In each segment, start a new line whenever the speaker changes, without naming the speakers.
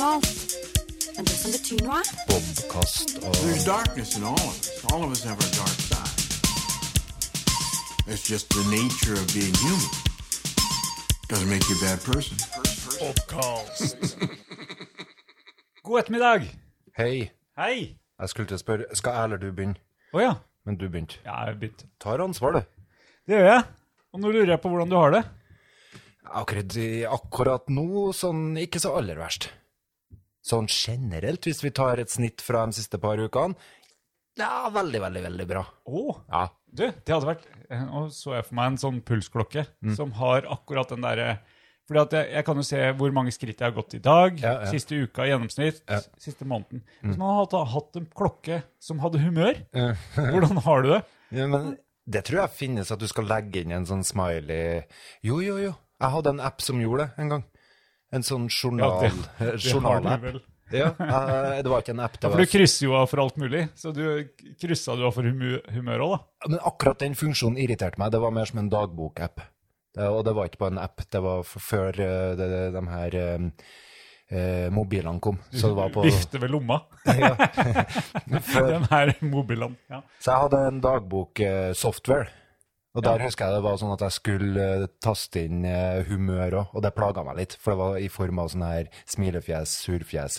alt. Men det som betyr noe,
There's darkness in all of us. All of us have our dark side. It's just the nature of being human. Doesn't make you a bad person.
God ettermiddag.
Hei,
Hei.
jeg skulle til å spørre, skal jeg eller du begynne?
Å ja.
Men du begynte.
Ja, jeg har begynt.
Tar ansvar, du.
Det gjør jeg. Og nå lurer jeg på hvordan du har det.
Akkurat, i- akkurat nå, sånn ikke så aller verst. Sånn generelt, hvis vi tar et snitt fra de siste par ukene, ja, veldig, veldig, veldig bra.
Å,
Ja,
du, det hadde vært eh, Nå så jeg for meg en sånn pulsklokke som har akkurat den derre fordi at jeg, jeg kan jo se hvor mange skritt jeg har gått i dag,
Ja, ja.
siste uka i gjennomsnitt,
Ja.
siste måneden. Hvis man hadde hatt en klokke som hadde humør, hvordan har du det?
Ja, men det tror jeg finnes at du skal legge inn en sånn smiley Jo, jo, jo. Jeg hadde en app som gjorde det en gang. En sånn journal...
Ja, det
journalapp.
vel.
Ja, eh, det var ikke en app. Det
For
var,
du krysser jo av for alt mulig, så du kryssa du av for humu- humør òg, da.
men akkurat den funksjonen irriterte meg. Det var mer som en dagbokapp. Det- Og det var ikke på en app. Det var f- før eh, de, de her eh, eh, mobilene kom. Så det var på
Vifte ved lomma.
før.
Den her mobilen. Ja.
Så jeg hadde en dagboksoftware. Og der husker jeg det var sånn at jeg skulle eh, taste inn eh, humør òg, og det plaga meg litt. For det var i form av sånn her smilefjes, surfjes.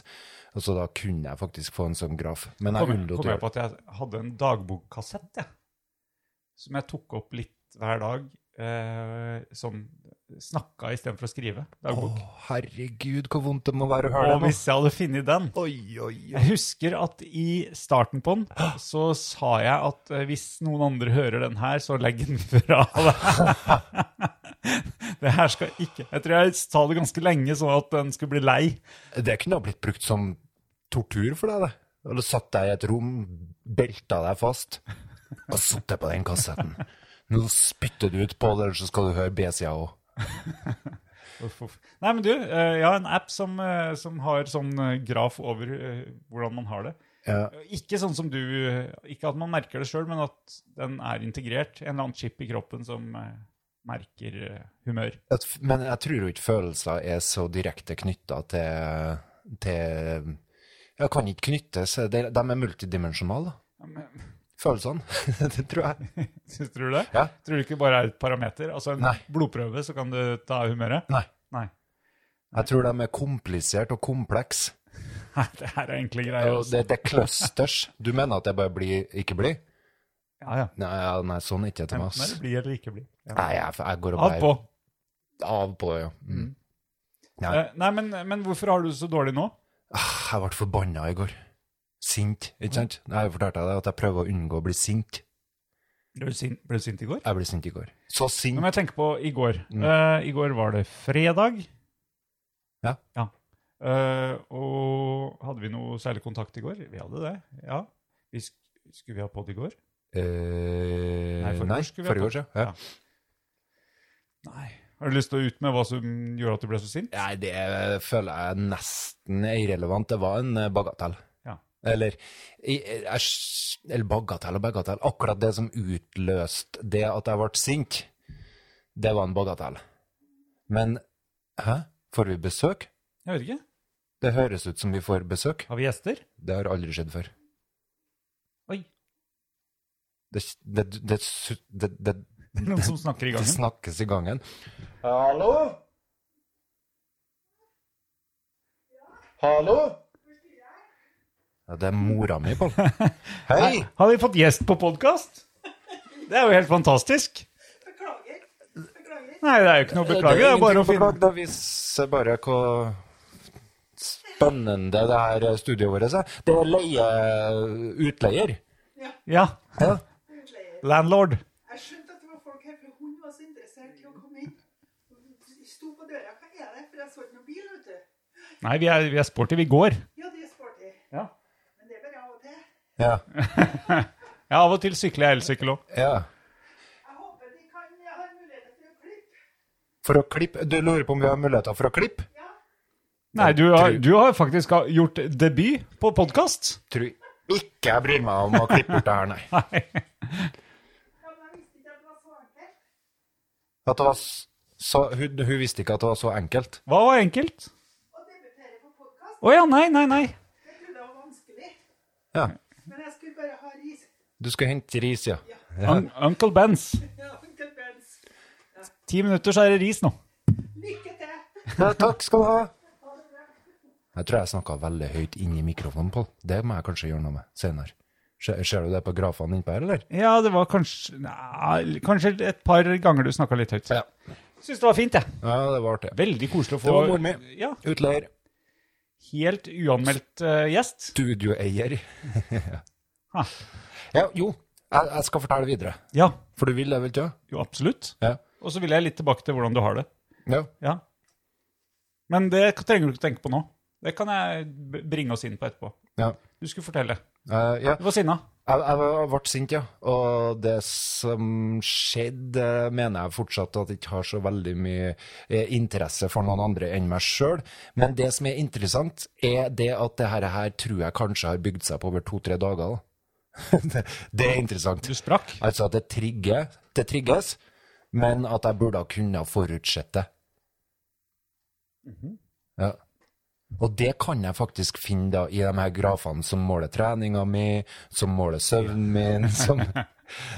Og så da kunne jeg faktisk få en sånn graf. Men jeg
Kom,
unnlot å
kom jeg
gjøre det.
på at jeg hadde en dagbokkassett, jeg. Som jeg tok opp litt hver dag. Eh, sånn snakka istedenfor å skrive
Å,
dagbok.
herregud, hvor vondt det må være å høre det
Og
nå.
hvis jeg hadde funnet den
Oi, oi, oi.
Jeg husker at i starten på den så sa jeg at eh, hvis noen andre hører den her, så legg den fra deg. Det her skal ikke Jeg tror jeg sa det ganske lenge, sånn at den skulle bli lei.
Det kunne ha blitt brukt som tortur for deg, det. Eller satt deg i et rom, belta deg fast, og satt deg på den kassetten. Nå spytter du ut på det, eller så skal du høre B-sida òg.
Uff, uff. Nei, men du, eh, jeg har en app som, eh, som har sånn eh, graf over eh, hvordan man har det.
Ja.
Ikke sånn som du Ikke at man merker det sjøl, men at den er integrert. En eller annen chip i kroppen som eh, merker eh, humør.
at, men jeg tror jo ikke følelser er så direkte knytta til, til Jeg kan ikke knyttes. De, de er multidimensjonale, da.
Ja, men-
følelsene. det tror jeg.
Syns du det?
Ja.
Tror du ikke bare er et parameter? Altså en
Nei.
blodprøve, så kan du ta humøret?
Nei.
Nei.
Jeg tror de er komplisert og kompleks.
Nei, det her er enkle greier.
Og
Altså.
Det, det er clusters. Du mener at det bare blir ikke blir?
Ja, ja.
Nei, ja, nei sånn er ikke til meg.
Enten er
ass.
det bli eller ikke bli. Ja.
Nei, jeg, jeg går og
Av på.
Av på, ja. Mm. Nei.
Eh, Nei, men, men hvorfor har du det så dårlig nå?
Ah, Jeg ble forbanna i går. Sint, ikke sant?
Mm.
Jeg har jo fortalt deg at jeg prøver å unngå å bli sint.
Ble du sint, ble du sint i går?
Jeg ble sint i går. Så
Nå
sint.
må jeg tenke på i går. Eh, I går var det fredag.
Ja.
Eh, og hadde vi noe særlig kontakt i går? Vi hadde det, ja. Vi sk skulle vi ha podd i går?
Eh,
Nei,
nei,
forrige år skulle vi ha
forrige
tatt.
år, ja.
Ja. Nei. Har du lyst til å ut med hva som gjorde at du ble så sint?
Nei, det føler jeg nesten er irrelevant. Det var en eh, bagatell.
Ja.
Eller, i- eh, jeg s- eller bagatell og bagatell. Akkurat det som utløste det at jeg ble sint, det var en bagatell. Men hæ? Får vi besøk?
Jeg vet ikke.
Det høres ut som vi får besøk.
Har vi gjester?
Det har aldri skjedd før.
Oi.
Det, det, det, su- det, det,
Noen som snakker i
det
gangen?
snakkes i gangen.
Hallo? Hallo?
Ja, det er mora mi, Pål. Hei!
Har vi fått gjest på podkast? Det er jo helt fantastisk. Beklager. Nei, det er jo ikke noe å beklage. Det er bare å finne
Det viser bare hvor spennende det her studioet vårt er. Det er leie utleier.
Ja.
Ja.
Landlord.
Jeg skjønte at det var folk her, for hun var så interessert i å komme inn. Hun sto på døra. Hva er det? For jeg så ikke noen bil, vet du.
Nei, vi er, vi er sporty. Vi går.
Ja, det er sporty.
Ja.
Men det er bare av og til.
Ja.
Ja, av og til sykler jeg elsykkel òg.
ja.
Jeg håper de kan jeg har mulighet til å klippe.
For å klippe Du lurer på om vi har muligheter for å klippe?
Nei, du har, du har faktisk gjort debut på podkast.
Tror ikke jeg bryr meg om å klippe bort det her, nei.
Ja, men jeg visste ikke at det var så enkelt.
At det var s- så, hun, hun visste ikke at det var så enkelt.
Hva var enkelt?
Å debutere på podkast.
Å ja, nei, nei, nei.
Jeg trodde det var vanskelig.
Ja.
Men jeg skulle bare ha ris.
Du skal hente ris, ja.
Un Uncle Bens.
Ja, Uncle Bens.
Ti minutter, så er det ris nå.
Lykke til!
ja takk skal du ha. Jeg tror jeg snakka veldig høyt inn i mikrofonen, Pål. Det må jeg kanskje gjøre noe med senere. Ser, ser du det på grafene innpå her, eller?
Ja, det var kanskje nei, Kanskje et par ganger du snakka litt høyt.
Ja.
Syns det var fint, jeg.
Ja, det var artig.
Veldig koselig å få
Det var mor mi.
Ja,
Utleier.
Helt uanmeldt eh, gjest.
Studioeier.
Ha.
ja, jo. Jeg, jeg skal fortelle videre.
Ja,
For du vil det, vel ikke?
jo absolutt.
Ja.
Og så vil jeg litt tilbake til hvordan du har det.
ja.
Ja. Men det trenger du ikke tenke på nå. Det kan jeg b- bringe oss inn på etterpå.
Ja.
Du skulle fortelle.
Eh, ja.
Du var sinna.
Jeg, jeg var- ble sint, ja. Og det som skjedde, eh, mener jeg fortsatt at jeg ikke har så veldig mye eh, interesse for noen andre enn meg sjøl. Men det som er interessant, er det at det her, her tror jeg kanskje har bygd seg på over to-tre dager. da. det, det er interessant.
Du sprakk.
Altså at det, trigger, det trigges, men at jeg burde ha kunnet forutsette det.
Mhm.
Ja. Og det kan jeg faktisk finne da, i de her grafene som måler treninga mi, som måler søvnen min som...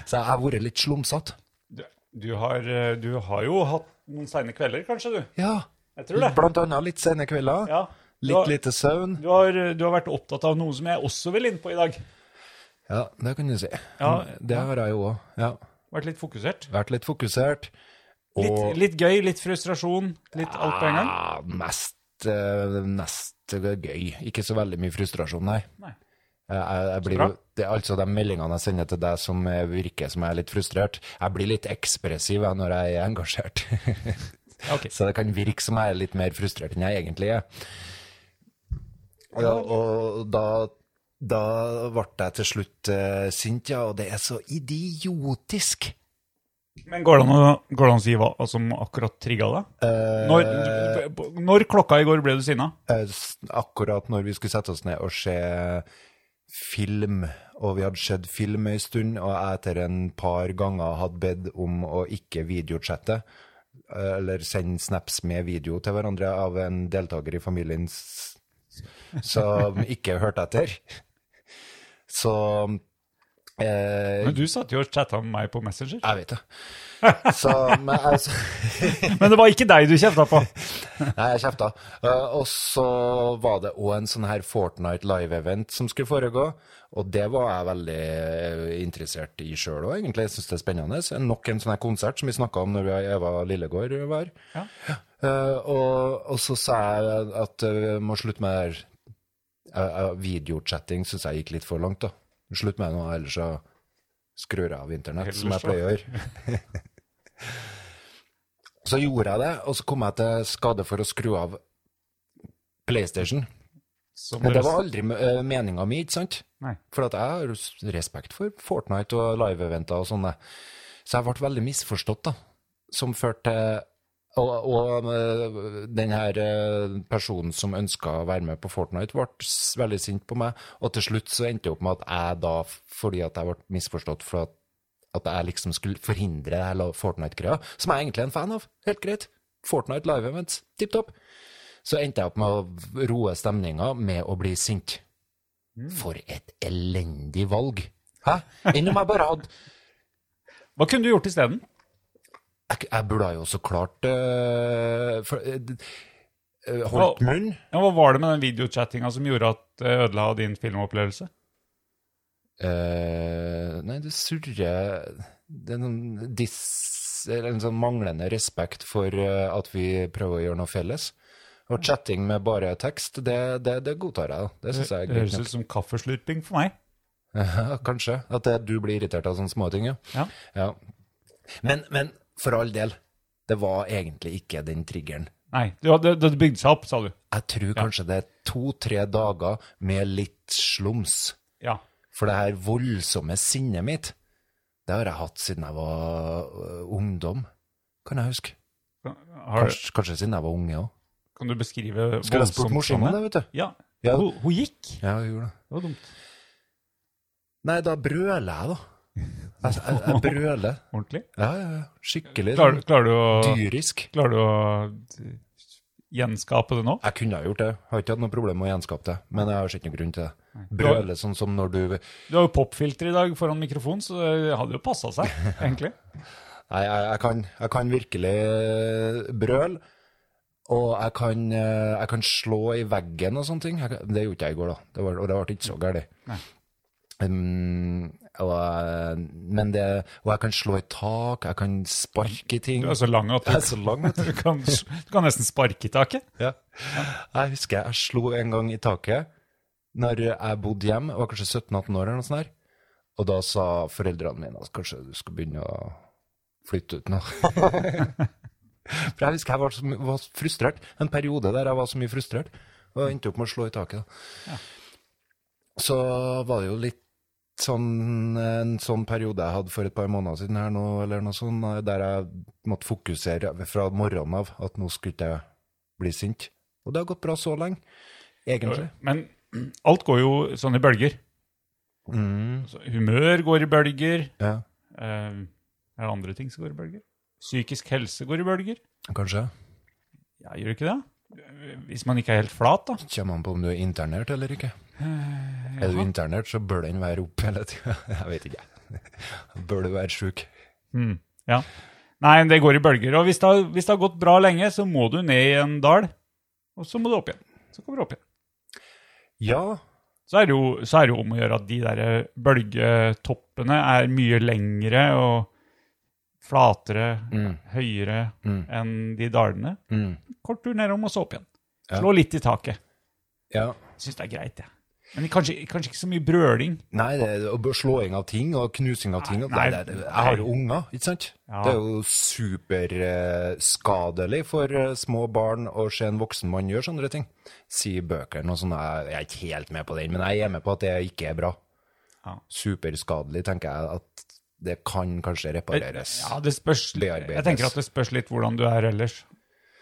Så jeg har vært litt slumsete.
Du, du, har, eh, du har jo hatt noen seine kvelder, kanskje, du?
Ja.
Jeg tror det.
Blant annet litt sene kvelder.
Ja. Du
Litt
har,
lite søvn.
du, har, eh, du har vært opptatt av noe som jeg også vil inn på i dag.
Ja, det kan du si.
Ja.
Det har jeg jo òg. Ja.
Vært litt fokusert.
Vært litt fokusert.
Litt, litt gøy, litt frustrasjon, litt alt på en gang.
Ja, Ah, mest, eh, mest gøy. Ikke så veldig mye frustrasjon, nei.
Nei.
Eh, Jeg, jeg blir,
bra.
jo- det, er altså de meldingene jeg sender til deg som eh, virker som jeg er litt frustrert, jeg blir litt ekspressiv jeg, når jeg er engasjert.
Ja, ok.
så det kan virke som jeg er litt mer frustrert enn jeg egentlig er. Ja, og da, da ble jeg til slutt eh, sint, ja, og det er så idiotisk.
Men går det an å, går det an å si hva som akkurat trigga deg? Når, når klokka i går ble du sinna?
Eh, s- akkurat når vi skulle sette oss ned og se film, og vi hadde sett film en stund, og jeg etter en par ganger hadde bedt om å ikke videochatte, eh, eller sende snaps med video til hverandre av en deltaker i familien s- som ikke hørte etter. Så eh,
Men du satt jo og chatta med meg på Messenger.
Jeg vet det. Så, men altså
Men det var ikke deg du kjefta på.
Nei, jeg kjefta. Eh, og så var det òg en sånn her Fortnite live-event som skulle foregå. Og det var jeg veldig eh, interessert i sjøl òg, egentlig. Jeg syns det er spennende. Så Nok en sånn her konsert som vi snakka om når vi og Eva Lillegård var her.
Ja.
Eh, og, og så sa jeg at eh, vi må slutte med det her Eh, eh, videochatting, syns jeg gikk litt for langt, da. Slutt med det nå, ellers så skrur jeg av internett, som jeg
Ellers så-
pleier å gjøre. Så gjorde jeg det, og så kom jeg til skade for å skru av PlayStation.
Som
Men det
resten-
var aldri uh, meninga mi, ikke sant?
Nei.
For at jeg har s- respekt for Fortnite og live-eventer og sånne. Så jeg ble veldig misforstått, da. Som førte til Og, og eh, den her eh, personen som ønska å være med på Fortnite, ble s- veldig sint på meg. Og til slutt så endte det opp med at jeg da, fordi at jeg ble misforstått for at, at jeg liksom skulle forhindre det her la- Fortnite-greia, som jeg egentlig er en fan av. Helt greit. Fortnite live events, tipp topp så endte jeg opp med å roe stemninga med å bli sint.
Mm.
For et elendig valg. Hæ? Enn om jeg bare hadde
Hva kunne du gjort isteden?
Jeg, jeg burde jo så klart øh, for, øh, d- øh, holdt
Hva-
munn.
Ja, hva var det med den videochattinga som gjorde at det ødela din filmopplevelse?
Eh, nei, det surrer Det er noen diss Eller en sånn manglende respekt for eh, at vi prøver å gjøre noe felles. Og chatting med bare tekst, det, det, det godtar jeg. da. Det syns jeg er
Det
greit.
høres ut som kaffeslurping for meg.
Ja, Kanskje. At det, du blir irritert av sånne småting, ja.
Ja.
Ja. Men, men for all del, det var egentlig ikke den triggeren.
Nei, det, det, det bygde seg opp, sa du.
Jeg tror kanskje det er to-tre dager med litt slums.
Ja.
For det her voldsomme sinnet mitt, det har jeg hatt siden jeg var øh, ungdom, kan jeg huske.
Har,
Kanskje, kanskje siden jeg var unge òg.
kan du beskrive
Skulle jeg spurt
voldsomt
morsomme,
sånne?
det, vet du.
Ja.
Ja.
Hun, hun gikk.
Ja, jeg gjorde det.
Det var dumt.
Nei, da brøler jeg, da. Jeg, jeg, jeg brøler.
Ordentlig.
Ja, ja, ja. Skikkelig sånn
Klarer, klarer du å
dyrisk.
Klarer du å gjenskape det nå?
Jeg kunne ha gjort det. Jeg har ikke hatt noe problem med å gjenskape det. Men jeg har ikke noen grunn til det. Brøle sånn som når du
Du har jo popfilter i dag foran mikrofonen, så det hadde jo passa seg, egentlig.
Nei, jeg, jeg, kan, jeg kan virkelig eh, brøle. Og jeg kan, eh, jeg kan slå i veggen og sånne ting. Jeg, kan- det gjorde jeg i går, da. Det var, og det ble ikke så galt. Um, og, eh, men det, og jeg kan slå i tak, jeg kan sparke i ting.
Du er så lang at
Jeg er
du,
så lang, vet du.
du, kan, du kan nesten sparke i taket.
Ja. Jeg husker jeg slo en gang i taket når jeg bodde hjemme, jeg var kanskje 17-18 år eller noe sånt der. Og da sa foreldrene mine at kanskje du skal begynne å flytte ut nå. For jeg husker jeg var, så, my- var frustrert, en periode der jeg var så mye frustrert, og jeg endte opp med å slå i taket. Da. Så var det jo litt sånn, en sånn periode jeg hadde for et par måneder siden her nå, eller noe sånt, der jeg måtte fokusere fra morgenen av at nå skulle ikke jeg bli sint. Og det har gått bra så lenge, egentlig.
Men alt går jo sånn i bølger.
Mm,
Altså, humør går i bølger.
ja,
Eh, er det andre ting som går i bølger? Psykisk helse går i bølger.
kanskje.
Ja, gjør det ikke det? Hvis man ikke er helt flat, da.
Kommer an på om du er internert eller ikke. Er du internert, så bør den være opp hele tida. Jeg vet ikke. Bør du være sjuk?
Hmm, Ja. Nei, men det går i bølger. Og hvis det, har, hvis det har gått bra lenge, så må du ned i en dal, og så må du opp igjen. Så kommer du opp igjen.
Ja.
Så er det jo, så er det jo om å gjøre at de der eh, bølgetoppene er mye lengre og flatere, høyere enn de dalene.
Mm.
Kort tur nedom, og så opp igjen. Slå litt i taket.
ja.
Syns det er greit, jeg. Men kanskje, kanskje ikke så mye brøling.
Nei, det er og slåing av ting og knusing av ting. og
Nei,
det, det, det, jeg har jo unger, ikke sant?
Ja.
Det er jo superskadelig for eh, små barn å se en voksen mann gjøre sånne ting. Sier bøkene og sånn. Jeg jeg er ikke helt med på den, men jeg er med på at det ikke er bra.
Ja.
Superskadelig, tenker jeg at det kan kanskje repareres.
Ja, det spørs,
Bearbeides.
jeg tenker at det spørs litt hvordan du er ellers.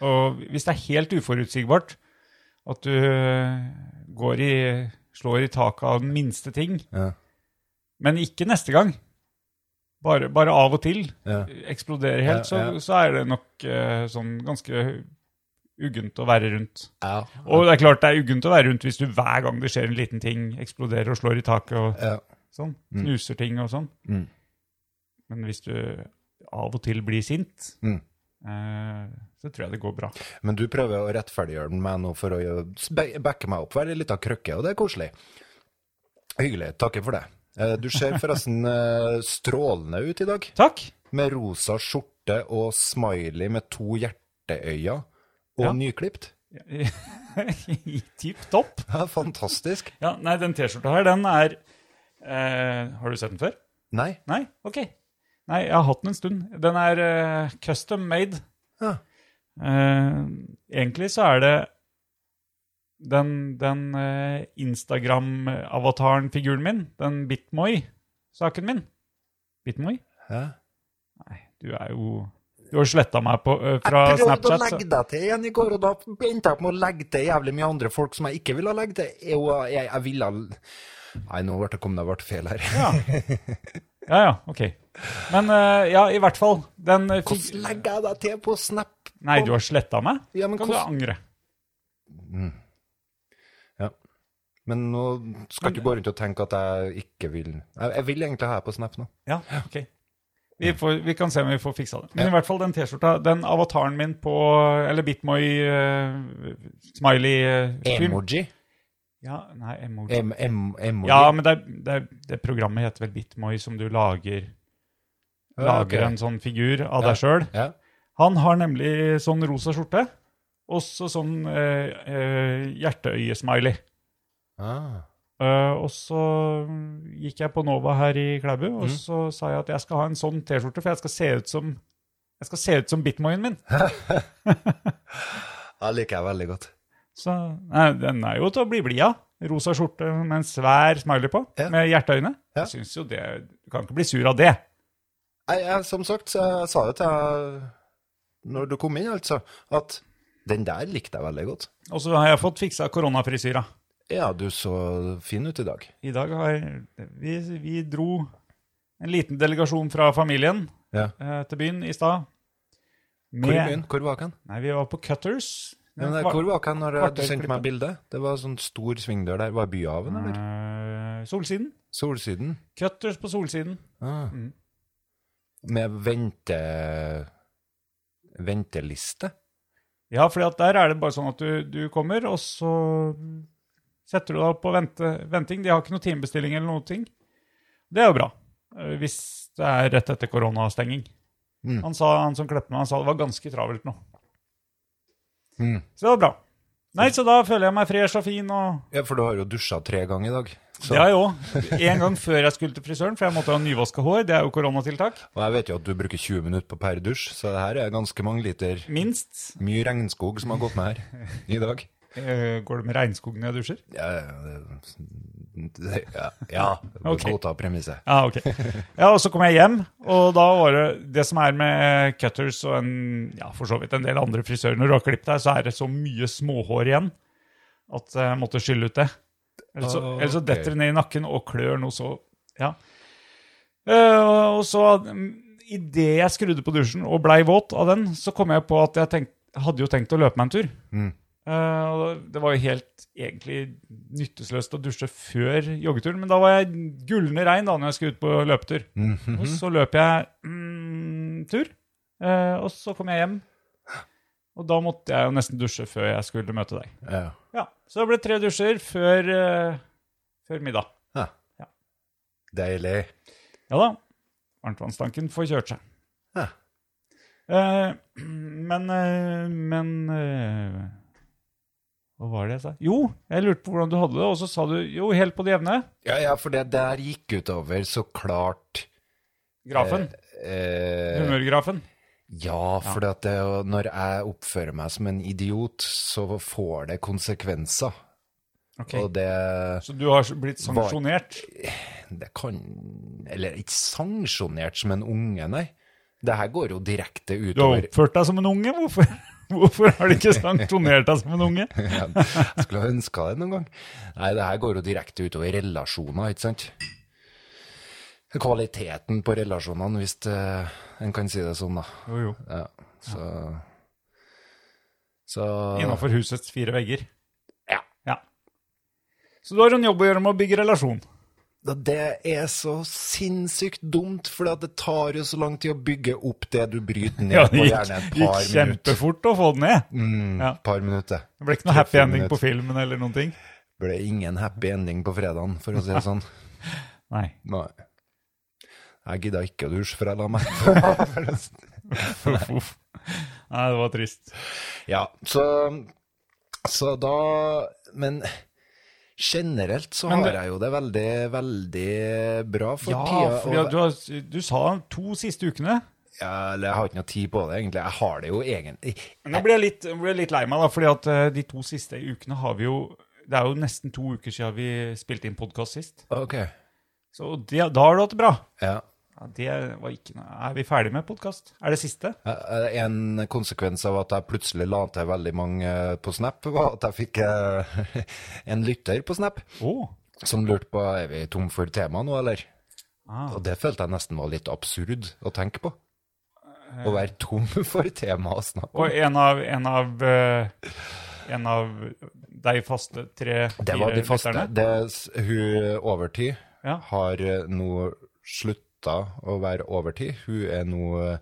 Og hvis det er helt uforutsigbart, at du eh, går i, slår i taket av den minste ting,
Ja.
men ikke neste gang, bare, bare av og til,
Ja.
eksploderer helt, så,
Ja, ja.
så er det nok eh, sånn ganske uggent å være rundt.
Ja.
Og det er klart det er uggent å være rundt hvis du hver gang det skjer en liten ting, eksploderer og slår i taket og
Ja.
sånn. Knuser ting og sånn.
Mm.
Men hvis du av og til blir sint,
Mm.
eh, så tror jeg det går bra.
Men du prøver å rettferdiggjøre den meg nå for å gjøre- spe- backe meg opp. Være litt av krøkke, og det er koselig. Hyggelig. Takker for det. Eh, Du ser forresten eh, strålende ut i dag,
Takk!
med rosa skjorte og smiley med to hjerteøyne, og
Ja.
nyklipt.
Tipp topp.
Ja, fantastisk.
Ja, nei, den T-skjorta her, den er eh, Har du sett den før?
Nei.
Nei? Ok. Nei, jeg har hatt den en stund. Den er eh, custom made.
Ja.
Eh, egentlig så er det den, den eh, Instagram-avataren-figuren min, den Bitmoy-saken min. Bitmoy?
Hæ?
Nei, du er jo Du har sletta meg på, eh, fra
Jeg prøvde å
Snapchat.
legge deg til igjen i går, og da endte jeg opp med å legge til jævlig mye andre folk som jeg ikke ville legge til. Jo, jeg, jeg ville Nei, nå ble det kommet ble feil her.
Ja, ja, ok. Men eh, ja, i hvert fall den eh, fig-
Hvordan legger jeg deg til på Snap?
Nei, du har sletta meg?
Ja, men
kan du
hvordan-
angre?
Ja. Men nå skal ikke gå rundt og tenke at jeg ikke vil Jeg, jeg vil egentlig ha deg på Snap nå.
Ja, ok. Vi, får, vi kan se om vi får fiksa det. Men i hvert fall den T-skjorta, den avataren min på Eller Bitmoy eh, Smiley eh, film.
Emoji?
Ja, nei, emoji.
Em, em, emoji.
Ja, men det, er- det, er- det programmet heter vel Bitmoy, som du lager
Ja, ok.
Lager en sånn figur av
Ja.
deg sjøl.
Ja.
Han har nemlig sånn rosa skjorte, og så sånn eh, eh, hjerteøye-smiley.
Ah.
Eh, og så gikk jeg på Nova her i Klæbu, og
Mm.
så sa jeg at jeg skal ha en sånn T-skjorte, for jeg skal se ut som jeg skal se ut som bitmoyen min.
Det liker jeg veldig godt.
Så nei, Den er jo til å bli blid av. Rosa skjorte med en svær smiley på,
Ja.
med hjerteøyne.
Ja.
Jeg synes jo det, Du kan ikke bli sur av det.
Jeg, jeg, som sagt, så jeg sa jo til deg når du kom inn, altså, at den der likte jeg veldig godt.
Og så har jeg fått fiksa koronafrisyra.
Ja, du så fin ut i dag.
I dag har vi, vi dro en liten delegasjon fra familien
Ja.
eh, til byen i stad.
Hvor i
Med-
byen? Hvor var han?
Nei, vi var på Cutters
Ja, men
Kvar-
hvor var jeg når eh, du
kvarter
sendte meg
klippet.
bildet? Det var sånn stor svingdør der. Var det Byhaven, eller?
Eh, solsiden.
Solsiden?
Cutters på solsiden.
Ah. Med vente... venteliste?
Ja, for der er det bare sånn at du, du kommer, og så setter du deg opp på vente, venting. De har ikke noe timebestilling eller noe ting. Det er jo bra, eh, hvis det er rett etter koronastenging.
Mm.
Han, sa, han som klepte meg, han sa det var ganske travelt nå.
Mm.
Så det var bra. Nei, så da føler jeg meg fresh og fin og
Ja, for du har jo dusja tre ganger i dag. Så,
Det har jeg òg. En gang før jeg skulle til frisøren, for jeg måtte ha nyvaska hår. Det er jo koronatiltak.
Og jeg vet jo at du bruker 20 minutter på per dusj, så det her er ganske mange liter
Minst.
mye regnskog som har gått med her i dag.
Eh, Går det med regnskog når jeg dusjer?
Ja, det- det- ja, ja.
Ok.
godta premisset.
Ja, ok. Ja, og så kom jeg hjem, og da var det det som er med cutters og en, ja, for så vidt en del andre frisører, når du har klippet deg, så er det så mye småhår igjen at jeg måtte skylle ut det. Ellers så, ellers så
Ah, Ok.
detter det ned i nakken og klør noe så, ja. Eh, og så, mm, i det jeg skrudde på dusjen og blei våt av den, så kom jeg på at jeg tenkt, hadde jo tenkt å løpe meg en tur.
Mm.
Eh, og det var jo helt egentlig nyttesløst å dusje før joggeturen, men da var jeg gullende rein da når jeg skulle ut på løpetur.
Mhm.
Og så løp jeg mm, tur, eh, og så kom jeg hjem. Og da måtte jeg jo nesten dusje før jeg skulle møte deg.
Ja.
Ja, Så det ble tre dusjer før, eh, før middag.
Ja.
Ja.
Deilig.
Ja da, varmtvannstanken får kjørt seg.
Ja.
Eh, men eh, men eh, Hva var det jeg sa? Jo, jeg lurte på hvordan du hadde det, og så sa du jo, helt på det jevne.
Ja, ja, for det der gikk utover så klart
Grafen.
eh,
Humørgrafen.
Ja, for det er jo- når jeg oppfører meg som en idiot, så får det konsekvenser.
Ok.
Og det,
Så du har blitt sanksjonert?
det kan Eller ikke sanksjonert som en unge, nei. Det her går jo direkte
Du har
utover
oppført deg som en unge? Hvorfor, hvorfor har de ikke sanksjonert deg som en unge?
Ja, Skulle ha ønska det noen gang. Nei, det her går jo direkte utover relasjoner, ikke sant? Kvaliteten på relasjonene, hvis eh, en kan si det sånn, da.
Jo, jo.
Ja, så Så
Innafor husets fire vegger.
Ja.
ja. Så du har en jobb å gjøre med å bygge relasjon.
Da, Det er så sinnssykt dumt, for det tar jo så lang tid å bygge opp det du bryter ned
Ja,
på
det gikk,
gjerne et par
gikk
minutter.
kjempefort å få den ned.
Mm,
Ja.
par minutter.
Det ble ikke noe happy
Tre-fire
ending på filmen eller noen ting.
Ble ingen happy ending på fredagen, for å si det sånn.
Nei.
Nei. Jeg gidda ikke å dusje før jeg la meg. sånn.
Uff, uff. Nei, det var trist.
ja, så, så da Men generelt så
Men det-
har jeg jo det veldig, veldig bra for
Ja,
tida.
for
og-
du, har- du sa to siste ukene.
Ja, eller jeg har ikke noe tid på det, egentlig. Jeg har det jo egentlig
Men Nå blir jeg litt, blir jeg litt lei meg, da, fordi at eh, de to siste ukene har vi jo Det er jo nesten to uker siden vi spilte inn podkast sist.
Ok.
Så det, da har du hatt det bra.
Ja.
Ja, det var ikke noe Er vi ferdig med podkast? Er det siste?
Eh, En konsekvens av at jeg plutselig la til veldig mange eh, på Snap, var at jeg fikk eh, en lytter på Snap
Å.
som lurte på er vi tom for tema nå, eller?
Ah.
Og det følte jeg nesten var litt absurd å tenke på.
Eh.
Å være tom for tema å snakke om.
Og en av En av, eh, en av de faste tre
Det var de
fire
faste.
lytterne.
Det, s- hun overtid
Ja.
har eh, nå slutta å være overtid. Hun er nå eh,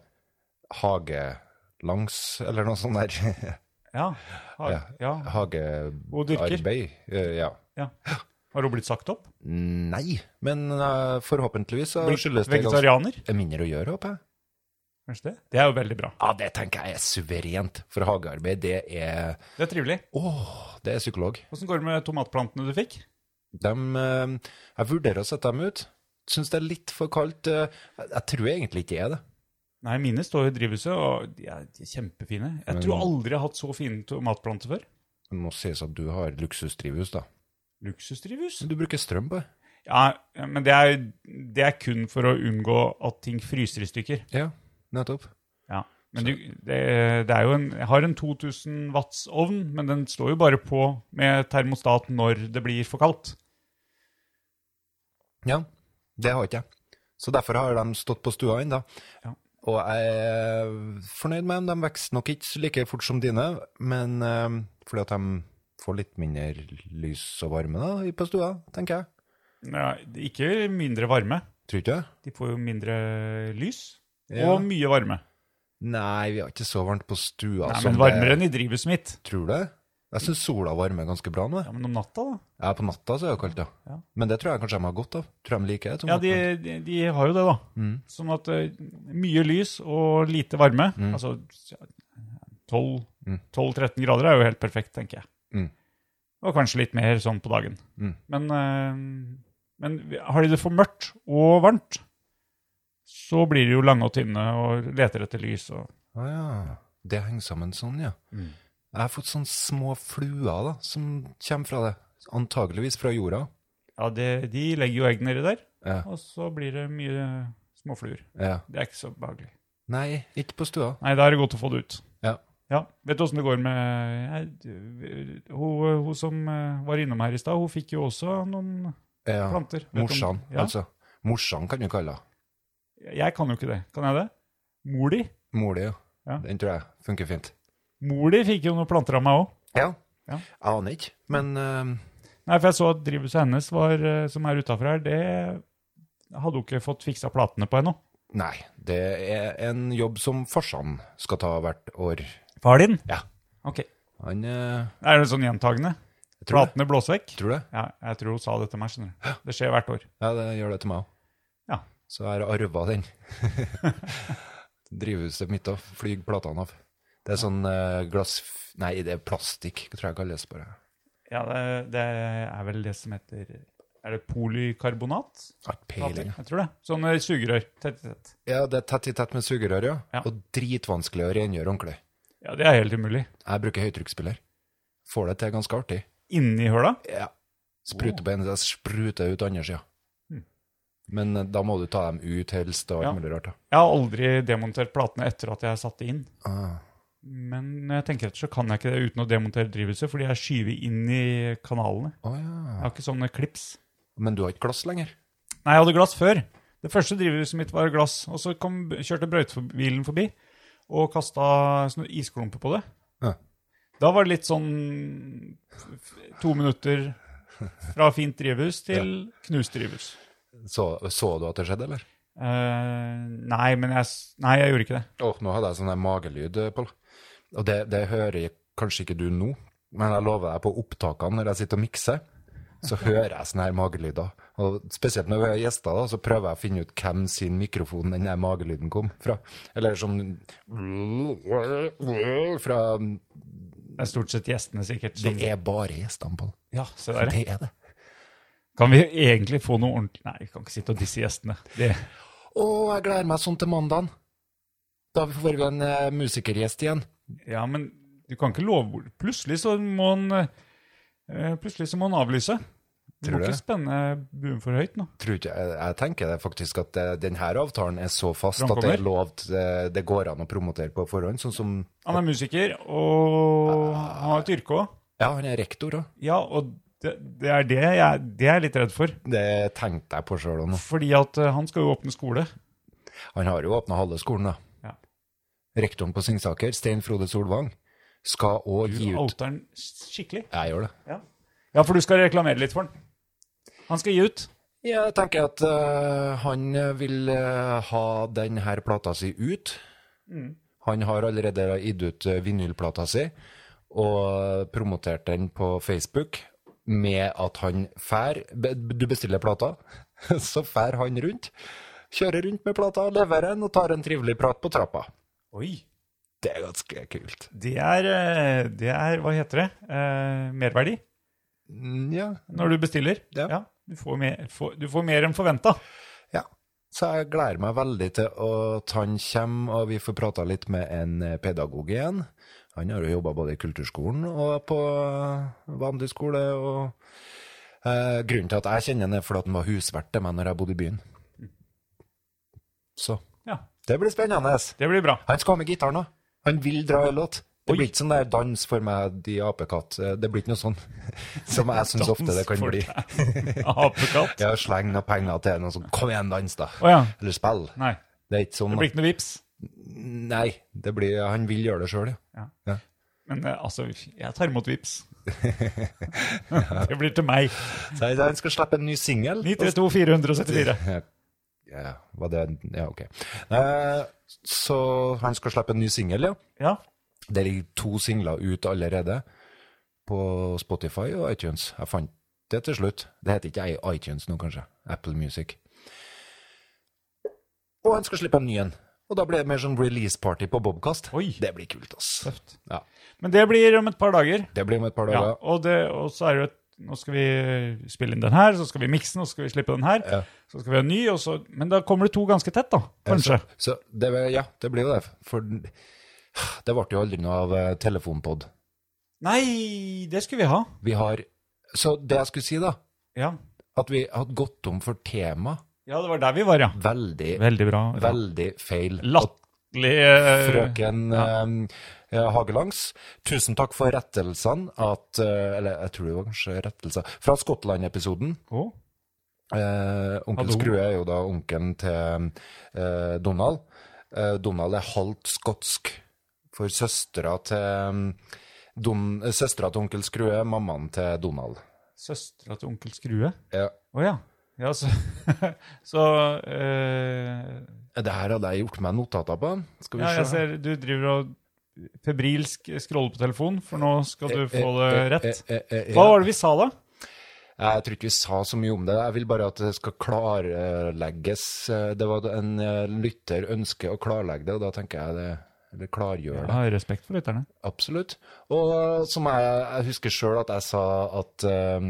hagelangs, eller noe sånt der.
Ja. Har,
Ja.
ja. Og dyrker.
Hagearbeid. eh, Ja.
har hun blitt sagt opp?
Nei, men eh, forhåpentligvis så
Blitt
skyldes det ganske
vegetarianer?
Det er mindre å gjøre, håper jeg.
Kanskje det? Det er jo veldig bra.
Ja, det tenker jeg er suverent, for hagearbeid, det er
Det er trivelig.
Åh, det er psykolog.
Åssen går det med tomatplantene du fikk?
De, eh, jeg vurderer å sette dem ut. Syns det er litt for kaldt. eh, Jeg jeg tror egentlig ikke det er det.
Nei, mine står i drivhuset, og de er, de er kjempefine. Jeg
Mm.
tror aldri jeg har hatt så fine tomatplanter før.
Det må sies at du har luksusdrivhus, da.
Luksusdrivhus?
Men du bruker strøm på det.
Ja, men det er, det er kun for å unngå at ting fryser i stykker.
Ja, nettopp.
Ja. Men du, det, det er jo en, jeg har en 2000 watts ovn, men den står jo bare på med termostat når det blir for kaldt.
Ja, det har ikke jeg. Så derfor har de stått på stua ennå.
Ja.
Og jeg er fornøyd med dem. De vokser nok ikke så like fort som dine, men eh, fordi at de får litt mindre lys og varme da, i- på stua, tenker jeg.
Ja, ikke mindre varme.
Tror ikke det?
De får jo mindre lys
Ja.
og mye varme.
Nei, vi har ikke så varmt på stua.
Nei,
som
men varmere enn i drivhuset mitt.
Det, tror du det? Jeg syns sola varmer ganske bra nå.
Ja,
jeg.
Men om natta, da?
Ja, på natta så er det kaldt, ja.
Ja.
Men det tror jeg kanskje de har godt av. Tror de liker det. Mm. som
Ja,
godt,
de,
men-
de, de har jo det, da. Sånn at eh, mye lys og lite varme,
Mm.
altså ja, 12 12-13 grader er jo helt perfekt, tenker jeg.
Mm.
Og kanskje litt mer sånn på dagen.
Mm.
Men, eh, men har de det for mørkt og varmt, så blir de jo lange og tynne og leter etter lys. Og,
Å ja. Det henger sammen sånn, ja.
Mm.
Jeg har fått sånne små fluer da, som kommer fra det. Antageligvis fra jorda.
ja, det, de legger jo egg nedi der,
Ja.
og så blir det mye småfluer.
Ja.
Det er ikke så behagelig.
Nei, ikke på stua.
Nei, da er det godt å få det ut.
Ja.
Ja, Vet du åssen det går med jeg, hun, hun som eh, var innom her i stad, hun fikk jo også noen
Ja.
planter. Vet du om-
Morsan,
ja.
altså. Morsan kan du kalle henne.
Jeg kan jo ikke det. Kan jeg det? Mor di
Mor di, ja.
Ja.
Den tror jeg funker fint.
Mor di fikk jo noen planter av meg òg.
Ja.
Ja.
Jeg aner ikke, men eh,
Nei, for jeg så at drivhuset hennes, var, eh, som er utafor her, det hadde hun ikke fått fiksa platene på ennå.
nei. Det er en jobb som farsan skal ta hvert år.
Far din?
Ja.
Ok.
Han eh,
Er det sånn gjentagende?
jeg tror,
Platene blåser vekk?
det. tror det.
Ja, jeg tror hun sa det til meg, skjønner du. Det skjer hvert år.
Ja, det gjør det til meg òg.
Ja.
Så jeg har arva den. Drivhuset mitt òg. Flyr platene av. Det er sånn eh, glass... Nei, det er plastikk, tror jeg kalles bare.
Ja, det, det er vel det som heter Er det polykarbonat?
Har ikke peiling.
Jeg tror det. Sånne sugerør. Tett, tett, tett.
Ja, det er tett i tett med sugerør, ja.
Ja.
Og dritvanskelig å rengjøre ordentlig.
Ja, det er helt umulig.
Jeg bruker høytrykksspiller. Får det til ganske artig.
Inni høla?
Ja. Spruter på ene sida, spruter ut andre sida. Men eh, da må du ta dem ut helst og alt
Hmm. Ja.
mulig rart. da.
Jeg har aldri demontert platene etter at jeg satte inn.
Ah.
Men når jeg tenker etter, så kan jeg ikke det uten å demontere drivhuset, fordi jeg skyver inn i kanalene.
Å ja.
Jeg har ikke sånne klips.
Men du har ikke glass lenger?
Nei, jeg hadde glass før. Det første drivhuset mitt var glass, og så kom, kjørte brøytebilen forbi og kasta sånne isklumper på det.
Ja.
Da var det litt sånn f- f- to minutter fra fint drivhus til knust drivhus.
Så, så du at det skjedde, eller?
Eh, nei, men jeg, s- nei, jeg gjorde ikke det.
Åh, nå hadde jeg sånn der magelyd, eh, Pål. Og det, det hører jeg kanskje ikke du nå, men jeg lover deg på opptakene når jeg sitter og mikser, så hører jeg sånne her magelyder. Og spesielt når vi har gjester, da, så prøver jeg å finne ut hvem sin mikrofon den her magelyden kom fra. Eller sånn Fra
Det er stort sett gjestene, sikkert.
Det
Som,
er bare gjestene, Pål.
ja, se der. ja.
Det er det.
Kan vi egentlig få noe ordentlig Nei, vi kan ikke sitte og disse gjestene. Det,
Å, jeg gleder meg sånn til mandagen. Da får vi en eh, musikergjest igjen.
ja, men du kan ikke love Plutselig så må han eh, Plutselig så må han avlyse. Du
Tror
må
du
ikke
det?
spenne buen for høyt nå.
tror ikke, jeg, jeg tenker det faktisk at denne avtalen er så fast at
Framkommer.
det er lov til- det, det går an å promotere på forhånd. Sånn som
Han er musiker, og han har et yrke òg.
Ja, han er rektor òg.
Ja, og det, det er det jeg, det jeg er litt redd for.
Det tenkte jeg på sjøl òg nå.
Fordi at eh, han skal jo åpne skole.
Han har jo åpna halve skolen, da.
Ja.
Rektoren på Singsaker, Stein Frode Solvang, skal òg gi ut
Outer han skikkelig.
Jeg gjør det.
Ja, for du skal reklamere litt for han. Han skal gi ut.
Ja, Jeg tenker at øh, han vil øh, ha denne plata si ut. Han har allerede gitt ut øh, vinylplata si og promotert den på Facebook med at han fær be- Du bestiller plata, så fær han rundt. Kjører rundt med plata, leverer den og tar en trivelig prat på trappa.
Oi.
Det er ganske kult.
Det er, eh, det er Hva heter det? Eh, merverdi
Ja.
når du bestiller.
Ja.
du, får mer, får, du får mer enn forventa.
ja. Så jeg gleder meg veldig til at han kommer, og vi får prata litt med en eh, pedagog igjen. Han har jo jobba både i kulturskolen og på eh, vanlig skole. og eh, Grunnen til at jeg kjenner han, er fordi at han var husvert til meg når jeg bodde i byen. Så
Ja,
det blir spennende.
det blir bra.
Han skal ha med gitaren òg. Han vil dra en låt. Det
Oi.
blir ikke sånn der dans for meg, de apekatt. Eh, Det blir ikke noe sånn som jeg syns ofte det kan
For
bli.
deg. Apekatt.
Ja, sleng noen penger til noe sånn Kom igjen, dans, da.
Å ja.
Eller spill.
Nei.
Det er ikke sånn.
Det blir ikke noe vips.
Nei, det blir, han vil gjøre det sjøl, ja.
Men eh, altså, jeg tar imot vips. det blir til meg.
Så han- han skal slippe en ny singel.
932 474.
Ja, var det Ja, OK. Eh, så han skal slippe en ny singel, ja.
Ja.
Det ligger to singler ut allerede på Spotify og iTunes. Jeg fant det til slutt. Det heter ikke i- iTunes nå, kanskje. Apple Music. Og han skal slippe en ny en. Og da blir det mer sånn release-party på Bobkast.
Oi.
Det blir kult, ass.
Tøft.
Ja.
Men det blir om et par dager.
Det blir om et par
Ja,
dager.
og, det, og så er det jo et Nå skal vi spille inn den her, så skal vi mikse den, og så skal vi slippe den her.
Ja.
Så skal vi ha en ny, og så Men da kommer det to ganske tett, da. Kanskje.
Eh, Så det, ja, det blir jo det. For det ble jo aldri noe av eh, telefonpod.
Nei, det skulle vi ha.
Vi har Så det jeg skulle si, da,
Ja.
at vi hadde gått om for tema
ja, det var der vi var, ja.
veldig,
Veldig bra. Ja.
veldig feil.
Latterlig eh,
Frøken eh, Hagelangs, tusen takk for rettelsene at eh, Eller jeg tror det var kanskje rettelser Fra Skottland-episoden.
Å,
Eh, onkel
Hallo.
Skrue er jo da onkelen til eh, Donald. Eh, Donald er halvt skotsk, for søstera til um, Don- eh, Søstera til onkel Skrue er mammaen til Donald.
Søstera til onkel Skrue. Å
Ja.
ja. Ja, så Så eh,
Det her hadde jeg gjort meg notater på. Skal vi
Ja, jeg
se.
ser du driver og febrilsk scroller på telefonen, for nå skal du få det rett.
Eh, eh, eh,
Hva
ja.
var det vi sa, da?
Jeg tror ikke vi sa så mye om det. Jeg vil bare at det skal klarlegges. Eh, Det var en eh, lytter ønsker å klarlegge det, og da tenker jeg det Eller klargjøre det.
Jeg har respekt for lytterne.
Absolutt. Og som jeg, jeg husker sjøl at jeg sa at um,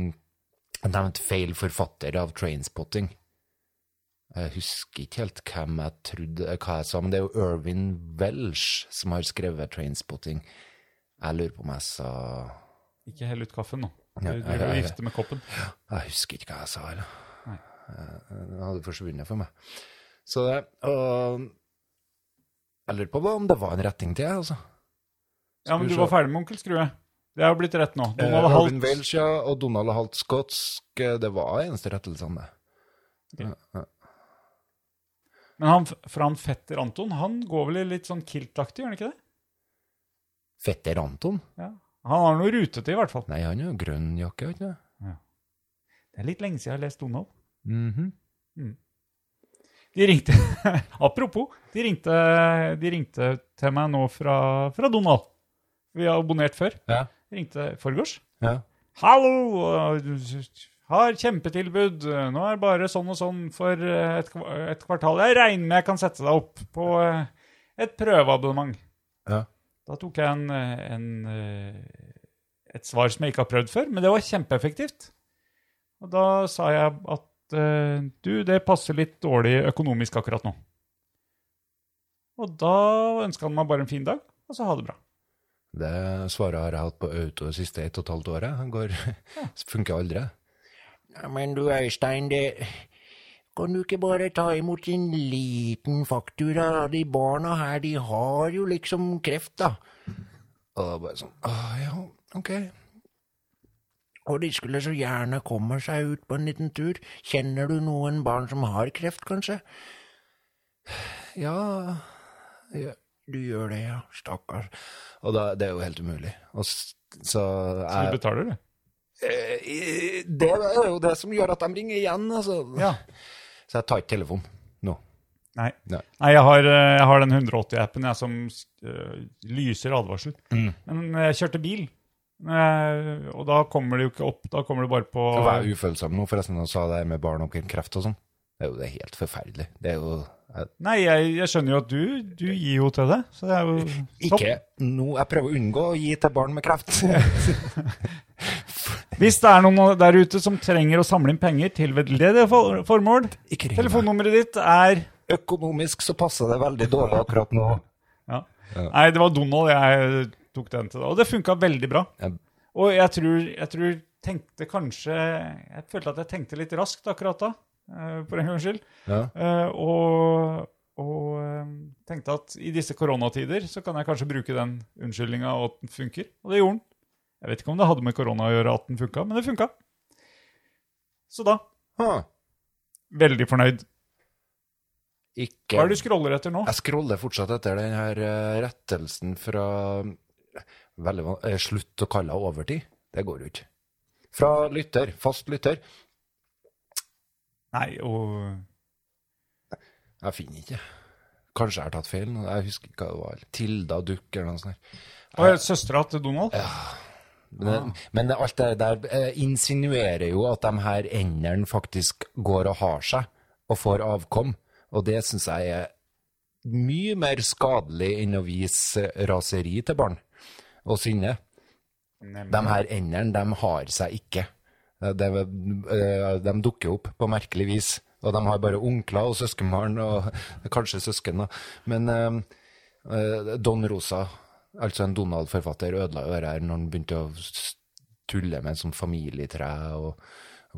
jeg nevnte feil forfatter av Trainspotting. Jeg husker ikke helt hvem jeg trodde, hva jeg sa, men det er jo Irvin Welsh som har skrevet Trainspotting. Jeg lurer på om jeg sa
Ikke hell ut kaffen nå. Du
Ja,
driver
ja, ja,
og
ja.
vifter med koppen.
Jeg husker ikke hva jeg sa, eller. Eh, Det hadde forsvunnet for meg. Så det Og jeg lurer på hva- om det var en retting til, jeg, altså.
Ja, men
vi
du
se.
var ferdig med Onkel Skrue. Det er jo blitt rett nå. Donald
Eh,
Halt.
Robin Welsh, ja, og Donald Halt skotsk. eh, Det var eneste rettelsene, det.
Men han f- fra han fetter Anton, han går vel i litt sånn kiltaktig, gjør han ikke det?
Fetter Anton?
Ja. Han har noe rutete, i hvert fall.
Nei, han er jo grønn jakke, har han ikke det?
Det er litt lenge siden jeg har lest Donald.
Mhm.
De ringte Apropos, de ringte, de ringte til meg nå fra, fra Donald. Vi har abonnert før.
Ja.
De ringte forgårs.
ja.
Hallo! Har kjempetilbud. Nå er det bare sånn og sånn for et, kva- et kvartal. Jeg regner med jeg kan sette deg opp på eh, et prøveabonnement.
Ja.
Da tok jeg en, eh, en, eh, et svar som jeg ikke har prøvd før, men det var kjempeeffektivt. Og da sa jeg at eh, du, det passer litt dårlig økonomisk akkurat nå. Og da ønska han meg bare en fin dag, og så ha det bra.
Det svaret har jeg hatt på auto det siste ett og et halvt året. Han går, funker aldri. Ja, men du Øystein, det kan du ikke bare ta imot en liten faktura? De barna her, de har jo liksom kreft, da. Og da bare sånn, ah, ja, ok. Og de skulle så gjerne komme seg ut på en liten tur. Kjenner du noen barn som har kreft, kanskje? Ja, ja du gjør det, ja. Stakkars. Og da, det er jo helt umulig. Og s- så
Så
jeg-
du betaler, du.
Eh, i- Det er jo det som gjør at de ringer igjen, altså.
Ja.
Så jeg tar ikke telefonen nå.
Nei.
Nei.
Nei, jeg har, eh, jeg har den 180-appen jeg som eh, lyser advarsel.
Mm.
Men jeg kjørte bil, eh, og da kommer det jo ikke opp. Da kommer det bare på
Så var jeg ufølsom nå, forresten, og sa det med barn og kreft og sånn. Det er jo det er helt forferdelig. Det er jo jeg,
Nei, jeg, jeg skjønner jo at du, du gir jo til det. Så det er jo topp.
Ikke nå. Jeg prøver å unngå å gi til barn med kreft.
Hvis det er noen der ute som trenger å samle inn penger til veldedige for- formål,
Ikke ring meg.
telefonnummeret ditt er
Økonomisk så passer det veldig dårlig akkurat nå.
ja. Nei, det var Donald jeg tok den til, og det funka veldig bra.
Ja.
Og jeg tror, jeg tror tenkte kanskje Jeg følte at jeg tenkte litt raskt akkurat da, eh, for en gangs skyld.
Ja.
Eh, og og eh, tenkte at i disse koronatider så kan jeg kanskje bruke den unnskyldninga og at den funker. Og det gjorde den. Jeg vet ikke om det hadde med korona å gjøre at den funka, men det funka. Så da
Ha.
veldig fornøyd.
Ikke
Hva er det du scroller etter nå?
Jeg scroller fortsatt etter den her eh, rettelsen fra veldig, van- eh, Slutt å kalle det overtid. Det går jo ikke. Fra lytter, fast lytter.
Nei, og
Jeg finner ikke. Kanskje jeg har tatt feil. nå. Jeg husker ikke hva det var. Tilda Duck eller noe sånt. der.
Og søstera til Donald?
Men, men alt det der eh, insinuerer jo at de her endene faktisk går og har seg, og får avkom. Og det syns jeg er mye mer skadelig enn å vise raseri til barn og sinne. De her endene, de har seg ikke. Eh, det er- eh, de dukker opp på merkelig vis. Og de har bare onkler og søskenbarn, og kanskje søsken, da. Men eh, eh, Don Rosa, altså en Donald-forfatter, ødela jo det her når han begynte å s- tulle med en sånn familietre og,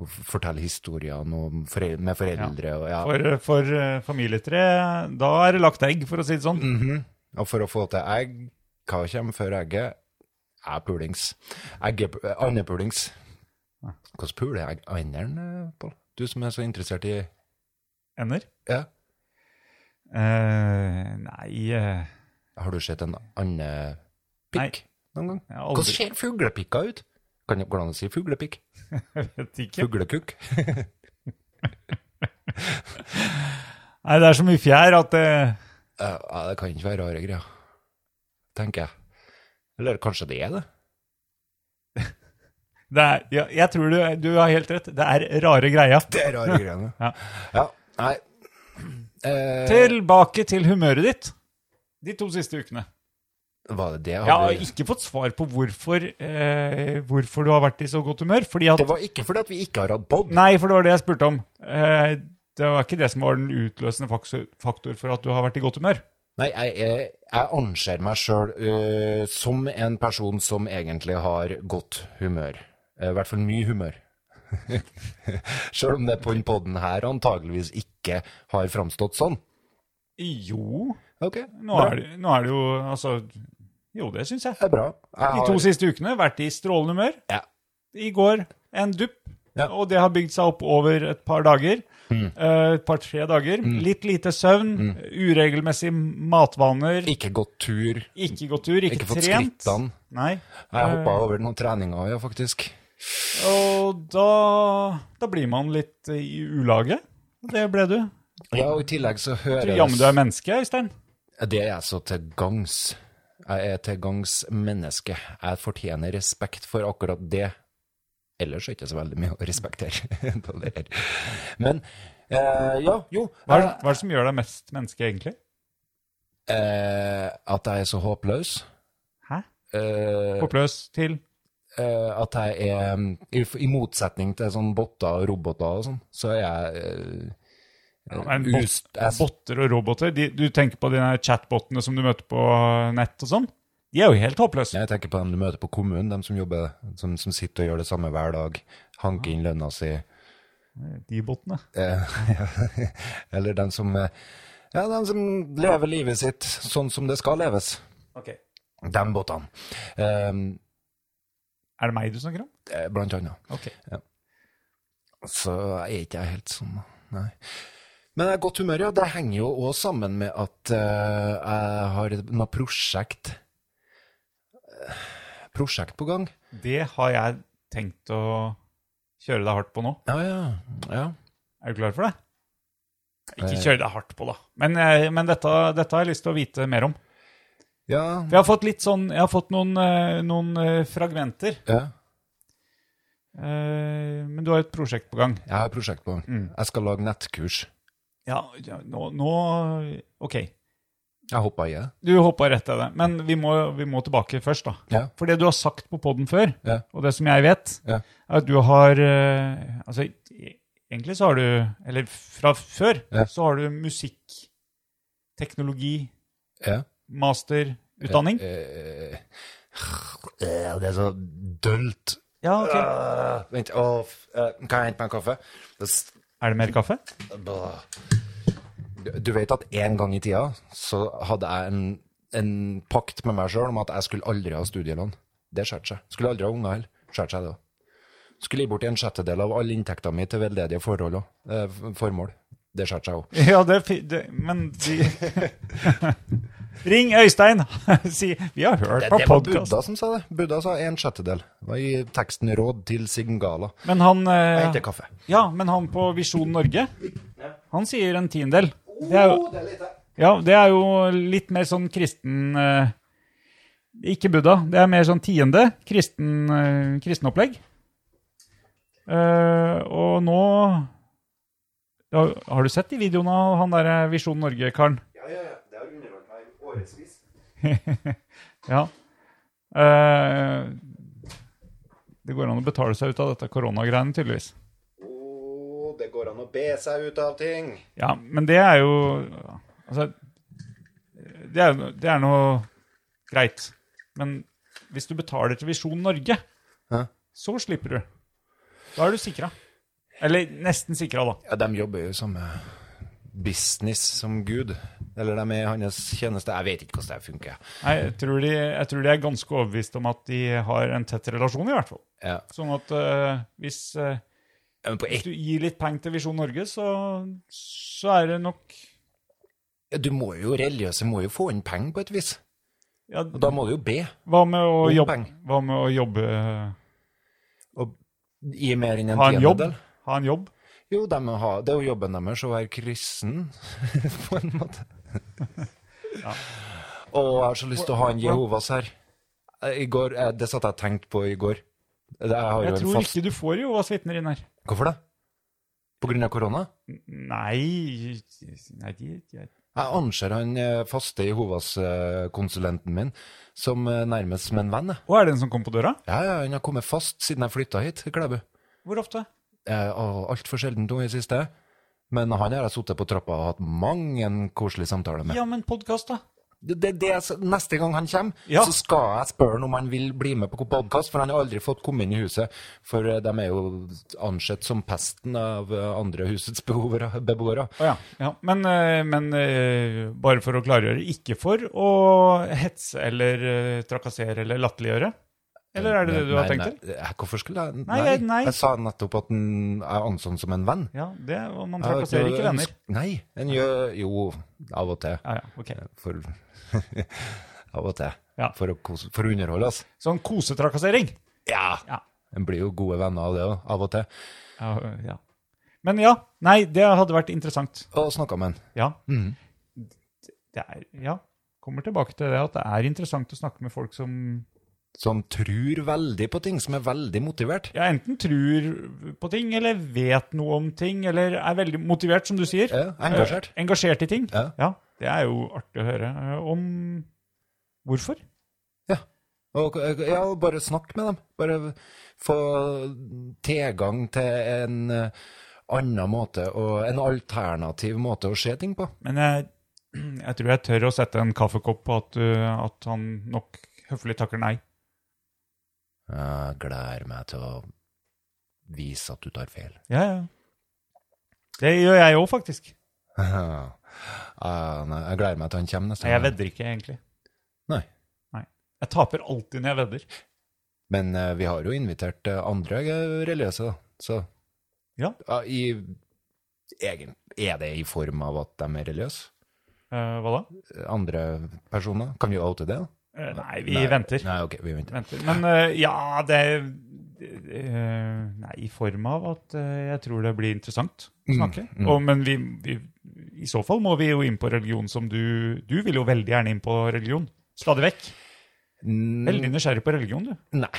og fortelle historiene om forel med foreldre og ja.
For, for eh, familietre, da er det lagt egg, for å si det sånn.
Mhm. Og for å få til egg, hva kommer før egget? Er pulings. Egge, andepulings. eh, Hvordan puler egg anderen, eh, Pål? Du som er så interessert i
Ender?
ja.
Eh, nei eh,
Har du sett en andepikk noen gang?
jeg har
Hvordan
aldri,
ser fuglepikka ut? Kan det gå an å si fuglepikk?
vet ikke.
Fuglekukk?
Nei, det er så mye fjær at eh, det
Ja, ja, det kan ikke være rare greier, tenker jeg. Eller kanskje det er det?
det er, ja, Jeg tror du, du har helt rett. Det er rare greia.
Det er rare greiene.
Ja.
ja. Nei. Eh,
Tilbake til humøret ditt de to siste ukene.
Var det det? jeg
Jeg
hadde-
har ikke fått svar på hvorfor, eh, hvorfor du har vært i så godt humør. Fordi at,
Det var ikke fordi at vi ikke har hatt pod.
Nei, for det var det jeg spurte om. Eh, det var ikke det som var den utløsende faktor, faktor for at du har vært i godt humør.
Nei, jeg, jeg, jeg anser meg sjøl som en person som egentlig har godt humør. Eh, I hvert fall mye humør. sjøl om det på den podden her antageligvis ikke har framstått sånn.
Jo,
Ok,
nå
bra.
er, det, nå er det jo Altså, jo, det syns jeg.
Det er bra. Jeg
De
har,
to siste ukene vært i strålende humør.
Ja.
I går en dupp,
Ja.
og det har bygd seg opp over et par dager.
Mm.
eh, Et par-tre dager. Litt lite søvn, uregelmessige matvaner,
ikke gått tur.
ikke gått tur, ikke,
Ikke fått
trent.
skrittene.
Nei.
Jeg hoppa
Eh.
over noen treninger, ja, faktisk.
Og da, da blir man litt eh, i ulage. Og Det ble du.
Ja, og i tillegg så
Du
høres
jammen du er menneske, Øystein.
Det er jeg så til gangs. Jeg er til gangs menneske. Jeg fortjener respekt for akkurat det. Ellers er det ikke så veldig mye å respektere. på det her. Men eh, ja, jo.
Hva er, det, hva er det som gjør deg mest menneske, egentlig?
Eh, at jeg er så håpløs.
Hæ?
Eh,
Håpløs til
eh, at jeg er i, I motsetning til sånn botter og roboter og sånn, så er jeg eh,
Ja, men bot-
us- jeg-
Botter og roboter. De, du tenker på de der chatbotene som du møter på nett og sånn? De er jo helt håpløse.
Jeg tenker på dem du møter på kommunen, dem som jobber, som, som sitter og gjør det samme hver dag. Hanker inn lønna si.
De botene.
Eh, Eller den som eh, Ja, den som lever livet sitt sånn som det skal leves. Den båtene. Eh,
Er det meg du snakker om?
blant annet.
Ok.
Så er ikke jeg helt sånn, da. Nei. Men jeg er i godt humør, ja. Det henger jo òg sammen med at eh, jeg har et- noe prosjekt eh, Prosjekt på gang.
Det har jeg tenkt å kjøre deg hardt på nå.
Ja, ja. ja.
Er du klar for det? Ikke
Eh.
kjøre deg hardt på, da. Men, eh, men dette, dette har jeg lyst til å vite mer om.
Ja.
For jeg har fått litt sånn Jeg har fått noen, eh, noen eh, fragmenter.
ja.
Eh, Men du har et prosjekt på gang.
Jeg har et prosjekt på gang. Jeg skal lage nettkurs.
Ja, ja, nå, nå Ok.
Jeg hoppa i det.
Du hoppa rett til det. Men vi må, vi må tilbake først, da.
Ja.
For det du har sagt på poden før,
Ja.
og det som jeg vet,
Ja.
er at du har eh, Altså, e- egentlig så har du Eller fra før
Ja.
så har du musikk, teknologi,
Ja.
master, utdanning.
Eh, eh, det er så dølt.
Ja, ok.
Ah, vent, å, f- eh, kan jeg hente meg en kaffe? Det s-
Er det mer kaffe?
bah. Du- Du vet at en gang i tida så hadde jeg en, en pakt med meg sjøl om at jeg skulle aldri ha studielån. Det skjærte seg. Skulle aldri ha unger heller. Skjærte seg, det òg. Skulle gi bort en sjettedel av all inntekta mi til veldedige forhold òg. Eh, Formål. Det skjøt seg òg.
Ja, det, er fi- det Men de Ring Øystein! si 'Vi har hørt
Det,
på
det var
podkast'.
Buddha som sa det. Buddha sa en sjettedel. Det var i teksten 'Råd til Signgala'.
Men han eh,
Jeg henter kaffe.
Ja, men han på Visjon Norge, han sier en tiendedel. Oh, Det er jo, ja, det er jo litt mer sånn kristen eh, Ikke Buddha. Det er mer sånn tiende kristen, eh, kristenopplegg. Eh, og nå ja, Har du sett de videoene av han derre Visjon Norge-karen? Ja. Eh, det går an å betale seg ut av dette koronagreiene, tydeligvis.
Å, det går an å be seg ut av ting.
Ja, men det er jo Altså Det er, det er noe greit. Men hvis du betaler til Visjon Norge,
Hæ?
så slipper du. Da er du sikra. Eller nesten sikra, da.
Ja, de jobber jo i samme business som Gud. Eller de er i hans tjeneste. Jeg vet ikke hvordan det funker.
Nei, jeg, tror de, jeg tror de er ganske overbevist om at de har en tett relasjon, i hvert fall.
Ja.
Sånn at eh, hvis, eh,
Men på
hvis
ett,
du gir litt penger til Visjon Norge, så, så er det nok
du må jo religiøse må jo få inn penger på et vis.
ja,
Og da må du jo be.
hva, med å
Om
jobbe,
penger.
hva med å jobbe
Og gi mer enn en
Ha en jobb?
tiendedel.
Ha en jobb?
Jo, de har, det er jo jobben deres å være kristen, på en måte. Og jeg har så lyst til å ha en Jehovas her. Eh, I går, eh, Det satt jeg og tenkte på i går. Det- Jeg har jo
Jeg
en
tror
fast
ikke du får Jehovas vitner inn her.
Hvorfor det? På grunn av korona?
Nei, nei de, de,
Jeg anser han eh, faste Jehovas-konsulenten min som eh, nærmest som en venn. jeg.
Å, er det den som kom på døra?
Ja, ja, Han har kommet fast siden jeg flytta hit til Klæbu.
Hvor ofte?
Altfor sjelden nå i det siste. Men han har jeg sittet på trappa og hatt mange en koselig samtale med.
Ja, men podkast, da.
Det, det, det, er så- neste gang han kommer,
Ja.
så skal jeg spørre han om han vil bli med på podkast, for han har aldri fått komme inn i huset. For eh, de er jo ansett som pesten av eh, andre husets behovere- beboere.
Å ja. ja. Men, eh, men eh, bare for å klargjøre, ikke for å hetse eller eh, trakassere eller latterliggjøre? Eller er det det du har
Nei,
tenkt
nei,
til?
eh, Hvorfor skulle jeg
Nei, jeg- nei.
Jeg sa nettopp at han er ansått som en venn.
Ja, det, og man
Jeg har
trakasserer ikke
noe
venner.
ønske- Nei. En gjør jo av og til.
Ja, ja, ok.
For Av og til.
Ja.
For, å, kose- for å underholde, altså.
Sånn kosetrakassering.
Ja.
Ja.
En blir jo gode venner av det òg, av og til.
Ja, ja. Men ja, nei, det hadde vært interessant.
Og snakka med han.
Ja.
Mm.
Det er, ja. Kommer tilbake til det at det er interessant å snakke med folk som
Som tror veldig på ting, som er veldig motivert.
ja, enten tror på ting, eller vet noe om ting, eller er veldig motivert, som du sier.
Ja, engasjert.
Eh, engasjert i ting.
Ja.
det er jo artig å høre eh, om hvorfor.
Og, eh, ja, og bare snakk med dem. Bare få tilgang til en eh, annen måte, og en alternativ måte å se ting på.
Men jeg, jeg tror jeg tør å sette en kaffekopp på at, du- at han nok høflig takker nei.
Jeg Eh, gleder meg til å vise at du tar feil.
Ja, ja. Det gjør jeg òg, faktisk.
Ah, nei, jeg gleder meg til han kommer neste
Nei, jeg vedder ikke, egentlig.
Nei.
Nei. Jeg taper alltid når jeg vedder.
Men eh, vi har jo invitert eh, andre eh, religiøse, da. Så
Ja.
i, egen, er det i form av at de er religiøse?
Eh, hva da?
Andre personer? Kan vi oute det? da?
Eh, nei, vi venter.
Nei, ok, vi venter.
venter. Men eh, ja, det eh, Nei, i form av at eh, jeg tror det blir interessant
Mm,
å snakke. Og, men vi, vi, i så fall må vi jo inn på religion som du Du vil jo veldig gjerne inn på religion. Stadig vekk.
Mm,
Veldig nysgjerrig på religion, du.
Nei,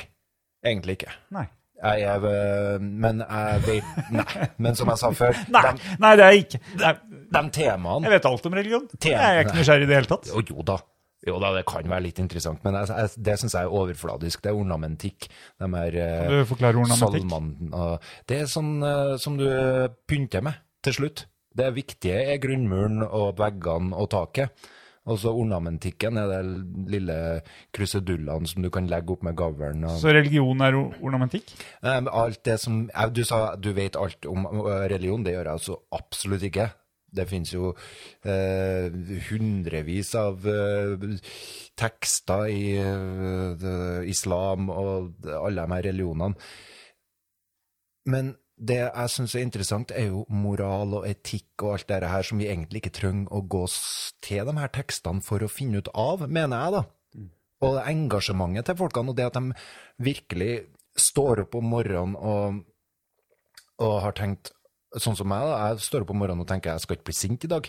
egentlig ikke.
Nei.
Jeg, er, eh, men jeg vet Nei. Men som jeg sa før,
Nei,
de,
nei det er jeg ikke. Nei,
de temaene
jeg vet alt om religion. Jeg er ikke nysgjerrig i det hele tatt.
Og jo da, jo da, det kan være litt interessant, men jeg, jeg, det syns jeg er overfladisk. Det er ornamentikk. De er eh,
Kan du forklare ornamentikk?
salmene og Det er sånn eh, som du pynter med til slutt. Det viktige er grunnmuren og veggene og taket. Og så ornamentikken er det lille krusedullene som du kan legge opp med gavlen. Og,
Så religion er o- ornamentikk?
Nei, men Ehm, alt det som ja, Du sa du vet alt om ø, religion. Det gjør jeg altså absolutt ikke. Det finnes jo eh, hundrevis av eh, tekster i eh, det- islam og alle de her religionene. Men det jeg syns er interessant, er jo moral og etikk og alt det her som vi egentlig ikke trenger å gå s- til de her tekstene for å finne ut av, mener jeg,
Mm.
da. Og engasjementet til folkene, og det at de virkelig står opp om morgenen og, og har tenkt Sånn som meg, da. Jeg står opp om morgenen og tenker jeg skal ikke bli sint i dag.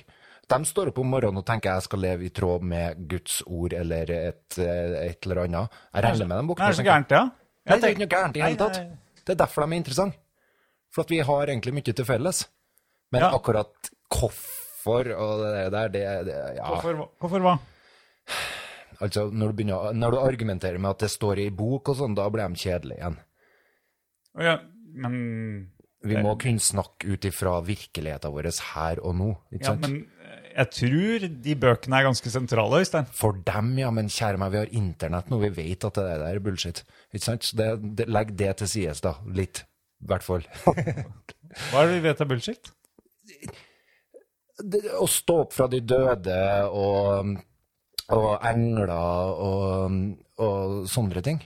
De står opp om morgenen og tenker jeg skal leve i tråd med Guds ord eller et, eh, et eller annet. Jeg regner med dem
Det er så
tenker jeg.
gærent, ja.
Nei, det er ikke noe gærent i
Nei,
hele tatt.
nei.
Det er derfor de er interessante. For at vi har egentlig mye til felles. Men
Ja.
akkurat hvorfor og det der, det, det ja.
Hvorfor, hva- hvorfor hva?
Altså, når du, begynner, å- når du argumenterer med at det står i bok og sånn, da blir de kjedelige igjen.
Å Ja, men
Vi må kunne snakke ut ifra virkeligheten vår her og nå, ikke
Ja,
sant?
men eh, jeg tror de bøkene er ganske sentrale, Øystein.
For dem, ja, men kjære meg, vi har internett nå, vi vet at det der er bullshit. Ikke sant? Så det, det, legg det til sides, da. Litt. I hvert fall.
Hva er det vi vet er bullshit?
det, å stå opp fra de døde og, og engler og, og sånne ting.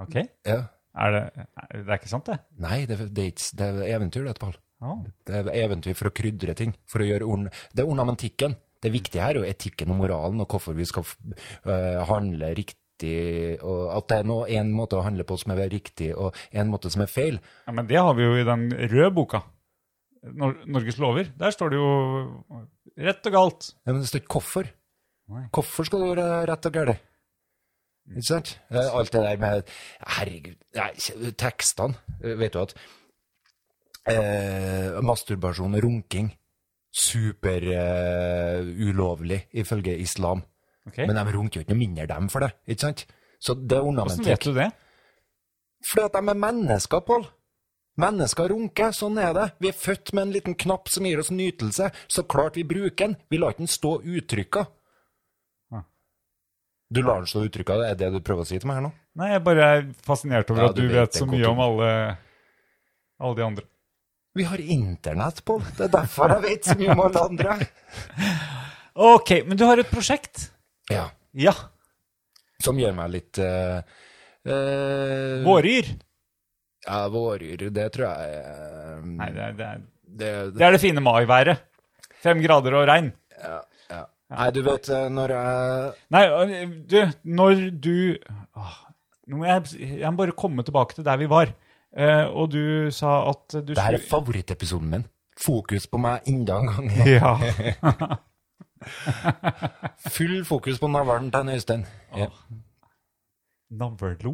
Ok,
Ja.
er det, er- det er ikke sant det?
Nei, det, det, er ikke, det er eventyr, det, Pål.
Ja.
Det er eventyr for å krydre ting. For å gjøre orn, det er ornamentikken. Det viktige her er jo etikken og moralen, og hvorfor vi skal f- øh, handle riktig. Og at det er noe, en måte å handle på som er riktig, og en måte som er feil.
ja, men det har vi jo i den røde boka. Nor Norges lover. Der står det jo rett og galt.
Ja, men det står ikke hvorfor.
Nei. Mm.
Hvorfor skal det være rett og galt? Ikke sant? Eh, Alt det der med Herregud, nei, kje- tekstene eh, Vet du at eh, Masturbasjon og runking Super eh, ulovlig Ifølge islam
Ok,
Men de runker jo ikke noe mindre dem for det Ikke sant? Så det er
Hvordan vet
ornamentikk
du det?
Fordi at de er mennesker, Pål. Mennesker runker, sånn er det. Vi er født med en liten knapp som gir oss nytelse. Så klart vi bruker den. Vi lar ikke den stå utrykka.
Ja.
Du lar den stå utrykka, det er det du prøver å si til meg her nå?
Nei, jeg bare er fascinert over
Ja,
at
du
du
vet
vet så
det
mye
godt
om alle, alle de andre.
Vi har internett, Pål. Det er derfor jeg vet så mye om alle andre.
Ok, men du har et prosjekt.
Ja.
Ja.
Som gjør meg litt eh, eh,
Våryr.
Ja, våryr. Det tror jeg eh,
Nei, det er det, er,
det,
det, er det fine maiværet. Fem grader og regn.
Nei, du vet eh, når jeg
Nei, øh, du, når du Åh, Nå må jeg, jeg må bare komme tilbake til der vi var. Eh, og du sa at du
Det her er favorittepisoden min. Fokus på meg enda en gang.
Ja.
Full fokus på navlen til en Øystein. Ja. Mhm.
Navlo?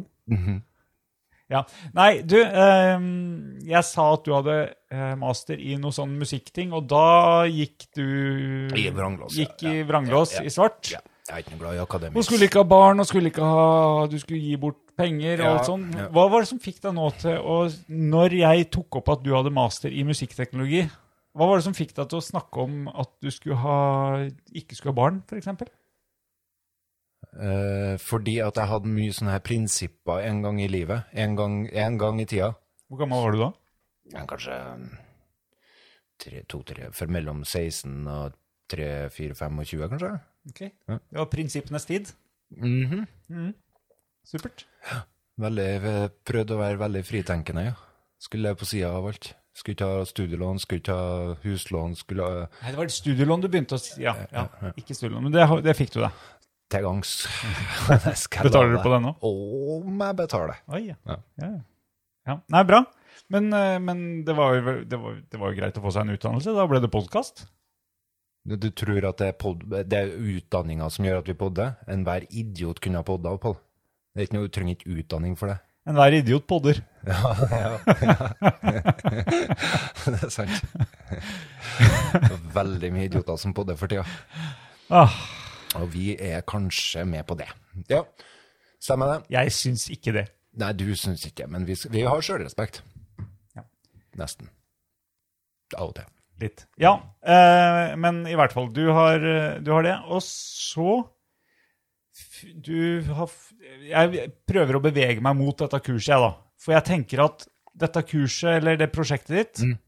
Ja. Nei, du, ehm, jeg sa at du hadde eh, master i noe sånn musikkting, og da gikk du
I vranglås, ja,
Gikk i vranglås
ja, ja.
i svart.
Ja, Jeg er ikke noe glad i akademisk.
Og skulle ikke ha barn, og skulle ikke ha Du skulle gi bort penger og
Ja,
alt sånt.
ja.
Hva var det som fikk deg nå til å Når jeg tok opp at du hadde master i musikkteknologi, hva var det som fikk deg til å snakke om at du skulle ha, ikke skulle ha barn, f.eks.?
Eh, fordi at jeg hadde mye sånne her prinsipper en gang i livet. En gang, en gang i tida.
Hvor gammel var du da?
Ja, Kanskje um, tre, to, tre, for mellom 16 og 3, 4, 25, kanskje?
Ok.
Ja.
Det var prinsippenes tid.
Mhm.
Supert.
Veldig, eh, prøvde å være veldig fritenkende, ja. Skulle leve på sida av alt. Skulle ikke ha studielån, skulle ikke ha huslån, skulle eh, ha
Nei, det var et studielån du begynte å si. Ja, ja. ikke studielån, men det, har- det fikk du, da.
til gangs.
Betaler du på den nå?
Om jeg betaler.
Oi, ja.
Ja.
Ja. ja. ja. Nei, bra. Men, eh, men det, var, jo- det, var, det var jo greit å få seg en utdannelse. Da ble det podkast.
Du, du tror at det er, pod, det er utdanninga som gjør at vi podder? Enhver idiot kunne ha podda, Pål. Det er ikke noe, Du trenger ikke utdanning for det.
Enhver idiot podder.
Ja, ja. det er sant. Veldig mye idioter som podder for tida.
Ah.
Og vi er kanskje med på det. Ja, stemmer det.
Jeg syns ikke det.
Nei, du syns ikke, men vi, s- vi har sjølrespekt.
Ja.
Nesten. Av og til.
Litt. Ja, eh, men i hvert fall, du har, eh, du har det. Og så f- Du har f- Jeg prøver å bevege meg mot dette kurset, jeg, da. For jeg tenker at dette kurset, eller det prosjektet ditt,
Mm.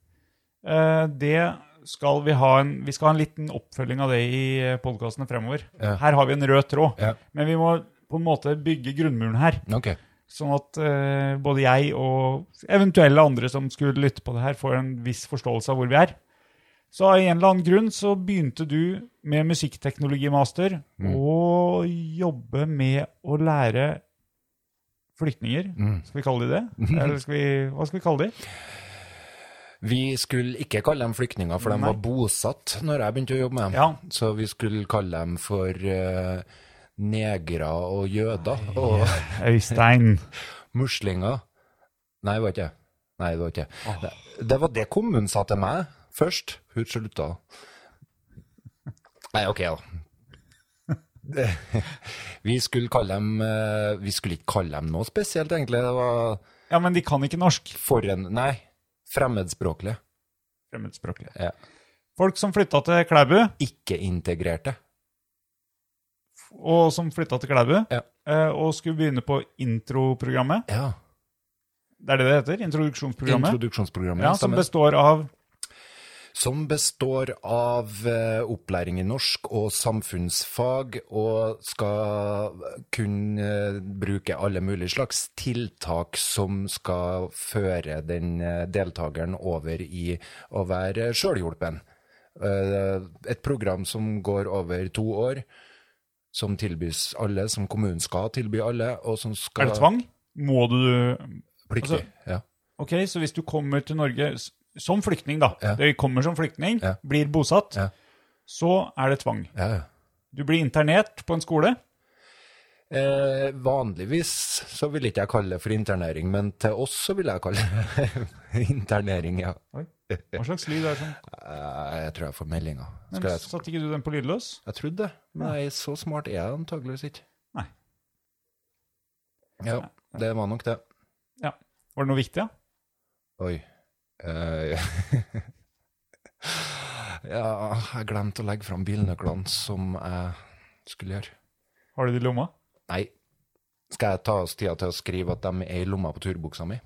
eh, det skal vi ha en Vi skal ha en liten oppfølging av det i podkastene fremover.
Ja.
Her har vi en rød tråd.
Ja.
Men vi må på en måte bygge grunnmuren her.
Ok.
Sånn at eh, både jeg og eventuelle andre som skulle lytte på det her, får en viss forståelse av hvor vi er. Så av en eller annen grunn så begynte du med musikkteknologimaster
Mm.
og jobbe med å lære flyktninger.
Mm.
Skal vi kalle de det? Eller skal vi, hva skal vi kalle de?
Vi skulle ikke kalle dem flyktninger, for de var bosatt når jeg begynte å jobbe med dem.
Ja.
Så vi skulle kalle dem for eh, negre og jøder og
Øystein.
muslinger. Nei, det var ikke det. Nei, det var ikke det. det. Det var det kommunen sa til meg først. Hun slutta. Nei, OK, da. Det- Vi skulle kalle dem eh, Vi skulle ikke kalle dem noe spesielt, egentlig. Det var
Ja, men de kan ikke norsk.
foren... Nei, fremmedspråklige.
Fremmedspråklige.
Ja.
Folk som flytta til Klæbu,
Ikke-integrerte.
og som flytta til Klæbu,
Ja.
eh, og skulle begynne på introprogrammet.
Ja.
Det er det det heter? Introduksjonsprogrammet?
Introduksjonsprogrammet.
Ja, som
stemmer.
består av
som består av eh, opplæring i norsk og samfunnsfag, og skal kunne eh, bruke alle mulige slags tiltak som skal føre den eh, deltakeren over i å være sjølhjulpen. Eh, et program som går over to år, som tilbys alle, som kommunen skal tilby alle, og som skal
Er det tvang? Må du
Pliktig.
Altså-
ja.
Ok, så hvis du kommer til Norge s- som flyktning, da.
Ja.
Du kommer som flyktning,
Ja.
blir bosatt.
Ja.
Så er det tvang.
Ja, ja.
Du blir internert på en skole.
Eh, vanligvis så vil ikke jeg kalle det for internering, men til oss så vil jeg kalle det internering, ja.
Hva slags lyd er det sånn?
Eh, jeg tror jeg får meldinger. Skal
Men
jeg,
Satte ikke du den på lydløs?
jeg trodde det, men jeg, så smart er jeg antageligvis ikke.
Nei.
Ja, det var nok det.
Ja. Var det noe viktig, ja?
Oi. Eh, ja, jeg glemte å legge fram bilnøklene som jeg skulle gjøre.
Har du det i lomma?
Nei. Skal jeg ta oss tida til å skrive at de er i lomma på turbuksa mi?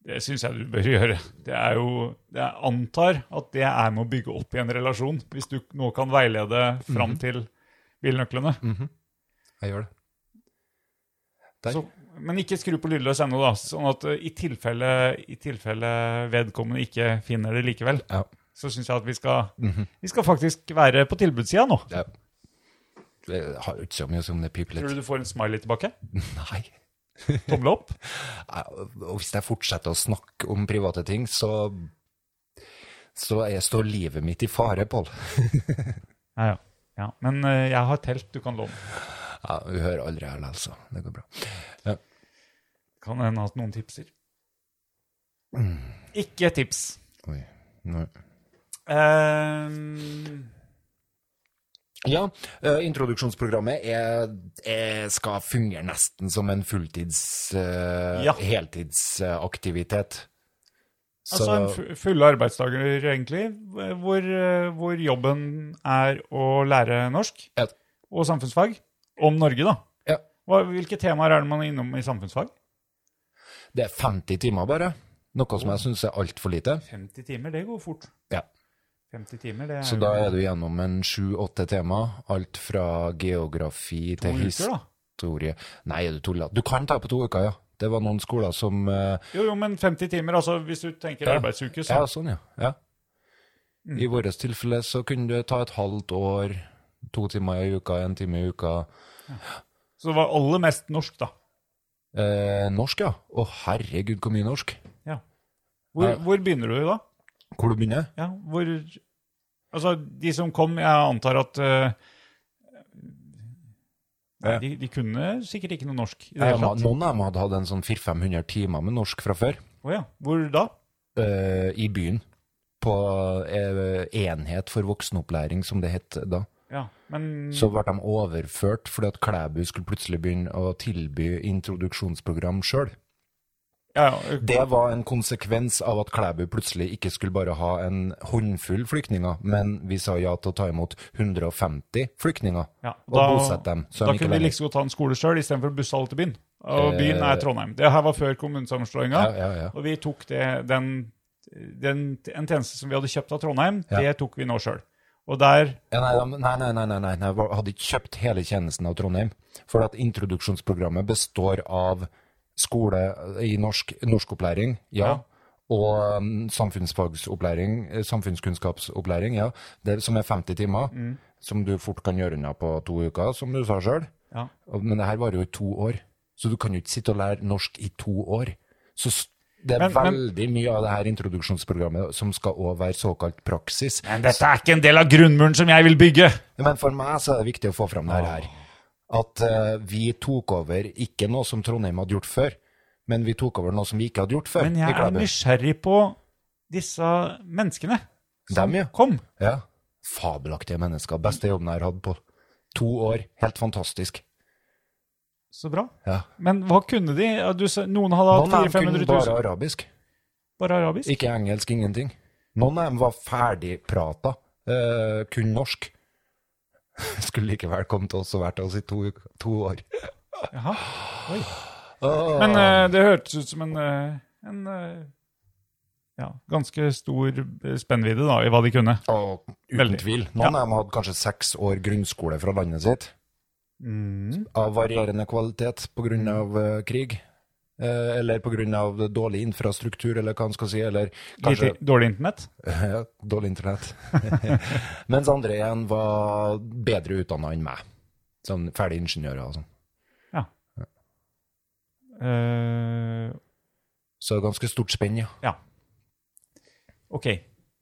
Det syns jeg du bør gjøre. Det er jo, Jeg antar at det er med å bygge opp i en relasjon, hvis du nå kan veilede
Mhm.
fram til bilnøklene.
Jeg gjør det. Der.
Så, men ikke skru på lydløs ennå, da. Sånn at eh, i tilfelle, i tilfelle vedkommende ikke finner det likevel,
Ja.
så syns jeg at vi skal, vi skal faktisk være på tilbudssida nå.
Ja. Det har jo ikke så mye som det piper
Tror
litt.
du du får en smiley tilbake?
Nei.
Tommel opp?
Jeg- Og hvis jeg fortsetter å snakke om private ting, så så er, står livet mitt i fare, Pål.
Ja, ja. ja. Men eh, jeg har telt, du kan låne.
Ja, hun hører aldri her, altså. Det går bra.
Kan hende at noen tipser. Ikke tips.
Oi. Nei.
Ehm,
Ja, eh, introduksjonsprogrammet er, er, skal fungere nesten som en fulltids, eh,
Ja.
heltidsaktivitet. Så
altså en fu- fulle arbeidsdager, egentlig, hvor, eh, hvor jobben er å lære norsk.
ja,
og samfunnsfag om Norge, da.
Ja.
Hva, hvilke temaer er det man er innom i samfunnsfag?
det er 50 timer bare, noe som jeg syns er altfor lite.
50 timer, det går fort.
Ja.
50 timer, det er
Så
jo
da er du gjennom en sju-åtte tema, alt fra geografi
to
til
uker, da.
historie. Nei, er du tuller. Du kan ta på to uker, ja. Det var noen skoler som eh,
Jo, jo, men 50 timer, altså hvis du tenker
Ja.
arbeidsuke, så
Ja, sånn, ja. ja. I
Mm.
vårt tilfelle så kunne du ta et halvt år, to timer i uka, en time i uka.
Så det var aller mest norsk, da.
Eh, norsk, ja. Å, herregud, hvor mye norsk.
Ja. Hvor,
Ja.
hvor begynner du, da?
Hvor du begynner?
Ja, hvor Altså, de som kom, jeg antar at eh,
Ja.
de, de kunne sikkert ikke noe norsk i det
Jeg,
hele
må-
tatt.
noen av dem hadde hatt en sånn 400-500 timer med norsk fra før.
Å ja. Hvor da?
eh, I byen. På eh, Enhet for voksenopplæring, som det het da.
Ja, men
Så ble de overført fordi at Klæbu skulle plutselig begynne å tilby introduksjonsprogram sjøl.
ja, ja,
Det var en konsekvens av at Klæbu plutselig ikke skulle bare ha en håndfull flyktninger, men vi sa ja til å ta imot 150 flyktninger
Ja,
og bosette dem. Så
da
de ikke
kunne vi liksom
lenger- Eh,
like så godt ta en skole sjøl istedenfor å busse alle til byen. Og byen er Trondheim. Det her var før kommunesammenslåinga,
Ja, ja, ja.
og vi tok det, den, den, en tjeneste som vi hadde kjøpt av Trondheim,
Ja.
det tok vi nå sjøl. Og der
Ja, nei, de- nei, nei, nei, nei, nei, nei, jeg hadde ikke kjøpt hele tjenesten av Trondheim. For at introduksjonsprogrammet består av skole eh, i norsk, norskopplæring, ja.
Ja.
Og um, samfunnsfagsopplæring, eh, samfunnskunnskapsopplæring, ja. Det som er 50 timer,
Mm.
som du fort kan gjøre unna på to uker, som du sa sjøl.
Ja.
Men det her varer jo i to år, så du kan jo ikke sitte og lære norsk i to år. Så s- det er
Men- men-
veldig mye av det her introduksjonsprogrammet som skal òg være såkalt praksis.
Men dette er ikke en del av grunnmuren som jeg vil bygge!
Men for meg så er det viktig å få fram det her.
Ah.
At eh, vi tok over ikke noe som Trondheim hadde gjort før, men vi tok over noe som vi ikke hadde gjort før.
Men jeg
i
er
Klæbu.
nysgjerrig på disse menneskene.
Dem, ja.
Kom!
ja. Fabelaktige mennesker. Beste jobben jeg har hatt på to år. Helt fantastisk.
Så bra.
Ja.
Men hva kunne de? Ja, Du, sa- noen hadde hatt
Noen av dem kunne
400 000 bare,
bare arabisk.
arabisk?
Ikke engelsk, ingenting. Noen av dem var ferdigprata. eh, kun norsk. Skulle likevel kommet oss og vært oss i to, uker- to år.
Jaha. Oi.
Åh.
Men eh, det hørtes ut som en, eh, en eh, ja, ganske stor eh, spennvidde da, i hva de kunne.
Og uten
Veldig.
tvil. Noen av dem hadde kanskje seks år grunnskole fra landet sitt, av varierende kvalitet pga. Uh, krig. eh, Eller pga. dårlig infrastruktur, eller hva man skal si. Eller kanskje
Lite, dårlig internett.
ja, dårlig internett. Mens andre igjen var bedre utdanna enn meg. Sånn ferdig ingeniører og sånn.
Eh,
Så det er ganske stort spenn, ja.
ja. Ok.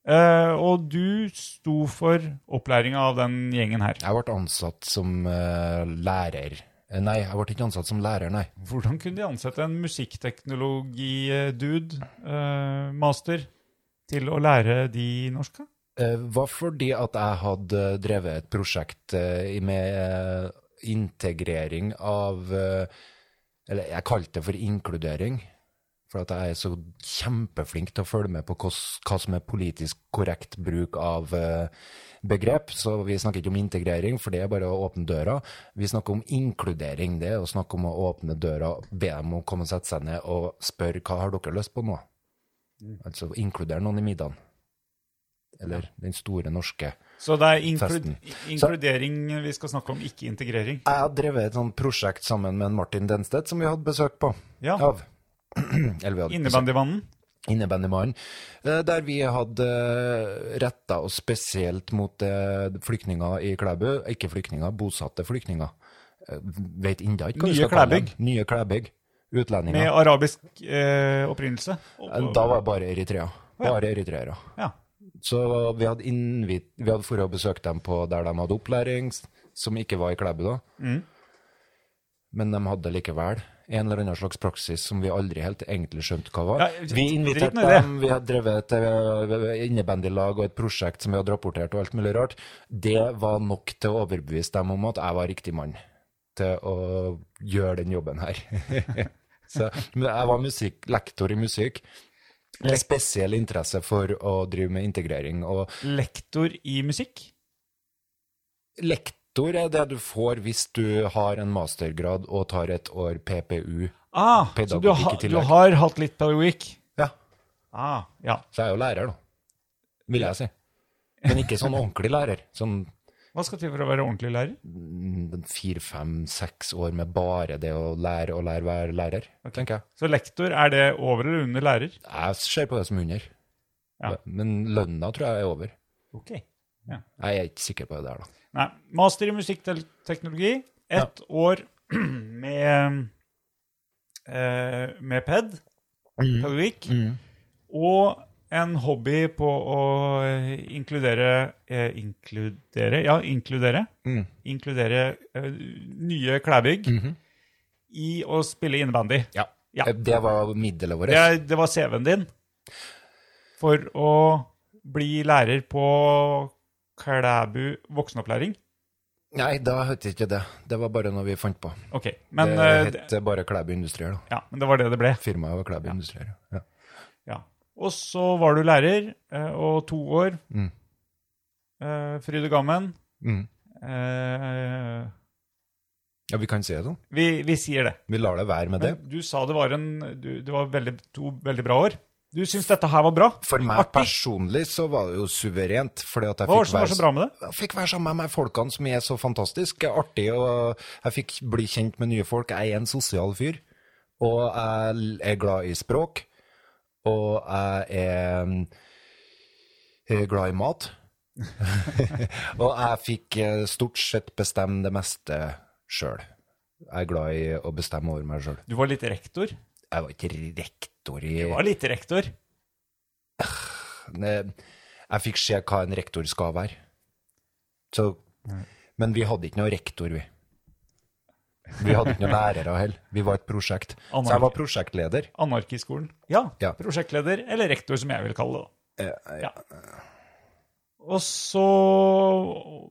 Eh, og du sto for opplæringa av den gjengen her.
Jeg ble ansatt som eh, lærer. Eh, Nei, jeg ble ikke ansatt som lærer, nei.
Hvordan kunne de ansette en musikkteknologi-dude, eh, master, til å lære de norsk? da?
Eh, var fordi at jeg hadde drevet et prosjekt eh, i- med eh, integrering av eh, Eller jeg kalte det for inkludering. For at jeg er så kjempeflink til å følge med på hos- hva som er politisk korrekt bruk av eh, begrep. Så vi snakker ikke om integrering, for det er bare å åpne døra. Vi snakker om inkludering. Det er å snakke om å åpne døra, be dem å komme og sette seg ned og spørre hva har dere lyst på nå? Altså inkludere noen i middagen. Eller den store norske.
Så det er inklu
Festen.
inkludering vi skal snakke om, ikke integrering.
Jeg har drevet et sånt prosjekt sammen med en Martin Denstedt som vi hadde besøk på.
Ja.
Av. Eller vi hadde besøk-
Innebandymannen.
Innebandymannen. Eh, Der vi hadde retta oss spesielt mot eh, flyktninger i Klæbu. Ikke flyktninger, bosatte flyktninger. Eh, Vet enda ikke hva vi
Nye
skal kalle
Klæbygg.
dem. Nye Klæbygg. Utlendinger.
Med arabisk eh, opprinnelse.
Eh, Da var det bare Eritrea. Bare eritreere.
Ja.
Så vi hadde, invit, vi hadde for å besøke dem på der de hadde opplæring, s- som ikke var i Klæbu da.
Mm.
Men de hadde likevel en eller annen slags praksis som vi aldri helt egentlig skjønte hva var.
Ja,
vi
drit
inviterte
nå i det.
dem, vi hadde drevet et eh, innebandylag og et prosjekt som vi hadde rapportert og alt mulig rart. Det var nok til å overbevise dem om at jeg var riktig mann til å gjøre den jobben her. Så, men jeg var musikk, lektor i musikk. Med spesiell interesse for å drive med integrering. Og
Lektor i musikk.
lektor er det du får hvis du har en mastergrad og tar et år PPU.
Ah, så
Pedagogikk
du,
i
ha, du
tillegg.
har hatt litt pedagogikk?
Ja.
Ah, ja.
Så jeg er jo lærer, da. Vil jeg si. Men ikke sånn ordentlig lærer. Sånn
Hva skal til for å være ordentlig lærer?
mm, fire, fem, seks år med bare det å lære og lære være lærer, tenker jeg.
Så lektor, er det over eller under lærer?
Jeg ser på det som under.
Ja.
Men lønna tror jeg er over.
Ok.
Jeg er ikke sikker på det der, da.
Nei. Master i musikkteknologi. Ett år med, eh, med ped,
Mm.
pedagogikk, og en hobby på å eh, inkludere eh, Inkludere? Ja, inkludere.
Mm.
Inkludere eh, nye klæbygg i å spille innebandy. Ja.
Eh, Det var middelet vårt.
Det, er- det var CV-en din for å bli lærer på Klæbu voksenopplæring.
Nei, da het det ikke det. Det var bare noe vi fant på.
Ok, men
det
eh,
het bare Klæbu Industrier, da.
Ja, men det var det det ble.
Firmaet var Klæbu Industrier. Ja.
Ja. Og så var du lærer, eh, og to år.
Mm.
Eh, Fryd og gammen.
Mm.
Eh,
ja, vi kan si det sånn.
vi, vi sier det.
Vi lar det være med det.
Men du sa det var, en, du, det var veldig, to veldig bra år. Du syns dette her var bra?
For meg
Artig.
personlig så var det jo suverent, fordi at jeg
Hva var
fikk
det som var så bra med det?
jeg fikk være sammen med folkene som er så fantastiske, artig, og jeg fikk bli kjent med nye folk. Jeg er en sosial fyr, Og jeg er glad i språk. Og jeg er, er glad i mat. og jeg fikk eh, stort sett bestemme det meste sjøl. Jeg er glad i å bestemme over meg sjøl.
Du var litt rektor.
Jeg var ikke rektor i
Du var litt rektor.
Ne, eh, Jeg fikk se hva en rektor skal være. Så, men vi hadde ikke noe rektor, vi. Vi hadde ikke noen lærere heller. Vi var et prosjekt. Så jeg var prosjektleder.
Anarkiskolen. Ja,
Ja.
prosjektleder, eller rektor, som jeg vil kalle det. da.
Eh,
Ja. Og så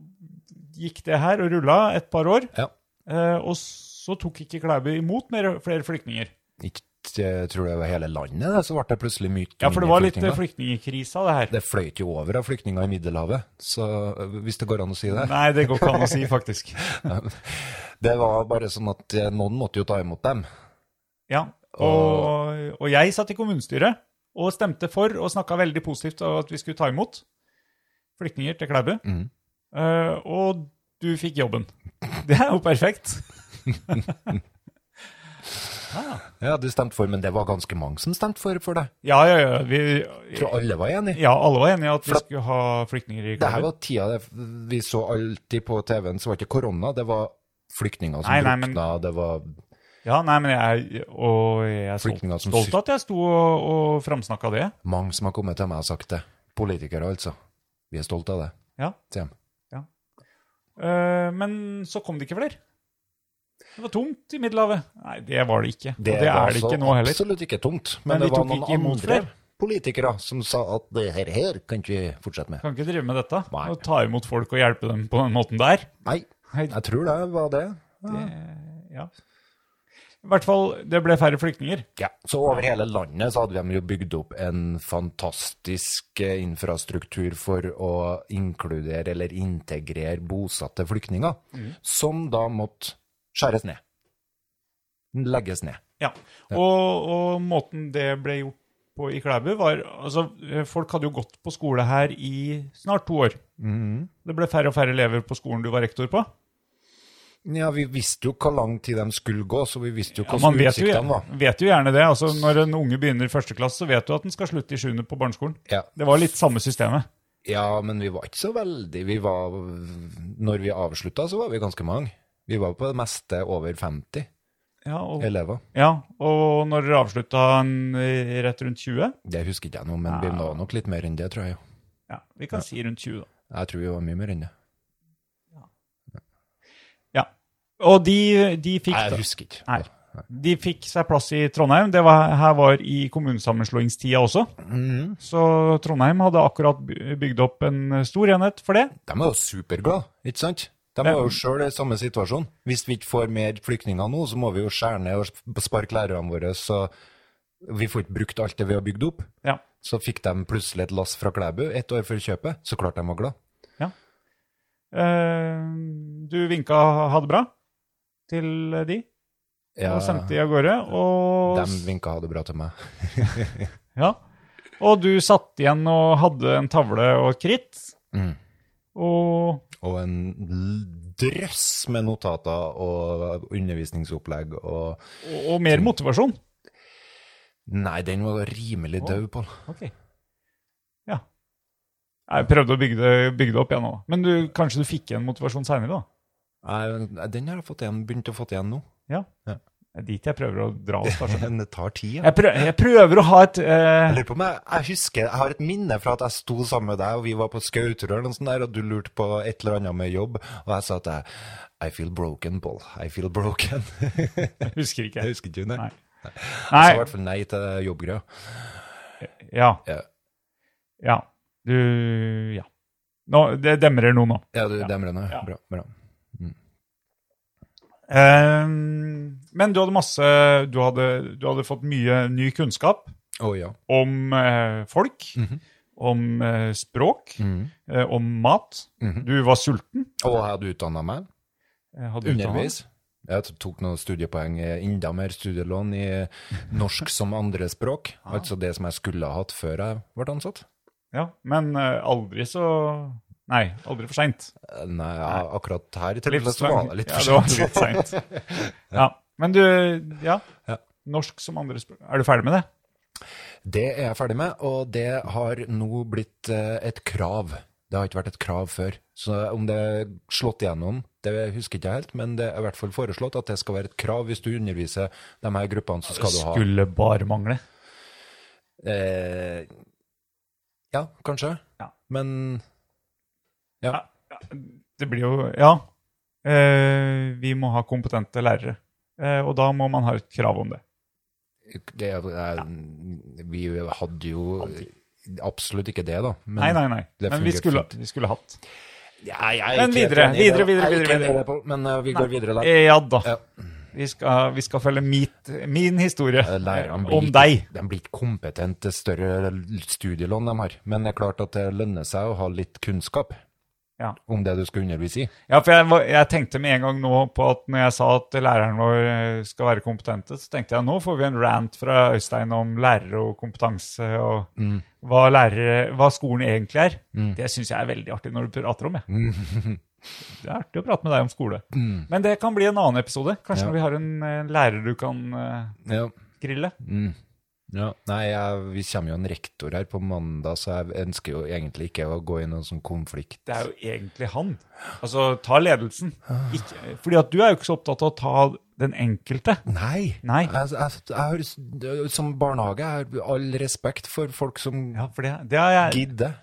gikk det her og rulla et par år,
Ja.
eh, og så tok ikke Klæbu imot mer, flere flyktninger.
eh, Ikke, jeg tror det var hele landet, det, så ble det plutselig mye
Ja, for det var litt eh,
flyktninger.
flyktningkrisa, det her.
Det fløyt jo over av flyktninger i Middelhavet, så eh, hvis det går an å si det.
Nei, det går ikke an å si, faktisk.
Det var bare sånn at eh, noen måtte jo ta imot dem.
Ja, og, og jeg satt i kommunestyret og stemte for og snakka veldig positivt om at vi skulle ta imot flyktninger til Klæbu.
Mhm.
Eh, og du fikk jobben. Det er jo perfekt.
Ja, du stemte for, men det var ganske mange som stemte for for det.
Ja, ja, ja. Vi,
Jeg tror alle var enige.
ja alle var enige i at vi
For-
skulle ha flyktninger i
Det her
Klæbu.
var tida det- vi så alltid på TV-en, så var det ikke korona, det var flyktninger som
Nei, nei, men-
drukna, det var
Ja, nei, men jeg, og jeg er
Flyktninger som
stolt, stolt at jeg sto og, og framsnakka det.
mange som har kommet til meg og sagt det. Politikere, altså. Vi er stolte av det,
Ja.
sier de.
Eh, men så kom det ikke flere. Det var tomt i Middelhavet. Nei, det var det ikke. og det
var
er altså det
så
ikke nå heller.
Absolutt ikke tomt. Men,
Men
det
vi
var
tok
noen
ikke imot
andre
flere.
politikere som sa at det her, her kan ikke vi fortsette med.
Kan ikke drive med dette.
Nei.
Og ta imot folk og hjelpe dem på den måten der.
Nei,
Nei,
jeg tror det var det.
ja. I hvert fall, det ble færre flyktninger.
Ja, så over hele landet så hadde vi jo bygd opp en fantastisk eh, infrastruktur for å inkludere eller integrere bosatte flyktninger, som da måtte skjæres ned. Legges ned.
Ja. Og, og måten det ble gjort på i Klæbu, var Altså, folk hadde jo gått på skole her i snart to år. Det ble færre og færre elever på skolen du var rektor på.
Ja, vi visste jo hvor lang tid de skulle gå, så vi visste jo
Ja,
hvordan
man vet jo,
utsiktene var.
vet jo gjerne det. Altså, når en unge begynner første klasse, så vet du at den skal slutte i sjuende på barneskolen.
Ja.
Det var litt samme systemet.
ja, men vi var ikke så veldig vi var, Når vi avslutta, så var vi ganske mange. Vi var på det meste over 50
Ja, og,
elever.
ja, og når dere avslutta en, eh, rett rundt 20
Det husker ikke jeg nå, men vi var nok litt mer enn det, tror jeg.
Ja, vi kan si rundt 20, da.
Jeg tror vi var mye mer enn det.
Ja. Og de, de, fikk,
Nei,
da,
jeg husker ikke.
Nei. de fikk seg plass i Trondheim. Det var, her var i kommunesammenslåingstida også. Så Trondheim hadde akkurat by- bygd opp en stor enhet for det.
De er jo superglade, ikke sant? De er jo sjøl i samme situasjon. Hvis vi ikke får mer flyktninger nå, så må vi jo skjære ned og sp- sparke lærerne våre, så vi får ikke brukt alt det vi har bygd opp.
Ja.
Så fikk de plutselig et lass fra Klæbu ett år før kjøpet, så klart de var glad.
Eh, du vinka ha det bra til de, og sendte de av gårde. Og,
de vinka ha det bra til meg.
ja. og du satt igjen og hadde en tavle og et kritt.
Mm.
Og
Og en l- drøss med notater og undervisningsopplegg og
Og, og mer motivasjon.
Nei, den var rimelig død, Pål.
Ja. Jeg prøvde å bygge det, bygge det opp igjen nå. Men du, kanskje du fikk igjen motivasjon seinere, da?
Nei, Den har jeg fått igjen, begynt å få igjen nå.
Det er dit jeg prøver å dra oss. da, skjønner du.
Men det tar tid. ja.
Jeg prøver, jeg prøver å ha et
Jeg
eh,
lurer på om jeg, jeg husker, jeg har et minne fra at jeg sto sammen med deg, og vi var på Skauterøren og sånn der, og du lurte på et eller annet med jobb, og jeg sa til deg, I feel broken, Paul. I feel broken. jeg
Husker ikke.
husker ikke det.
Nei.
Jeg sa i
Nei.
hvert fall nei til jobbgreia.
Ja.
Ja.
Ja. Du Ja. Nå, det demrer nå, nå.
Ja, du, demrer nå.
Ja.
Bra, bra.
Eh, men du hadde masse du hadde, du hadde fått mye ny kunnskap
Å ja.
om eh, folk,
Mhm.
om eh, språk, eh, om mat.
Mhm.
Du var sulten.
Mm. Og jeg hadde utdannet meg,
eh, Hadde utdannet.
underveis. Jeg tok noen studiepoeng, eh, enda mer studielån i norsk som andre språk, altså det som jeg skulle ha hatt før jeg ble ansatt.
Ja, men eh, aldri så Nei, aldri for seint.
Eh, Nei, ja, akkurat her i tilfellet så var det litt
ja, det var
for sent.
litt sent. Ja, men du Ja.
Ja.
norsk som andre språk. Er du ferdig med det?
Det er jeg ferdig med, og det har nå blitt eh, et krav. Det har ikke vært et krav før. Så om det er slått igjennom, det husker ikke jeg helt, men det er i hvert fall foreslått at det skal være et krav hvis du underviser de her gruppene, så skal du ha
Skulle bare mangle.
eh, Ja, kanskje.
Ja.
Men ja.
Det blir jo Ja. Eh, vi må ha kompetente lærere. Eh, og da må man ha et krav om det.
Det er, Vi hadde jo absolutt ikke det, da. Men,
nei, nei, nei.
det
Men vi
fungerte
skulle,
fint.
vi skulle hatt.
Ja, jeg er
Men
ikke helt
videre,
enig i det.
videre, videre,
Jeg er ikke
videre,
enig i det, Pål, Men eh, vi går videre der.
Eh, Ja da.
Ja.
Vi skal, vi skal følge mitt, min historie
Eh, Lærerne
eh,
blir,
om
ikke-
deg.
De blir ikke kompetent til større studielån de har. Men det er klart at det lønner seg å ha litt kunnskap
Ja.
om det du skal undervise i.
Ja, for jeg, var- jeg tenkte med en gang nå på at når jeg sa at læreren vår eh, skal være kompetente, så tenkte jeg nå får vi en rant fra Øystein om lærere og kompetanse og hva, lærere, hva skolen egentlig er. Det syns jeg er veldig artig når du prater om det. Det er artig å prate med deg om skole. Men det kan bli en annen episode. Kanskje
Ja.
når vi har en eh, lærer du kan eh,
Ja.
grille.
Ja. Nei, jeg, vi kommer jo en rektor her på mandag, så jeg ønsker jo egentlig ikke å gå i noen sånn konflikt.
Det er jo egentlig han. Altså, ta ledelsen. Ikke, fordi at du er jo ikke så opptatt av å ta den enkelte.
Nei!
Nei.
Jeg, jeg, jeg, har- som barnehage jeg har all respekt for folk som
Ja, for det, det er jeg
gidder.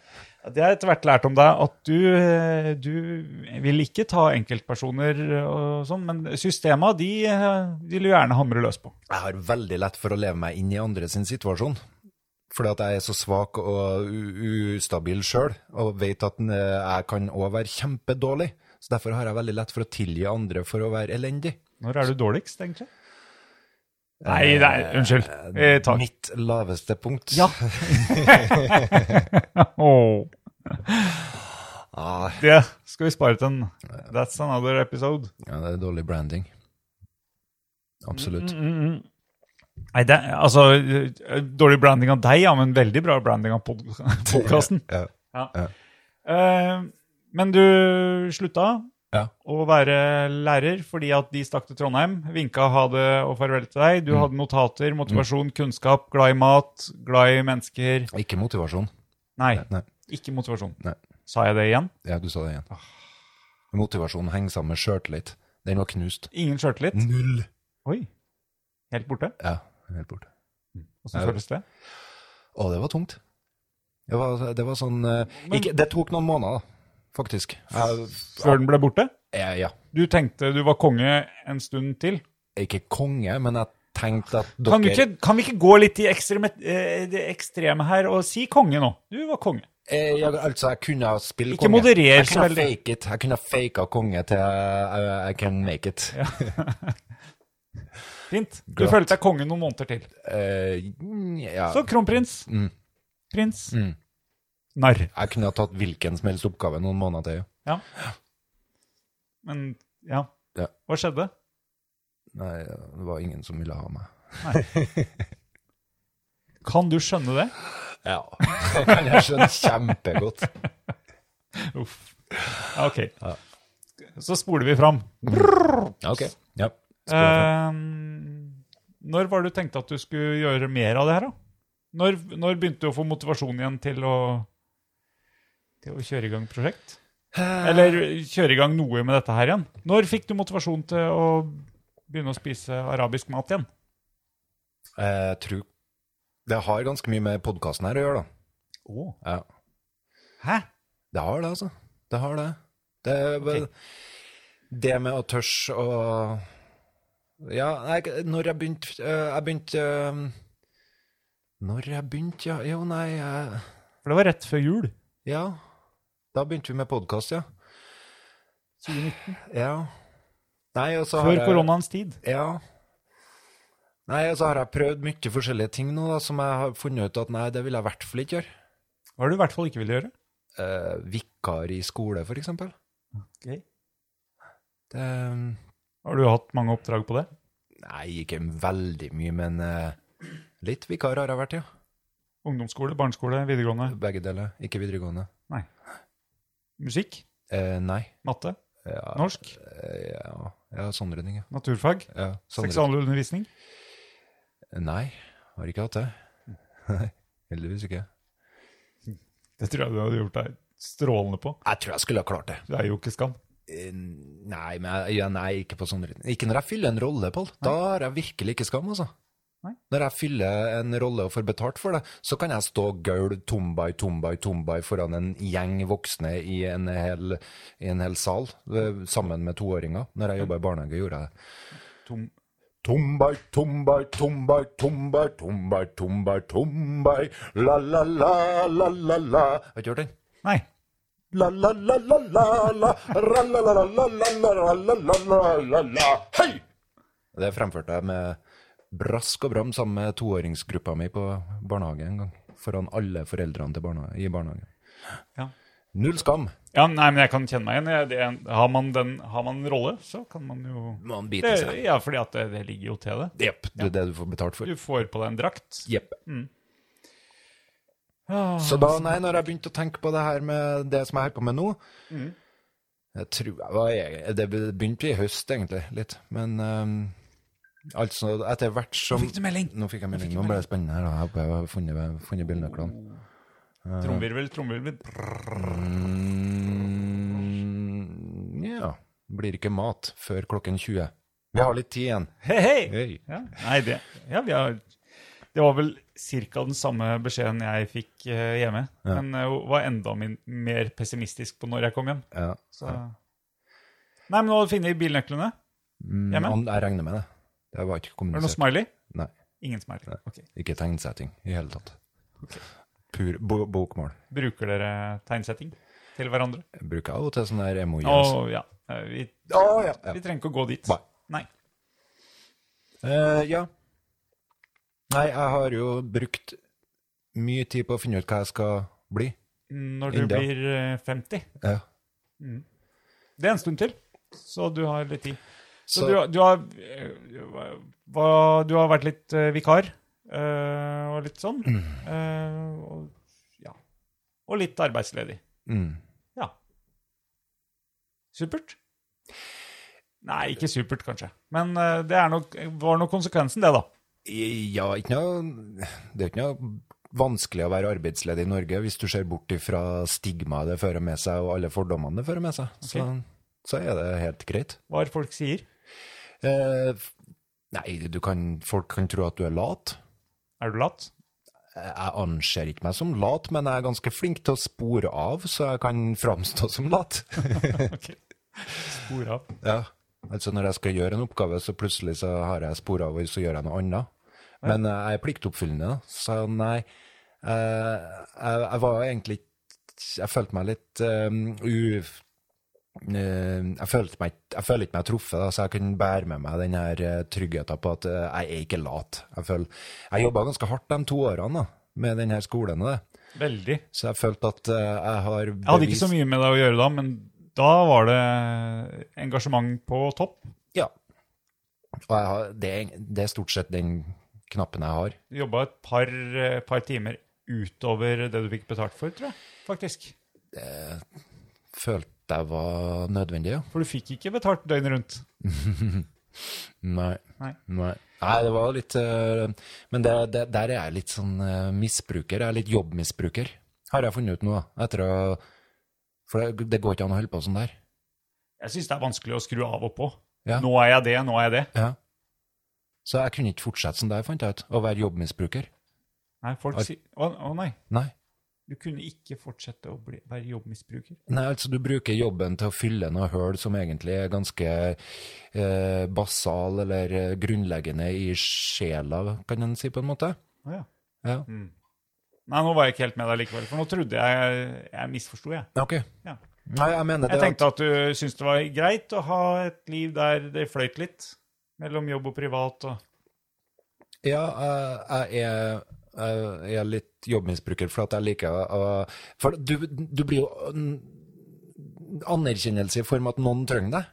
Det har jeg etter hvert lært om deg, at du, eh, du vil ikke ta enkeltpersoner og sånn, men systema, de, eh, de vil du gjerne hamre løs på.
Jeg har veldig lett for å leve meg inn i andre sin situasjon. Fordi at jeg er så svak og u- ustabil sjøl, og vet at eh, jeg kan òg være kjempedårlig. Så derfor har jeg veldig lett for å tilgi andre for å være elendig.
Når er du dårligst, egentlig? Nei, nei, unnskyld. Eh, takk.
Mitt laveste punkt.
Ja. Åh,
Ah,
det skal vi spare til en That's another episode.
ja, det er dårlig branding. Absolutt.
Mm, Nei, det, altså, eh, dårlig branding av deg, ja, men veldig bra branding av pod podcasten.
Ja.
Eh, men du slutta
Ja.
å være lærer fordi at de stakk til Trondheim, vinka ha det og farvel til deg.
Mm.
Du hadde notater, motivasjon, kunnskap, glad i mat, glad i mennesker.
Ikke motivasjon.
Nei,
Nei.
ikke motivasjon.
Nei.
Sa jeg det igjen?
Ja, du sa det igjen. Motivasjon henger sammen med sjøltillit. Den var knust.
Ingen sjøltillit?
Null.
Oi. Helt borte?
Ja, helt borte.
Åssen
Nei.
føles det?
Å, det var tungt. Det var, det var sånn eh,
Men-
ikke, Det tok noen måneder, faktisk. Jeg,
Før den ble borte?
jeg, ja.
Du tenkte du var konge en stund til.
Ikke konge, men jeg tenkte at dere
Kan, du ikke, kan vi ikke gå litt i ekstreme, eh, det ekstreme her og si konge nå? Du var konge.
Eh, jeg, altså, jeg kunne ha spilt
Ikke
konge.
moderer
jeg
så
kunne
veldig.
fake it. Jeg kunne ha faka konge til jeg I, I can make it.
Fint. Du
Glatt.
følte deg konge noen måneder til.
Eh, mm, ja.
Så kronprins. Prins. Narr.
Jeg kunne ha tatt hvilken som helst oppgave noen måneder til. ja.
Ja. Men ja.
Ja.
Hva skjedde?
Nei, det var ingen som ville ha meg.
Kan du skjønne det?
Ja. Det kan jeg skjønne kjempegodt.
Uff. Ja, OK. Så spoler vi fram.
Ok. Ja.
Ehm, når var det du tenkte at du skulle gjøre mer av det her, da? Når, når begynte du å få motivasjon igjen til å, til å kjøre i gang prosjekt? Eller kjøre i gang noe med dette her igjen? Når fikk du motivasjon til å begynne å spise arabisk mat igjen?
Jeg tror Eh, Det har ganske mye med podkasten her å gjøre, da.
Å.
Ja.
Hæ?
Det har det, altså. Det har det. Det, er vel- det med å tørs å Ja, nei, når jeg begynte øh, Jeg begynte øh, Når jeg begynte, ja Jo, nei jeg-
For det var rett før jul.
Ja. Da begynte vi med podkast, ja.
2019.
ja. Nei, og så har
Før
jeg-
koronaens tid.
Ja. Nei, og så har jeg prøvd mye forskjellige ting nå, da, som jeg har funnet ut at nei, det vil jeg i hvert fall ikke gjøre.
Hva er det du i hvert fall ikke ville gjøre?
Eh, vikar i skole, for eksempel. Det
Har du hatt mange oppdrag på det?
Nei, ikke veldig mye, men eh, litt vikar har jeg vært, ja.
Ungdomsskole, barneskole, videregående?
Begge deler. Ikke videregående.
Musikk?
Eh, nei.
Matte?
Ja,
Norsk?
eh, ja, ja sånne ting, ja.
Naturfag?
ja sånne ting.
Seksualundervisning?
Nei, har ikke hatt det. Nei, heldigvis ikke.
Det tror jeg du hadde gjort deg strålende på.
Jeg tror jeg skulle ha klart det.
Det er jo ikke skam.
Eh, Nei, men jeg, ja, nei, ikke på sånn Ikke når jeg fyller en rolle, Pål. Da har jeg virkelig ikke skam, altså.
Nei.
Når jeg fyller en rolle og får betalt for det, så kan jeg stå og gaule tombai, tombai, tombai foran en gjeng voksne i en hel, i en hel sal, eh, sammen med toåringer. Når jeg jobba i barnehage, gjorde jeg det.
Tom.
Tumbai, tumbai, tumbai, tumbai, tumbai, tumbai, tumbai, la la la, la la la. Har du ikke hørt den?
Nei.
La la la la la la, ra la la la la la la la la la la la la, hei! Det fremførte jeg med brask og bram sammen med toåringsgruppa mi på barnehage en gang. Foran alle foreldrene til barna, i barnehagen.
Ja.
Null skam.
Ja, nei, men jeg kan kjenne meg igjen. Jeg- det- Har man, den, har man en rolle, så kan man jo
Man biter
det,
seg.
Ja, fordi at det, det ligger jo til det.
Jepp, det er det du får betalt for.
Du får på deg en drakt.
Jepp. Så da, nei, når jeg begynte å tenke på det her med det som jeg holder på med nå
Mm.
jeg tror jeg var, jeg, Det begynte i høst, egentlig, litt. Men ehm, altså, etter hvert som
Fikk du melding?
Nå fikk jeg melding. Nå ble det spennende her. da. Jeg har- Jeg har funnet, funnet bilnøklene.
Tromvirvel, tromvirvel.
Mm, ja. Blir ikke mat før klokken 20. Vi har litt tid igjen.
Hei, hei!
Hei.
Ja, nei, det, ja, vi har, det var vel ca. den samme beskjeden jeg fikk eh, hjemme. Men jeg var enda min, mer pessimistisk på når jeg kom hjem.
Ja.
Så. Nei, men nå har du funnet bilnøklene.
Mm,
Hjemme?
an- jeg regner med det. Det var ikke
Er det noe
kommunisert.
smiley?
Nei.
Ingen smiley. Ok.
Ikke tegnsetting i hele tatt. Pur bo bokmål.
Bruker dere tegnsetting til hverandre?
Bruker jeg jo til sånn sånne her emojis.
Å ja. Eh, Vi,
Å, ja.
vi trenger ikke å gå dit.
Nei.
Nei.
Eh, ja. Nei, jeg har jo brukt mye tid på å finne ut hva jeg skal bli.
Når du
India.
blir eh, 50.
Ja.
Det er en stund til, så du har litt tid. Så,
Så-
du, har- du, har, eh, hva- du har vært litt eh, vikar eh, og litt sånn.
Mm.
eh, og, ja. og litt arbeidsledig.
Mm.
Ja. Supert. Nei, ikke supert, kanskje. Men eh, det er nok, var nok konsekvensen, det, da.
Ja, ikke noe, det er ikke noe vanskelig å være arbeidsledig i Norge hvis du ser bort ifra stigmaet det fører med seg, og alle fordommene det fører med seg. Så, så er det helt greit.
Hva folk sier.
Eh, f- nei, du kan, folk kan tro at du er lat.
Er du lat?
Jeg anser ikke meg som lat, men jeg er ganske flink til å spore av, så jeg kan framstå som lat.
Ok. Spor av.
Ja, altså når jeg skal gjøre en oppgave, så plutselig så har jeg spor av, og så gjør jeg noe annet. Men eh, jeg er pliktoppfyllende, da. så nei, eh, jeg, jeg var egentlig, ikke- jeg følte meg litt eh, u... eh, Jeg følte meg, jeg føler ikke meg truffet, da, så jeg kunne bære med meg den her eh, tryggheten på at eh, jeg er ikke lat. Jeg, føler, jeg jobbet ganske hardt de to årene da, med denne skolen, og det.
Veldig.
så jeg følte at eh, jeg har bevist...
Jeg hadde ikke så mye med deg å gjøre da, men da var det engasjement på topp.
Ja. Og jeg har, det, det er stort sett den knappen jeg har.
Du jobba et par, eh, par timer utover det du fikk betalt for, tror jeg. Faktisk.
Følte jeg var nødvendig, ja.
For du fikk ikke betalt døgnet rundt.
Nei.
Nei.
Nei, det var litt eh, Men det, det, der er jeg litt sånn eh, misbruker. Jeg er litt jobbmisbruker, har jeg funnet ut nå. da, Etter å For det, det går ikke an å holde på sånn der.
Jeg syns det er vanskelig å skru av og på.
Ja.
Nå er jeg det, nå er jeg det.
Ja. Så jeg kunne ikke fortsette sånn der, fant jeg ut. Å være jobbmisbruker.
Nei, folk
Ar-
sier å, å nei,
Nei.
du kunne ikke fortsette å bli, være jobbmisbruker.
Nei, altså du bruker jobben til å fylle noe høl som egentlig er ganske eh, basal eller eh, grunnleggende i sjela, kan en si på en måte.
Å, ja. Mm.
Ja,
Nei, nå var jeg ikke helt med deg likevel, for nå trodde jeg Jeg misforsto, jeg.
ok.
Ja.
Nei, jeg mener det.
Jeg tenkte at du syntes det var greit å ha et liv der det fløyt litt mellom jobb og privat og
at- Ja, eh, jeg er, eh, jeg er litt jobbmisbruker, for at jeg liker å... For du, du blir jo en anerkjennelse i form av at noen trenger deg.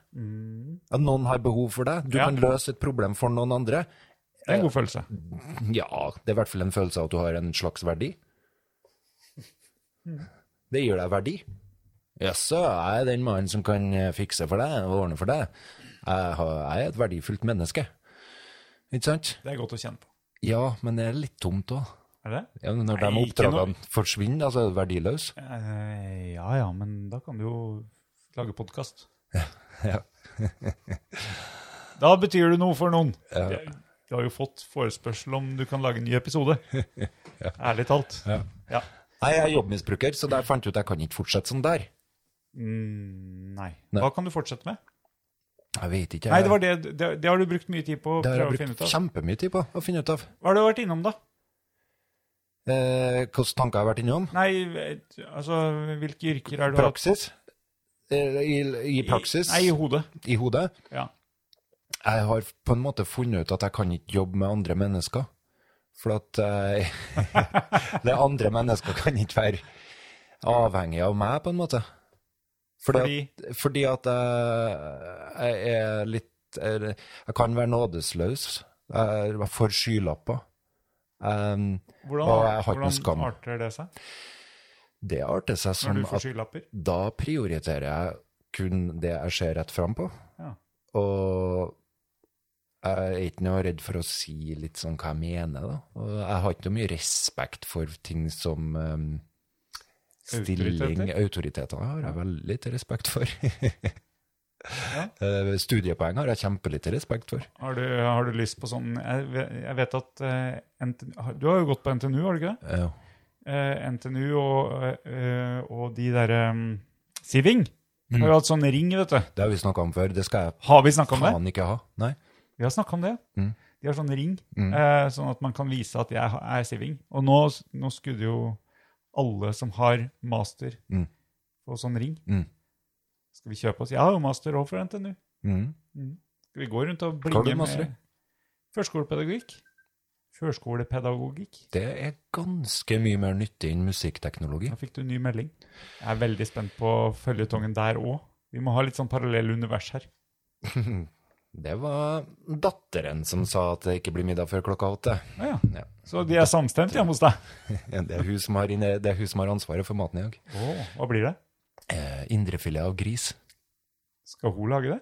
At noen har behov for deg. Du
Mm. Ja.
kan løse et problem for noen andre.
Det er en god følelse.
Ja, det er i hvert fall en følelse av at du har en slags verdi. Det gir deg verdi. Jaså, jeg er den mannen som kan eh, fikse for deg og ordne for deg. Jeg har- jeg er et verdifullt menneske. Ikke sant?
Det er godt å kjenne på.
Ja, men det er litt tomt òg.
Er det det?
Ja, men når de
Nei, ikke noe-
oppdragene forsvinner, da, så er det verdiløs.
Eh, ja ja, men da kan du jo lage podkast.
Ja.
Da betyr du noe for noen. Det- Du har jo fått forespørsel om du kan lage en ny episode. Ærlig talt. Ja.
Nei, jeg er jobbmisbruker, så der fant jeg ut at jeg kan ikke fortsette sånn der.
Mm, nei.
Nei.
Hva kan du fortsette med?
Jeg vet ikke.
Nei, det, var det, det, det har du brukt mye tid på å
Det har
prøve å
jeg
finne
brukt
ut av.
kjempemye tid på å finne ut av.
Hva har du vært innom, da?
Eh, hvilke tanker jeg har vært innom?
Nei, vet- altså Hvilke yrker har du hatt?
Praksis. Eh, I, I praksis,
I, nei, i hodet.
i hodet.
Ja.
Jeg har på en måte funnet ut at jeg kan ikke jobbe med andre mennesker. For at eh, det andre mennesker kan ikke være avhengig av meg, på en måte. Fordi, at, fordi at eh, jeg er litt eh, Jeg kan være nådesløs. Jeg er for skylapper. Um,
Hvordan,
Og jeg har ikke noe
hvordan
skam.
arter det seg
det arter seg
når
som
du får
at
skylapper?
da prioriterer jeg kun det jeg ser rett fram på.
Ja.
Og jeg er ikke noe redd for å si litt sånn hva jeg mener, da. Og jeg har ikke noe mye respekt for ting som ehm, stilling
Autoriteter?
Autoriteter, har jeg veldig lite respekt for. Eh, Studiepoeng har jeg kjempelite respekt for.
Har du, har du lyst på sånn Jeg, ve- jeg vet at eh, NT, har- Du har jo gått på NTNU, har du ikke det?
Ja.
Eh, NTNU og, eh, og de derre um, Siving har
Mm.
jo hatt sånn ring, vet du.
Det har vi snakka om før, det skal jeg
Har vi snakka om det?
faen ikke ha. Nei.
Vi har snakka om det.
Mm.
De har sånn ring,
Mm.
eh, sånn at man kan vise at jeg ha- er siving. Og nå, nå skulle jo alle som har master
Mm.
få sånn ring.
Mm.
Skal vi kjøpe oss? Jeg har jo master òg for NTNU.
Mm.
Skal vi gå rundt og
har du
blinge
master i?
med førskolepedagogikk? Førskolepedagogikk.
Det er ganske mye mer nyttig enn musikkteknologi.
Da fikk du en ny melding. Jeg er veldig spent på føljetongen der òg. Vi må ha litt sånn parallell univers her.
Det var datteren som sa at det ikke blir middag før klokka åtte.
Ah, ja.
Ja.
Så de er samstemte hjemme hos deg?
Ja, Det er hun som har, inne, det er hun som har ansvaret for maten i dag.
Åh, hva blir det?
Eh, Indrefilet av gris.
Skal hun lage det?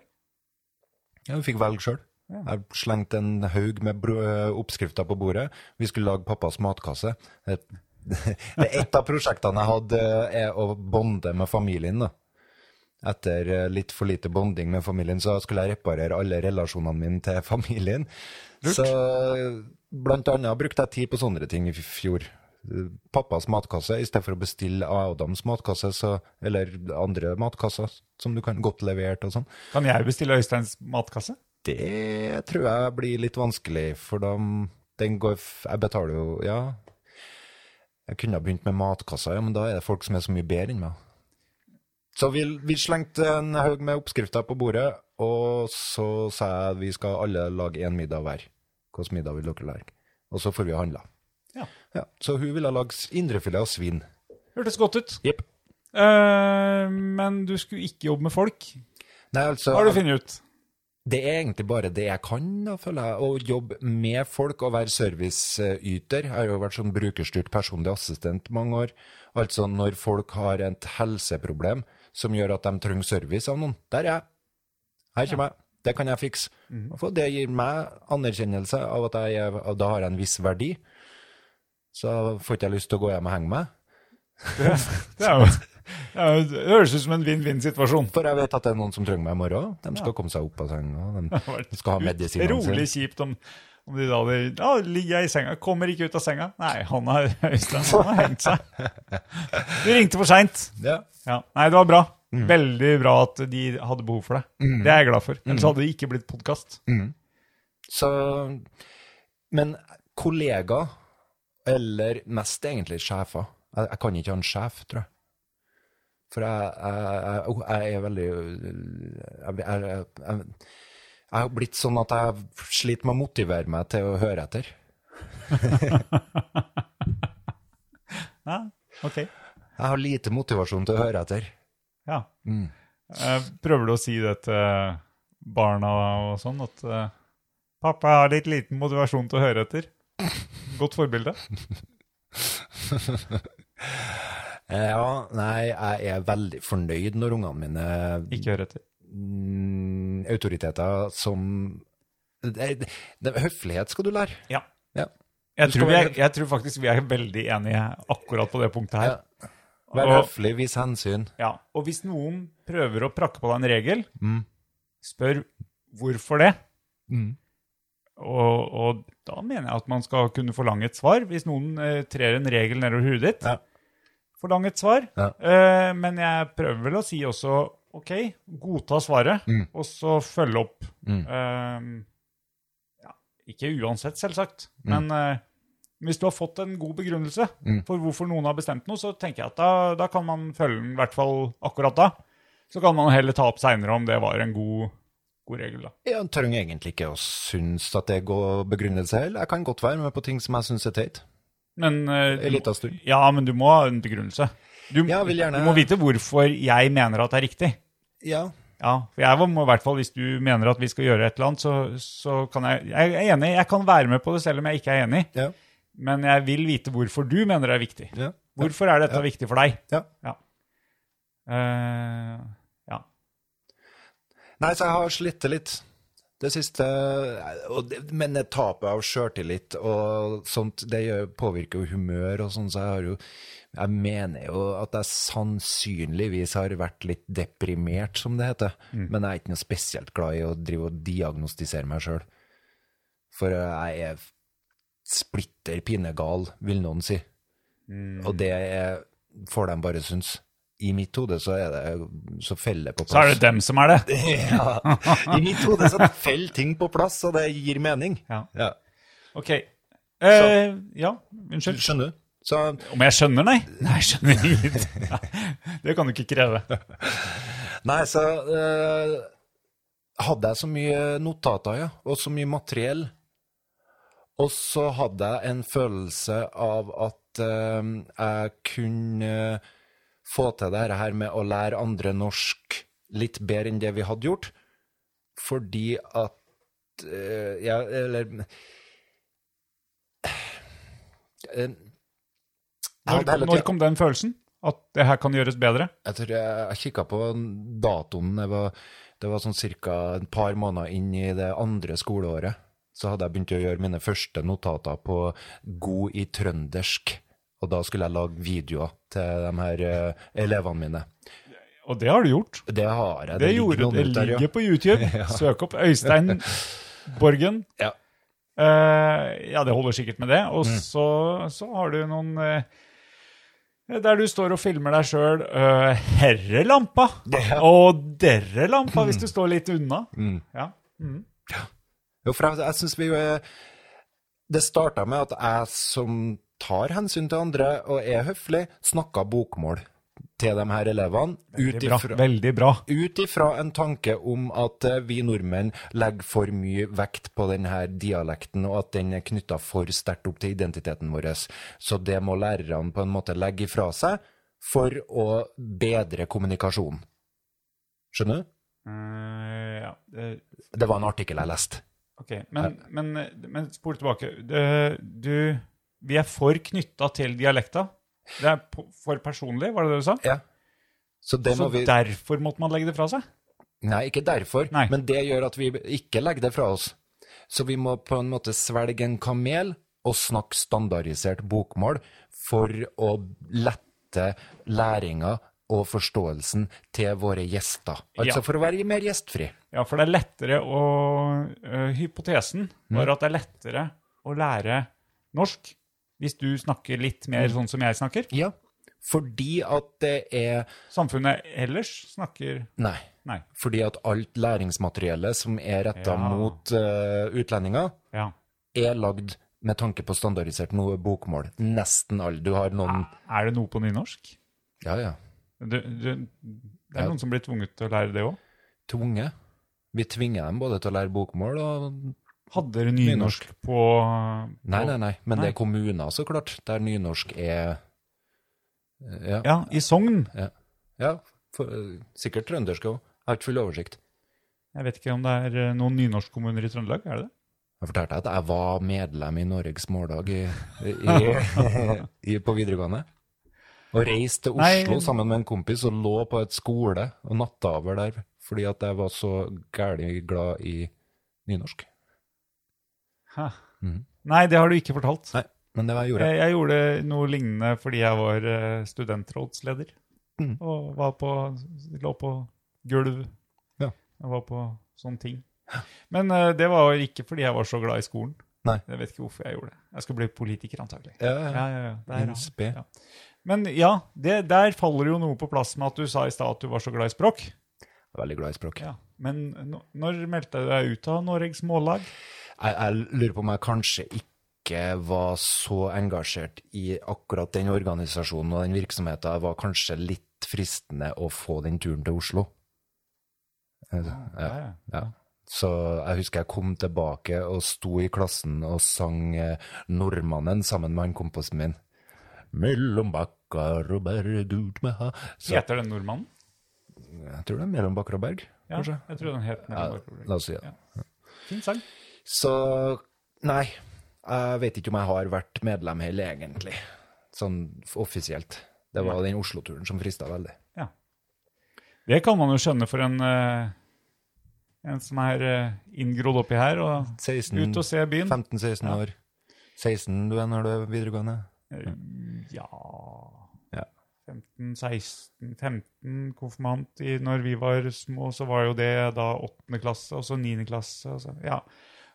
Ja, Hun fikk velge sjøl.
Ja.
Jeg slengte en haug med brø- oppskrifter på bordet. Vi skulle lage pappas matkasse. Det det er et av prosjektene jeg hadde, eh, er å bonde med familien. da. Etter eh, litt for lite bonding med familien, så skulle jeg reparere alle relasjonene mine til familien. Så eh, blant annet brukte jeg tid på sånne ting i f- fjor. Eh, Pappas matkasse, i stedet for å bestille Adams matkasse, så, eller andre matkasser som du kan godt levert og sånn.
Kan jeg bestille Øysteins matkasse?
Det tror jeg blir litt vanskelig, for da den går f- Jeg betaler jo Ja. Jeg kunne ha begynt med matkassa, ja, men da er det folk som er så mye bedre enn meg. Så vi, vi slengte en haug med oppskrifter på bordet, og så sa jeg vi skal alle lage én middag hver. Hvilken middag vil dere lage? Og så får vi handla.
Ja.
Ja, så hun ville lage s- indrefilet av svin.
Hørtes godt ut.
Jepp.
Eh, men du skulle ikke jobbe med folk.
Nei, altså
Hva har du funnet ut?
Det er egentlig bare det jeg kan, da, føler jeg. Å jobbe med folk og være serviceyter. Jeg har jo vært sånn brukerstyrt personlig assistent mange år. Altså når folk har et helseproblem som gjør at de trenger service av noen. Der er jeg. Her kommer jeg. Det kan jeg fikse. For det gir meg anerkjennelse av at jeg er, at da har jeg en viss verdi. Så får ikke jeg lyst til å gå hjem og henge meg.
Det, er jo, det, er jo, det høres ut som en vinn-vinn-situasjon.
For jeg vet at det er noen som trenger meg i morgen. De skal komme seg opp av senga. De skal ha medisinene sine.
Rolig kjipt om, om de da hadde Da ligger jeg i senga, kommer ikke ut av senga. Nei, han har, Øystein han har hengt seg. Du ringte for seint.
Ja.
Ja. Nei, det var bra.
Mm.
Veldig bra at de hadde behov for deg. Det er jeg glad for.
Mm.
Ellers hadde det ikke blitt podkast.
Så, men kollega, eller mest egentlig sjefer Jeg, jeg kan ikke ha en sjef, tror jeg. For jeg, jeg, jeg, jeg er veldig jeg, jeg, jeg, jeg, jeg har blitt sånn at jeg sliter med å motivere meg til å høre etter.
Ja, ok.
Jeg har lite motivasjon til å høre etter.
Ja. Eh, Prøver du å si det til barna og sånn, at eh, pappa har litt liten motivasjon til å høre etter? Godt forbilde.
Ja, nei, jeg er veldig fornøyd når ungene mine
Ikke høre etter.
mm, autoriteter som det, det, Høflighet skal du lære.
Ja.
Ja.
Jeg
skal
tror, vi er,
være-
jeg tror faktisk vi er veldig enige akkurat på det punktet her.
Ja. Vær
Og-
høflig, vis hensyn.
Ja, og hvis noen prøver å prakke på deg en regel, spør hvorfor det. Og, og da mener jeg at man skal kunne forlange et svar. Hvis noen eh, trer en regel nedover huet ditt,
Ja.
forlang et svar.
Ja.
Eh, men jeg prøver vel å si også OK, godta svaret,
Mm.
og så følge opp. Eh, ja, ikke uansett, selvsagt,
Mm.
men eh, hvis du har fått en god begrunnelse for hvorfor noen har bestemt noe, så tenker jeg at da, da kan man følge den, i hvert fall akkurat da. Så kan man heller ta opp seinere om det var en god, god regel, da.
Jeg trenger egentlig ikke å synes at det er god begrunnelse heller. Jeg kan godt være med på ting som jeg synes er teit.
Men, eh,
En liten stund.
Ja, men du må ha en begrunnelse. Du,
Ja, vil gjerne-
du må vite hvorfor jeg mener at det er riktig.
Ja.
Ja, for jeg må i hvert fall, Hvis du mener at vi skal gjøre et eller annet, så, så kan jeg Jeg er enig, jeg kan være med på det selv om jeg ikke er enig.
Ja.
Men jeg vil vite hvorfor du mener det er viktig.
Ja.
Hvorfor er dette viktig for deg?
Ja.
Ja. Eh, ja.
Nei, så jeg har slitt det litt. Det siste og det, Men det tapet av sjøltillit og sånt, det gjør, påvirker jo humør og sånn, så jeg har jo Jeg mener jo at jeg sannsynligvis har vært litt deprimert, som det heter.
Mm.
Men jeg er ikke noe spesielt glad i å drive og diagnostisere meg sjøl. For jeg er splitter pinnegal, vil noen si.
Mm.
Og det er, får de bare synes. I mitt hode så er det så feller det på plass.
Så er det dem som er det.
Ja. I mitt hode så faller ting på plass, og det gir mening.
Ja.
Ja.
Ok. Eh, ja, unnskyld.
Skjønner du? Så,
Om jeg skjønner, nei? Nei, jeg skjønner ingenting. Nei, Det kan du ikke kreve.
nei, så eh, hadde jeg så mye notater, ja, og så mye materiell. Og så hadde jeg en følelse av at eh, jeg kunne få til det her med å lære andre norsk litt bedre enn det vi hadde gjort, fordi at eh, Ja, eller Eh, jeg hadde
Når,
hele
når
tiden-
kom den følelsen? At det her kan gjøres bedre?
Jeg tror jeg, jeg kikka på datoen. Det var, det var sånn ca. et par måneder inn i det andre skoleåret. Så hadde jeg begynt å gjøre mine første notater på god i trøndersk. Og da skulle jeg lage videoer til de her eh, elevene mine.
Og det har du gjort.
Det har jeg.
Det,
ligger
gjorde
noen
det
ut der, ja.
ligger på YouTube. Søk opp Øystein Borgen.
Ja.
Eh, ja, det holder sikkert med det. Og
Mm.
så, så har du noen eh, der du står og filmer deg sjøl. herrelampa! Og derrelampa, hvis du står litt unna.
Mm.
Ja.
Jo, for jeg, jeg synes vi eh, Det starta med at jeg som tar hensyn til andre og er høflig, snakka bokmål til de her elevene. Ut
Bra.
ifra
Veldig bra.
ut ifra en tanke om at eh, vi nordmenn legger for mye vekt på denne dialekten, og at den er knytta for sterkt opp til identiteten vår. Så det må lærerne på en måte legge ifra seg for å bedre kommunikasjonen. Skjønner du?
Eh, ja. det-
Det var en artikkel jeg leste.
Ok, men, men, men spol tilbake. Det- Du, vi er for knytta til dialekta. Det er på- for personlig, var det det du sa?
Ja. Så Eh, det
Så
må vi
derfor måtte man legge det fra seg?
Nei, ikke derfor,
Nei.
men det gjør at vi ikke legger det fra oss. Så vi må på en måte svelge en kamel og snakke standardisert bokmål for å lette læringa og forståelsen til våre gjester. Altså
Ja.
for å være mer gjestfri.
Ja, for det er lettere å ø, Hypotesen
Mm.
var at det er lettere å lære norsk hvis du snakker litt mer
Mm.
sånn som jeg snakker.
Ja, fordi at det er
Samfunnet ellers snakker
Nei.
Nei.
Fordi at alt læringsmateriellet som er retta
Ja.
mot eh, utlendinger,
Ja.
er lagd med tanke på standardisert noe bokmål. Nesten alle. Du har noen
Er det noe på nynorsk?
Ja, ja.
Du, du, det
Ja.
er noen som blir tvunget til å lære det òg.
tvunget. Vi tvinger dem både til å lære bokmål og
Hadde dere nynorsk på, på
Nei, nei, nei. Men
Nei.
det er kommuner, så klart, der nynorsk er eh, Ja. ja.
Ja, i Sogn.
for, eh, sikkert trøndersk òg. Har ikke full oversikt.
Jeg vet ikke om det er ø, noen nynorskkommuner i Trøndelag, er det det?
Jeg fortalte at jeg var medlem i Norges Mållag i, i, i, på videregående. Og reiste til
Nei.
Oslo sammen med en kompis og lå på et skole og natta over der fordi at jeg var så gæli glad i nynorsk.
Hæ.
Mhm.
Nei, det har du ikke fortalt.
Nei, men det var jeg gjorde.
Jeg, jeg gjorde noe lignende fordi jeg var eh, studentrådsleder.
Mm.
Og var på, lå på gulv.
Ja.
Jeg var på sånne ting. Men eh, det var ikke fordi jeg var så glad i skolen.
Nei.
Jeg vet ikke hvorfor jeg gjorde det. Jeg skal bli politiker, antagelig.
Ja, ja, ja.
Ja, ja, ja. Det er
NSB.
rart, ja. Men ja, det, der faller jo noe på plass med at du sa i stad at du var så glad i språk.
Veldig glad i språk.
Ja. Men nå- når meldte du deg ut av Norges Mållag?
Jeg, jeg lurer på om jeg kanskje ikke var så engasjert i akkurat den organisasjonen og den virksomheten. Jeg var kanskje litt fristende å få den turen til Oslo. Eh, Ja,
ja.
ja. Så jeg husker jeg kom tilbake og sto i klassen og sang eh, 'Nordmannen' sammen med han kompisen min. Mellom bakkar og berg ut med ha Så jeg
Heter den nordmannen?
tror det er 'Mellom bakkar og berg',
Ja,
kanskje.
jeg tror den het
Ja,
Mellom Norge.
la oss si det.
Ja. Fin sang.
Så nei, jeg vet ikke om jeg har vært medlem heller, egentlig. Sånn offisielt. Det var den Oslo-turen som frista veldig.
Ja. Det kan man jo skjønne for en, eh, en som er eh, inngrodd oppi her, og
16,
ut og se byen.
15-16 år. 16 du er når du er videregående?
Ja
Ja.
15, 16, 15 konfirmant i, når vi var små, så var jo det da 8. klasse, og så 9. klasse. Og så, ja.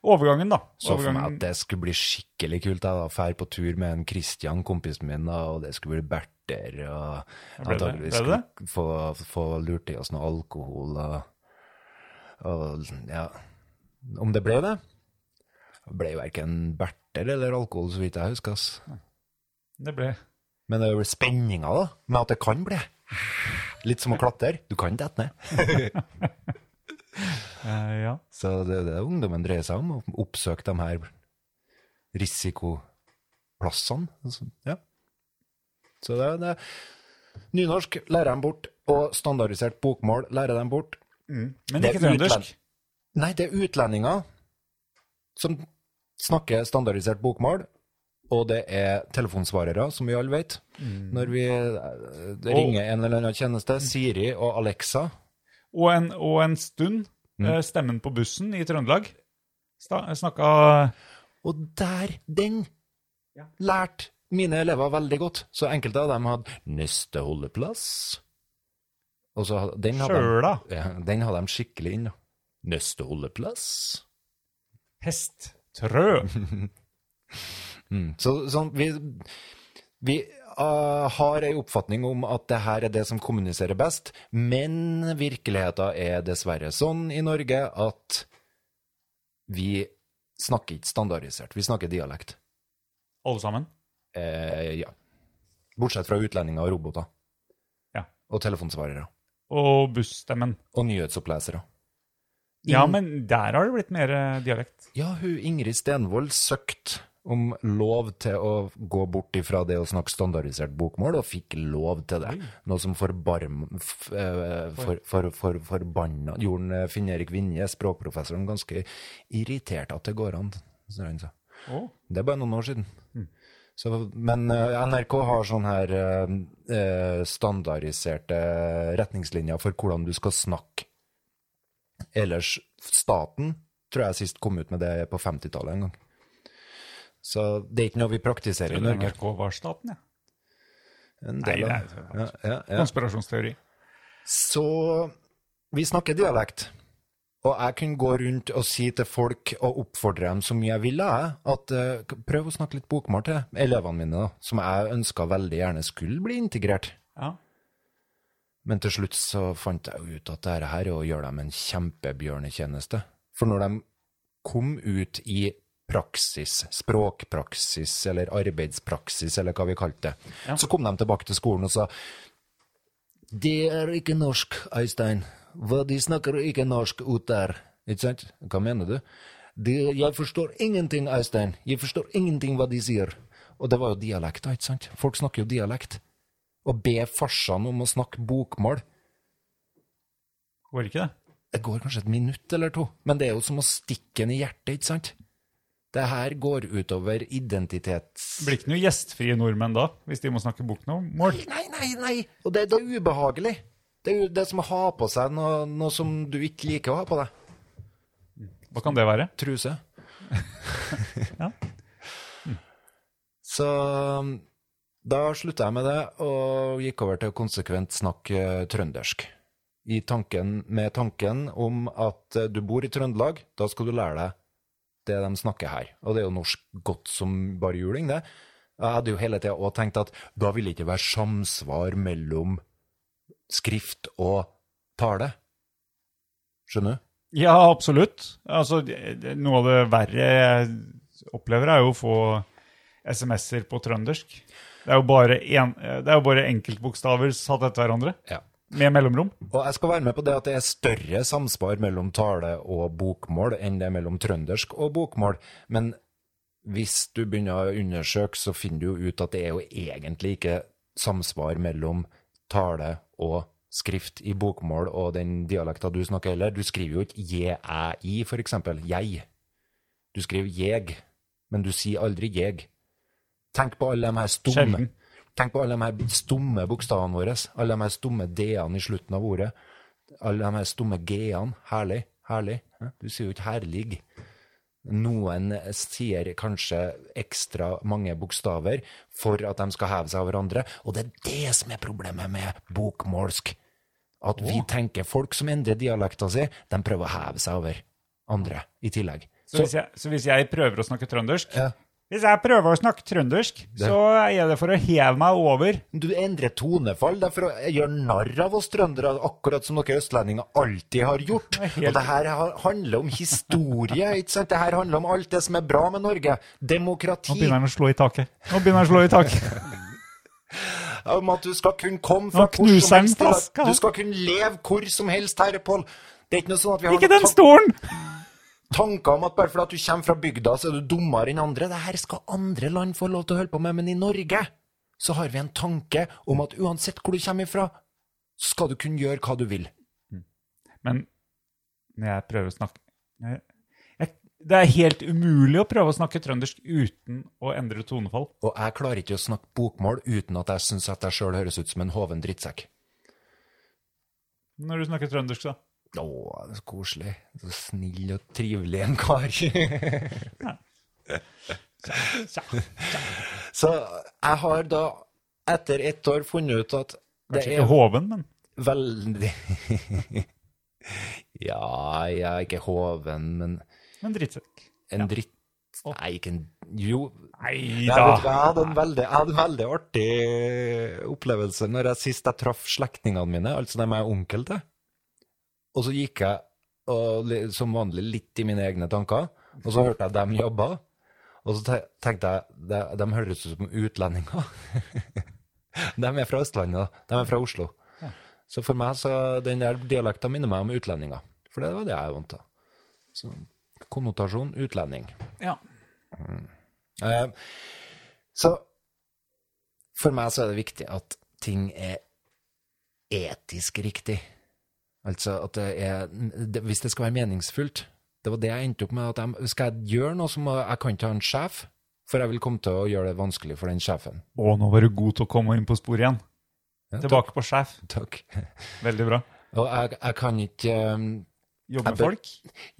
Overgangen, da.
Så for meg
Overgangen.
at det skulle bli skikkelig kult. Jeg drar på tur med en Christian, kompisen min, da, og det skulle bli berter. Og
Ble det-
antakeligvis
ble det det?
skulle få, få lurt i oss noe alkohol og, og Ja. Om det ble det? Det ble verken berter eller alkohol, så vidt jeg husker. ass.
Det ble
Men det er jo spenninga, da, med at det kan bli. Litt som å klatre. Du kan dette ned.
eh, Ja.
Så det er det ungdommen dreier seg om. å Oppsøke de her risikoplassene. Altså, Ja. Så det er det. Nynorsk lærer dem bort, og standardisert bokmål lærer dem bort.
Men
Det
ikke
er utlend-
trøndersk.
Nei, det er utlendinger som snakker standardisert bokmål, og det er telefonsvarere, som vi alle vet.
Mm.
Når vi eh, ringer en eller annen tjeneste, Siri og Alexa
Og en, og en stund,
Mm.
eh, stemmen på bussen i Trøndelag sta- eh, snakka
Og der, den, lærte mine elever veldig godt. Så enkelte av dem hadde 'neste holdeplass'. Og så hadde, den, hadde de,
sjøla.
ja, den hadde de skikkelig inn. da. 'Neste holdeplass'.
Hesttrø.
Mm. Så sånn, vi, vi ah, har ei oppfatning om at det her er det som kommuniserer best, men virkeligheten er dessverre sånn i Norge at vi snakker ikke standardisert, vi snakker dialekt.
Alle sammen.
Eh, ja. Bortsett fra utlendinger og roboter.
Ja.
Og telefonsvarere.
Og busstemmen.
Og nyhetsopplesere. Mm.
Ja, men der har det blitt mer eh, dialekt.
Ja, hun Ingrid Stenvold søkte om lov til å gå bort ifra det å snakke standardisert bokmål, og fikk lov til det. Noe som forbarm... f- eh, For, for, for, forbanna Gjorde han, eh, Finn-Erik Vinje, språkprofessoren, ganske irritert at det går an. Så han sa.
Å.
Det er bare noen år siden.
Mm.
Så, men eh, NRK har sånne her eh, eh, standardiserte retningslinjer for hvordan du skal snakke. Ellers staten tror jeg sist kom ut med det på 50-tallet en gang. Så det er ikke noe vi praktiserer i Norge.
NRK var staten, ja.
En del
Nei,
av-
det er-
ja, ja, ja.
Konspirasjonsteori.
Så vi snakker dialekt. Og jeg kunne gå rundt og si til folk og oppfordre dem så mye jeg ville, jeg, at eh, prøv å snakke litt bokmål til elevene mine, da, som jeg ønska veldig gjerne skulle bli integrert.
Ja.
Men til slutt så fant jeg jo ut at dette her er å gjøre dem en kjempebjørnetjeneste. For når de kom ut i praksis, språkpraksis eller arbeidspraksis, eller hva vi kalte det, så kom de tilbake til skolen og sa det er ikke norsk, Øystein. Hva de snakker ikke norsk ut der. Ikke sant? Hva mener du? De, jeg forstår ingenting, Øystein. Jeg forstår ingenting hva de sier. Og det var jo dialekter, ikke sant? Folk snakker jo dialekt. Å be farsan om å snakke bokmål
Går ikke det?
Det går kanskje et minutt eller to, men det er jo som å stikke den i hjertet, ikke sant? Det her går utover identitets...
Blir ikke noe gjestfrie nordmenn da, hvis de må snakke bokmål?
Nei, nei, nei! Og det, det er ubehagelig. Det er jo det som å ha på seg noe, noe som du ikke liker å ha på deg.
Hva kan det være?
Truse.
Ja.
Så um, da slutta jeg med det, og gikk over til å konsekvent snakke eh, trøndersk. I tanken, med tanken om at eh, du bor i Trøndelag, da skal du lære deg det de snakker her. Og det er jo norsk godt som bare juling, det. Jeg hadde jo hele tida òg tenkt at da vil det ikke være samsvar mellom skrift og tale. Skjønner du?
Ja, absolutt. Altså, det- det- noe av det verre jeg opplever, er jo å få SMS-er på trøndersk. Det er jo bare, en, det er jo bare enkeltbokstaver satt etter hverandre,
Ja.
med mellomrom.
Og jeg skal være med på det at det er større samspar mellom tale og bokmål enn det er mellom trøndersk og bokmål, men hvis du begynner å undersøke, så finner du jo ut at det er jo egentlig ikke samsvar mellom tale og skrift i bokmål og den dialekta du snakker heller. Du skriver jo ikke je, æ, i, for eksempel. Jeg. Du skriver jeg, men du sier aldri jeg. Tenk på alle de her stumme
Sjelden.
Tenk på alle de her stumme bokstavene våre, alle de her stumme d-ene i slutten av ordet. Alle de her stumme g-ene. Herlig, herlig. Du sier jo ikke herlig. Noen sier kanskje ekstra mange bokstaver for at de skal heve seg av hverandre, og det er det som er problemet med bokmålsk. At vi tenker folk som endrer dialekta si, de prøver å heve seg over andre i tillegg.
Så hvis jeg, så hvis jeg prøver å snakke trøndersk
Ja.
Hvis jeg prøver å snakke trøndersk, så er det for å heve meg over.
Du endrer tonefall det er for å gjøre narr av oss trøndere, akkurat som dere østlendinger alltid har gjort. Og det her ha- handler om historie, ikke sant? Det her handler om alt det som er bra med Norge.
Nå
Demokrati.
begynner han å slå i taket. Nå begynner han å slå i taket.
Om at du skal kunne komme
Nå
fra hvor
knuser
som
han
helst. til-
flaska.
Du skal kunne leve hvor som helst her, Pål. Det er ikke noe sånn at vi har noen
Ikke den
tan-
stolen!
tanker om at bare fordi at du kommer fra bygda, så er du dummere enn andre. Det her skal andre land få lov til å holde på med, men i Norge så har vi en tanke om at uansett hvor du kommer ifra, så skal du kunne gjøre hva du vil.
Men når jeg prøver å snakke jeg, jeg, Det er helt umulig å prøve å snakke trøndersk uten å endre tonefall.
Og jeg klarer ikke å snakke bokmål uten at jeg syns at jeg sjøl høres ut som en hoven drittsekk.
Når du snakker trøndersk, da.
Å, det er så koselig. Så snill og trivelig en kar. så jeg har da, etter ett år, funnet ut at det
Kanskje
er
ikke hoven, men
veldig Ja, jeg er ikke hoven, men
Men drittsekk.
en dritt... Nei, ikke en Jo,
Nei
Jeg, vet, ikke,
da.
jeg, hadde en veldig, jeg hadde en veldig artig opplevelse når jeg sist jeg traff slektningene mine, altså dem jeg er onkel til. Og så gikk jeg og, li- som vanlig litt i mine egne tanker, og så hørte jeg dem jobba. Og så te- tenkte jeg de, de høres ut som utlendinger. de er fra Østlandet, de er fra Oslo. Så for meg så den der dialekten minner meg om utlendinger. For det var det jeg er vant til. Så, konnotasjon utlending.
Ja.
Eh, Så for meg så er det viktig at ting er etisk riktig. Altså at det er det, Hvis det skal være meningsfullt Det var det jeg endte opp med. at jeg, Skal jeg gjøre noe, så må jeg kan ikke ha en sjef, for jeg vil komme til å gjøre det vanskelig for den sjefen.
Å, nå var du god til å komme inn på sporet igjen.
Ja,
Tilbake på sjef.
Takk.
Veldig bra.
Og jeg, jeg kan ikke eh,
Jobbe med
Jeg bør-
folk?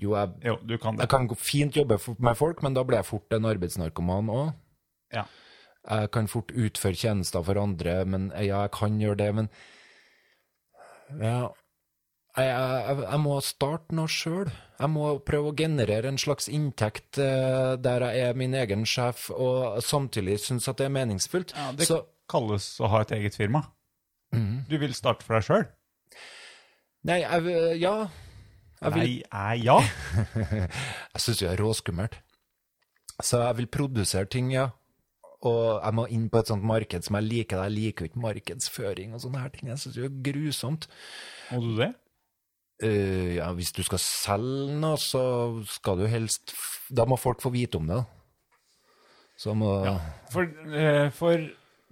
Jo, jeg,
Jo, du kan det.
jeg kan gå- fint jobbe for- med folk, men da blir jeg fort en arbeidsnarkoman òg.
Ja.
jeg kan fort utføre tjenester for andre, men ja, jeg kan gjøre det, men ja, jeg, jeg, jeg må starte noe sjøl. Jeg må prøve å generere en slags inntekt eh, der jeg er min egen sjef, og samtidig synes at det er meningsfullt.
Ja, det
Så Mm.
kalles å ha et eget firma. Du vil starte for deg sjøl?
nei, jeg, ja, jeg vil
Nei, er ja.
Jeg syns det er råskummelt. Så jeg vil produsere ting, ja. Og jeg må inn på et sånt marked som jeg liker. Jeg liker jo ikke markedsføring og sånne her ting. Jeg syns det er grusomt.
Må du det?
Eh, ja, hvis du skal selge noe, så skal du helst f- Da må folk få vite om det. da. Så må
For, eh, for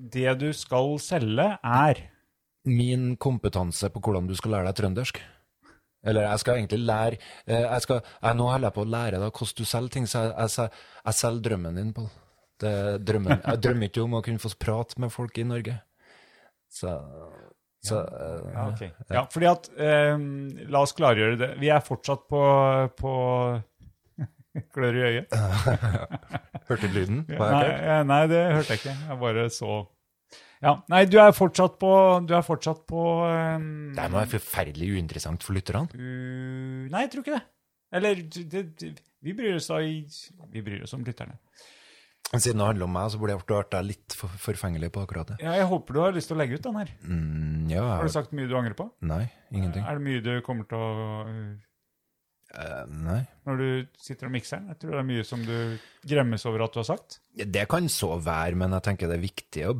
det du skal selge, er
Min kompetanse på hvordan du skal lære deg trøndersk Eller jeg skal egentlig lære eh, jeg skal, jeg, Nå holder jeg på å lære deg hvordan du selger ting, så jeg, jeg, sel- jeg selger drømmen din, Pål. Det er drømmen. Jeg drømmer ikke om å kunne få prate med folk i Norge. Så, så eh,
Ja, ok. Ja, fordi at eh, La oss klargjøre det. Vi er fortsatt på, på Klør i øyet.
Hørte du lyden? Var jeg
Nei,
klart?
eh, nei, det hørte jeg ikke. Jeg bare så ja. Nei, du er fortsatt på Du er fortsatt på ehm,
Det her må være forferdelig uinteressant for lytterne.
Uh, nei, jeg tror ikke det. Eller d- d- d- vi bryr oss da i Vi bryr oss om lytterne.
Men Siden det handler om meg, så burde jeg vært deg litt for forfengelig på akkurat det.
Ja, jeg håper du har lyst til å legge ut den her.
Mm, ja,
Har du
jeg,
sagt mye du angrer på?
nei, ingenting.
Er det mye du kommer til å uh,
Eh, nei.
Når du sitter og mikser den? Jeg tror det er mye som du gremmes over at du har sagt.
Ja, Det kan så være, men jeg tenker det er viktig å,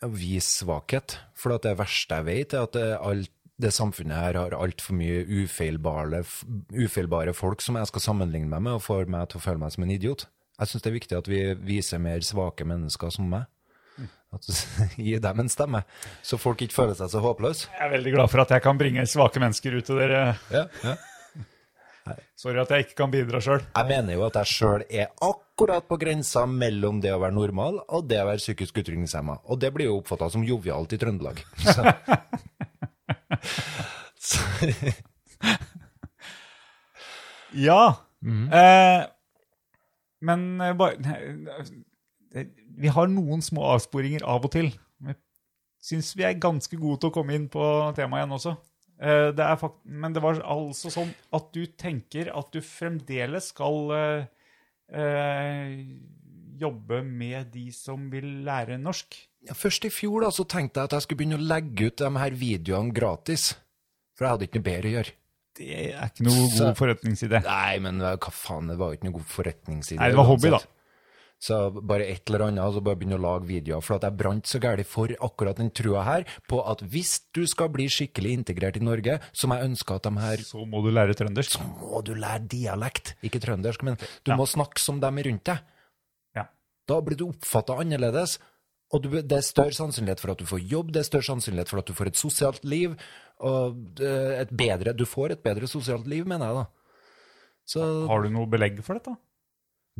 å vise svakhet. For at det verste jeg vet, er at det, er alt, det samfunnet her har altfor mye ufeilbare, f- ufeilbare folk som jeg skal sammenligne meg med, og får meg til å føle meg som en idiot. Jeg syns det er viktig at vi viser mer svake mennesker som meg. At Gi dem en stemme, så folk ikke føler seg så håpløse.
Jeg er veldig glad for at jeg kan bringe svake mennesker ut til dere.
Ja, ja.
Sorry at jeg ikke kan bidra sjøl.
Jeg mener jo at jeg sjøl er akkurat på grensa mellom det å være normal og det å være psykisk utviklingshemma. Og det blir jo oppfatta som jovialt i Trøndelag. Så. Så,
Ja.
Mhm.
Eh, men eh, bare det- Vi har noen små avsporinger av og til. Jeg syns vi er ganske gode til å komme inn på temaet igjen også. Eh, det er fakt men det var altså sånn at du tenker at du fremdeles skal eh, eh, jobbe med de som vil lære norsk.
ja, først i fjor da, så tenkte jeg at jeg skulle begynne å legge ut de her videoene gratis. For jeg hadde ikke noe bedre å gjøre.
Det er ikke noe god forretningsidé.
Nei, men eh, hva faen, det var jo ikke noe god forretningsidé.
Nei, det var hobby, da.
uansett. Så bare et eller annet, og så bare begynne å lage videoer. For at jeg brant så gærent for akkurat den trua her på at hvis du skal bli skikkelig integrert i Norge, som jeg ønsker at de her
Så må du lære trøndersk.
Må du lære dialekt, ikke trøndersk, men du må snakke som dem rundt deg.
Ja.
Da blir du oppfatta annerledes, og du, det er større sannsynlighet for at du får jobb, det er større sannsynlighet for at du får et sosialt liv, og eh, et bedre, du får et bedre sosialt liv, mener jeg da. Så
Har du noe belegg for dette?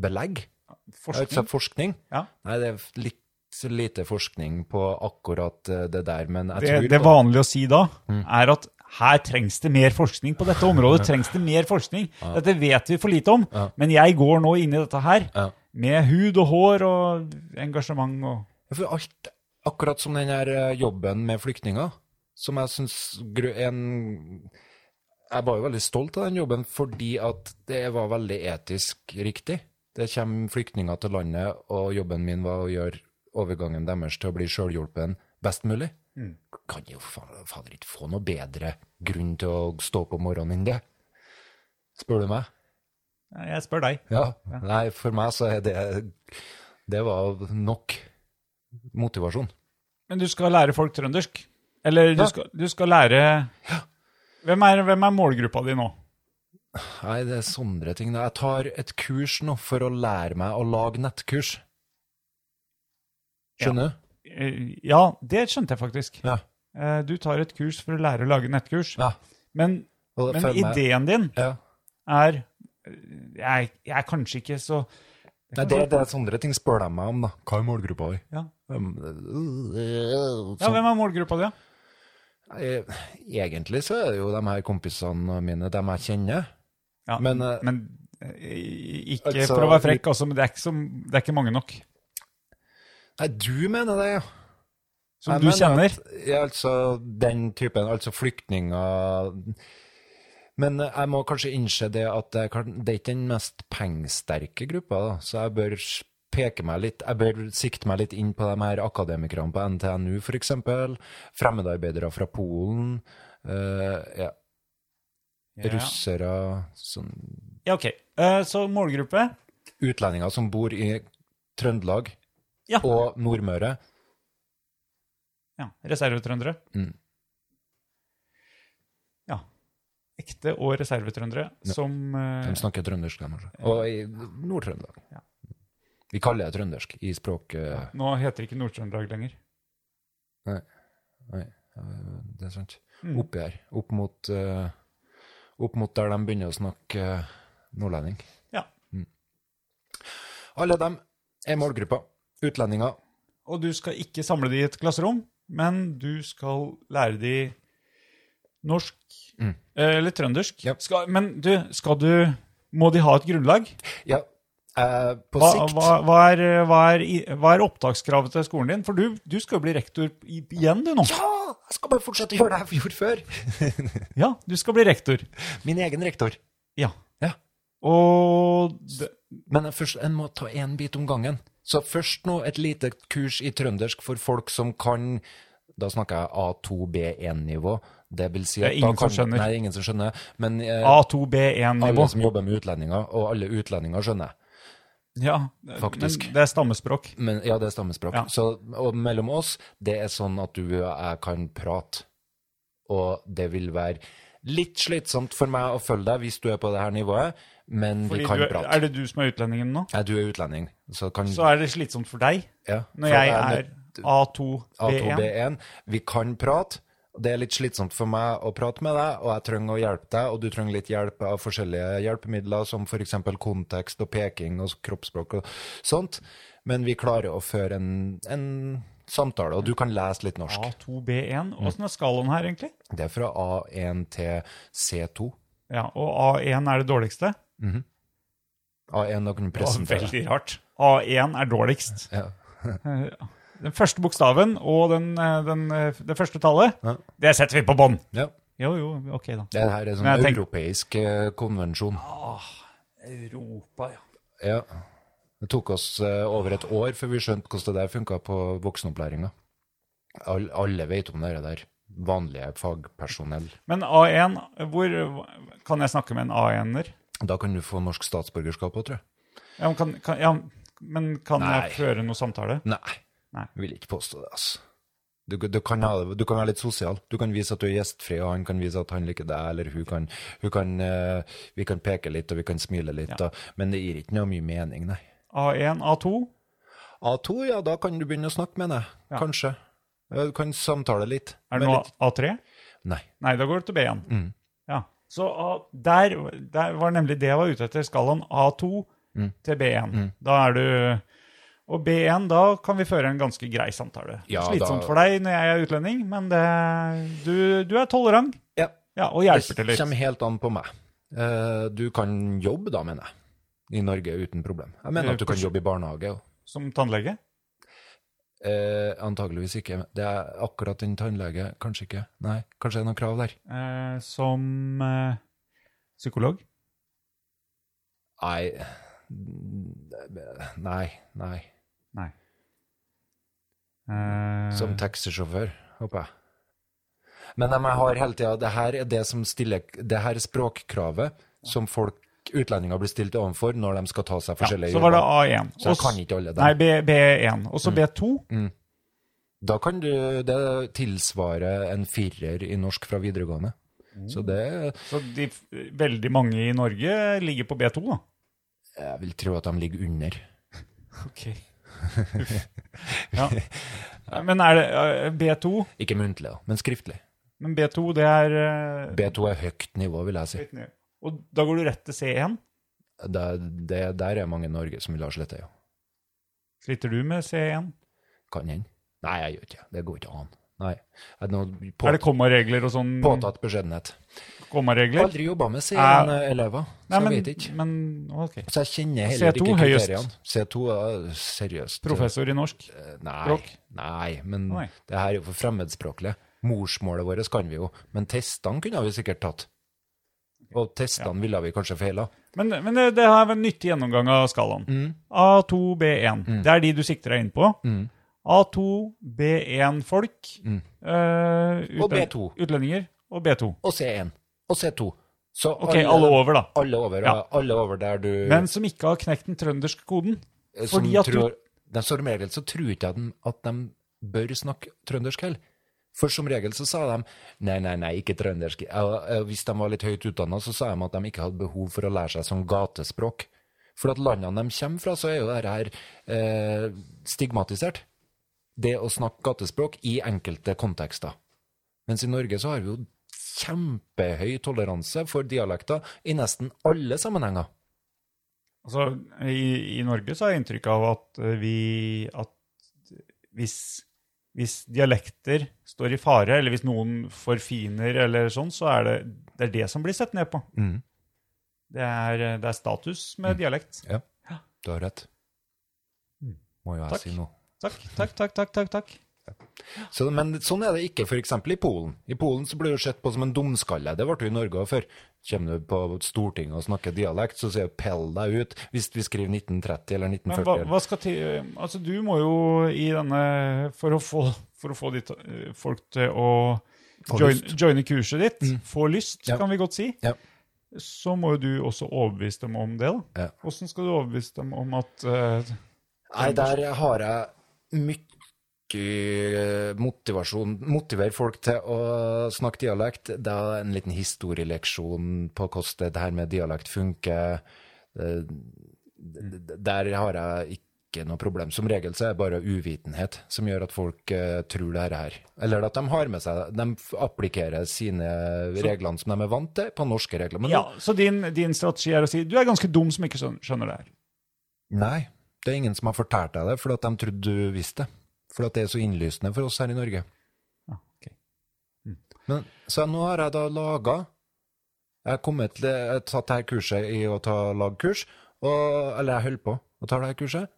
belegg? Jeg har ikke
Forskning?
sett forskning.
Ja.
Nei, det er litt lite forskning på akkurat eh, det Mm. der, men jeg
det,
tror
det vanlige å si da, er at her trengs det mer forskning på dette området. trengs det mer forskning. Dette vet vi for lite om, men jeg går nå inn i dette her
Ja.
med hud og hår og engasjement og
For alt, akkurat som den her eh, jobben med flyktninger, som jeg syns en Jeg var jo veldig stolt av den jobben fordi at det var veldig etisk riktig. Det kommer flyktninger til landet, og jobben min var å gjøre overgangen deres til å bli sjølhjulpen best mulig. Kan jo fa- fader ikke få noe bedre grunn til å stå opp om morgenen enn det, spør du meg.
Jeg spør deg.
Ja. Nei, for meg så er det Det var nok motivasjon.
Men du skal lære folk trøndersk? Eller du skal, du skal lære hvem er, hvem er målgruppa di nå?
Nei, det er sånne ting. da. Jeg tar et kurs nå for å lære meg å lage nettkurs. Skjønner du?
Eh, Ja, det skjønte jeg faktisk.
Ja.
Eh, Du tar et kurs for å lære å lage nettkurs.
Ja.
Men,
Og det
men
føler meg-
ideen din
ja.
er jeg, jeg er kanskje ikke så
Nei, det, det er sånne ting spør de meg om, da. Hva er målgruppa di?
Ja.
Um,
Ja,
Sånn.
hvem er målgruppa di? da?
Eh, Egentlig så er det jo de her kompisene mine, dem jeg kjenner.
Ja,
Men, eh,
eh, ikke
altså,
for å være frekk, altså, men det er ikke, som, det er ikke mange nok
Nei, du mener det, ja.
som
Jeg
du
mener
kjenner.
At, ja, altså den typen, altså flyktninger Men jeg må kanskje innse det at jeg kan, det er ikke den mest pengesterke gruppa, da. så jeg bør peke meg litt, jeg bør sikte meg litt inn på de her akademikerne på NTNU f.eks., fremmedarbeidere fra Polen, eh, ja,
Ja,
russere sånn,
ja ok. Eh, så målgruppe
Utlendinger som bor i Trøndelag
Ja.
og Nordmøre.
ja, reservetrøndere.
Mm.
Ja. Ekte og reservetrøndere som eh,
De snakker trøndersk, de også. Og i Nord-Trøndelag.
Ja.
Vi kaller det trøndersk i språk... eh,
Nå heter det ikke Nord-Trøndelag lenger.
Nei, eh, det er sant.
Mm.
Oppi her. Opp mot, eh, opp mot der de begynner å snakke eh, nordlending. Mm.
Ja.
Alle dem er målgruppa. Utlendinger.
Og du skal ikke samle de i et klasserom, men du skal lære de norsk eh, eller trøndersk.
Mm. Ja.
Skal, men du, skal du Må de ha et grunnlag?
Ja, eh, på
Hva,
sikt
hva, hva, er, hva, er, i- hva er opptakskravet til skolen din? For du, du skal jo bli rektor i- igjen, du nå.
Ja, jeg skal bare fortsette å gjøre det jeg gjorde før.
Ja, du skal bli rektor.
Min egen rektor.
Ja.
Ja.
Og det,
Men først, en må ta én bit om gangen. Så først nå et lite kurs i trøndersk for folk som kan Da snakker jeg A2B1-nivå. Det vil si
Det er
at da
ingen som
kan,
skjønner.
Nei, det er ingen som skjønner. Men eh, alle
A2B1-nivå.
som jobber med utlendinger, og alle utlendinger skjønner.
Ja,
Faktisk.
Men det er stammespråk.
Men ja, det er stammespråk.
Ja.
Så og mellom oss, det er sånn at du og jeg kan prate. Og det vil være litt slitsomt for meg å følge deg hvis du er på det her nivået, men
Fordi
vi kan
du, er-
prate.
er det du som er utlendingen nå?
Nei, du er utlending, så kan
Så er det slitsomt for deg
ja,
når
for
jeg
jeg
er A2B1.
A2B1. Vi kan prate. Det er litt slitsomt for meg å prate med deg, og jeg trenger å hjelpe deg, og du trenger litt hjelp av forskjellige hjelpemidler, som f.eks. kontekst og peking og kroppsspråk og sånt. Men vi klarer å føre en, en samtale, og du kan lese litt norsk. Mm.
A2B1. Åssen er skalaen her, egentlig?
Det er fra A1 til C2.
Ja, Og A1 er det dårligste?
A1 da kan du
Det var
presentere.
veldig rart. A1 er dårligst.
Ja.
Den første bokstaven og den, eh, den, eh, det første tallet,
Ja.
det setter vi på bånn.
Ja.
Jo, jo, ok, da.
Det her er sånn
Men jeg tenker-
europeisk eh, konvensjon.
Europa, ja.
Ja. Det tok oss eh, over et år før vi skjønte hvordan det der funka på voksenopplæringa. All, alle vet om det der. Vanlige fagpersonell.
Men A1, hvor Kan jeg snakke med en A1-er?
Da kan du få norsk statsborgerskap òg, tror jeg.
Ja, men kan, kan, ja, men kan
Nei.
jeg føre noe samtale?
Nei.
Nei.
Jeg vil ikke påstå det, altså. Du, du, kan ha, det- du kan være litt sosial. Du kan vise at du er gjestfri, og han kan vise at han liker deg, eller hun kan, hun kan eh, Vi kan peke litt, og vi kan smile litt, og, men det gir ikke noe mye mening, nei.
A1, A2?
A2, ja, da kan du begynne å snakke med henne,
Ja.
kanskje. Ja, Du kan samtale litt.
Er det
Men
noe
litt-
A3?
Nei.
Nei, da går det til B1.
Mm.
Ja. Så A, der, der var nemlig det jeg var ute etter. Skalaen A2
Mm.
til B1. Da er du Og B1, da kan vi føre en ganske grei samtale.
Ja,
Slitsomt
da-
for deg når jeg er utlending, men det, du, du er tolerant
Ja,
ja, og hjelper til
Det
litt.
kommer helt an på meg. Eh, Du kan jobbe da, mener jeg. I Norge uten problem. Jeg mener at du kan jobbe i barnehage. og-
Som tannlege?
Eh, antageligvis ikke. Det er akkurat din tannlege. Kanskje ikke. Nei, kanskje det er noen krav der.
Eh, som eh, psykolog?
Nei. Nei. Nei.
Nei. Eh,
Som taxisjåfør, håper jeg. Men de har hele tida Det her er det som stiller Det her er språkkravet som folk, utlendinger blir stilt overfor når de skal ta seg forskjellige
Så var det
jobber.
A1.
Så jeg
Og s-
kan ikke Mm. alle dem.
Nei, B, B1. Og så B2.
Da kan du Det tilsvarer en firer i norsk fra videregående. Så det
Så de, f- veldig mange i Norge ligger på B2, da.
Jeg vil tro at de ligger under.
Ok. ja. Men er det eh, B2?
Ikke muntlig, da, men skriftlig.
Men B2, det er eh,
B2 er høyt nivå, vil jeg si.
litt ned. Og da går du rett til C1?
Det, det, der er mange i Norge som vil ha slette, jo.
Sliter du med C1?
Kan hende. Nei, jeg gjør ikke det. Det går ikke an. Nei. Er det noe
Er
på,
det kommaregler og sånn?
påtatt beskjedenhet?
Kommaregler?
Aldri jobba med C1-elever, så
Nei,
jeg
men,
vet ikke.
men ok.
Så jeg kjenner heller
C2
ikke
høyest.
kriteriene. C2 er seriøst.
Professor i norsk?
Nei,
Språk?
nei, men
Nei.
det her er jo for fremmedspråklige. Morsmålet vårt kan vi jo, men testene kunne vi sikkert tatt. Og testene ville vi kanskje feila.
Men, men det, det her var en nyttig gjennomgang av skalaen.
Mm.
A2, B1. Det er de du sikter deg inn på. A2, B1-folk.
Mm. Og B2.
eh, Utlendinger. Og B2.
Og C1. Og C2. Så
Ok, alle over, da.
Alle over,
Ja.
og alle over der du
Men som ikke har knekt den trønderske koden.
eh, som
Fordi at
tror,
du
de, Som regel så tror ikke jeg dem at de bør snakke trøndersk heller. For som regel så sa de nei, nei, nei, ikke trøndersk. Eh, eh, Hvis de var litt høyt utdanna, så sa de at de ikke hadde behov for å lære seg som gatespråk. For at landene de kommer fra, så er jo dette her eh, stigmatisert. Det å snakke gatespråk i enkelte kontekster. Mens i Norge så har vi jo kjempehøy toleranse for dialekter i nesten alle sammenhenger.
Altså, i, I Norge så har jeg inntrykk av at eh, vi At hvis, hvis dialekter står i fare, eller hvis noen forfiner eller sånn, så er det det, er det som blir sett ned på. Det er, det er status
Mm.
med dialekt.
Ja, du har rett. Må jo jeg
Hmm. Takk.
si noe.
Takk, takk, takk, takk, takk, takk.
Så, men sånn er det ikke f.eks. i Polen. I Polen så blir du sett på som en dumskalle. Det ble du i Norge også før. Kommer du på Stortinget og snakker dialekt, så sier du 'pell deg ut' hvis vi skriver 1930 eller
Men
1940.
hva,
eller-
hva skal til Altså, du må jo i denne For å få, for å få ditt, eh, folk til å
Få
join,
lyst. Mm.
joine kurset ditt, få lyst,
Ja.
kan vi godt si,
Ja.
så må jo du også overbevise dem om det.
Ja.
da. Hvordan skal du overbevise dem om at eh,
Nei, der har jeg mye motivasjon Motiverer folk til å snakke dialekt. Det er en liten historieleksjon på hvordan det- det her med dialekt funker. Eh, d- Der har jeg ikke noe problem. Som regel så er det bare uvitenhet som gjør at folk eh, tror det her er. Eller at de har med seg De f- applikerer sine reglene som de er vant til, på norske regler. Men
Ja, så din, din strategi er å si du er ganske dum som ikke skjøn- skjønner det her.
Nei, det er ingen som har fortalt deg det, fordi at de trodde du visste det. Fordi at det er så innlysende for oss her i Norge.
Ja, Ah, ok. Mm.
Men, så nå har jeg da laga Jeg har kommet til jeg har tatt det her kurset i å ta lagkurs, og, eller jeg holder på å ta det her kurset.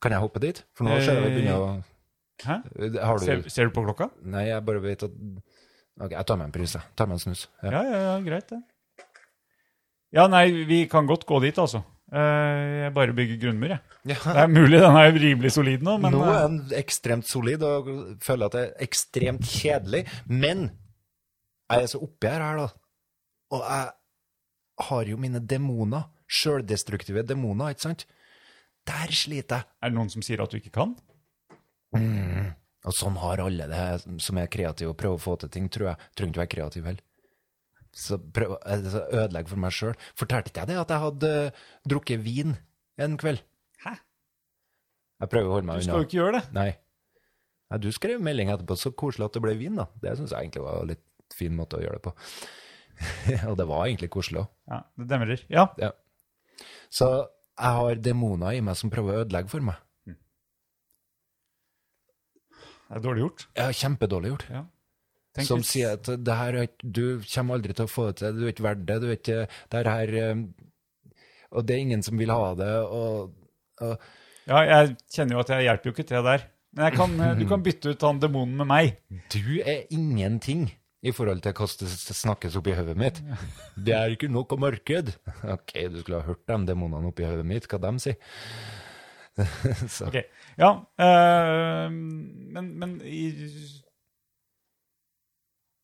Kan jeg hoppe dit? For nå ser jeg det begynner å
Eh, Hæ?
Har
Ser,
du
ser du på klokka?
Nei, jeg bare vet at Ok, jeg tar meg en pris, jeg. Tar meg en snus. Ja.
Ja, ja, ja, greit det. Ja, nei, vi kan godt gå dit, altså. Eh, Jeg bare bygger grunnmur, jeg. Det er mulig den er rimelig solid nå, men
nå er
eh,
den ekstremt solid, og føler at det er ekstremt kjedelig. Men jeg er så oppi her, her da. Og jeg har jo mine demoner. Sjøldestruktive demoner, ikke sant? Der sliter jeg.
er det noen som sier at du ikke kan?
Og sånn har alle det her som er kreative og prøver å få til ting, tror jeg. Trenger ikke være kreativ heller. Så prøv, altså, ødelegge for meg sjøl. Fortalte ikke jeg det, at jeg hadde eh, drukket vin en kveld?
Hæ?
Jeg prøver å holde meg
Du
unna.
skal jo ikke gjøre det.
Nei. Nei, du skrev melding etterpå, så koselig at det ble vin, da. Det syns jeg egentlig var en litt fin måte å gjøre det på. og det var egentlig koselig òg.
Ja, det demrer. Ja,
Ja. Så jeg har demoner i meg som prøver å ødelegge for meg.
det er dårlig gjort.
Ja, kjempedårlig gjort.
Ja. Tenk
som
hvis-
sier at det her, er ikke- du kommer aldri til å få det til, du er ikke verdt det, du er ikke det her eh, Og det er ingen som vil ha det, og, og
Ja, jeg kjenner jo at jeg hjelper jo ikke til der. Men jeg kan, eh, du kan bytte ut han demonen med meg.
Du er ingenting i forhold til hva som snakkes oppi hodet mitt. Det er ikke nok å marked. Ok, du skulle ha hørt de demonene oppi hodet mitt, hva de sier. Så,
Ok, Ja, eh, men, men i,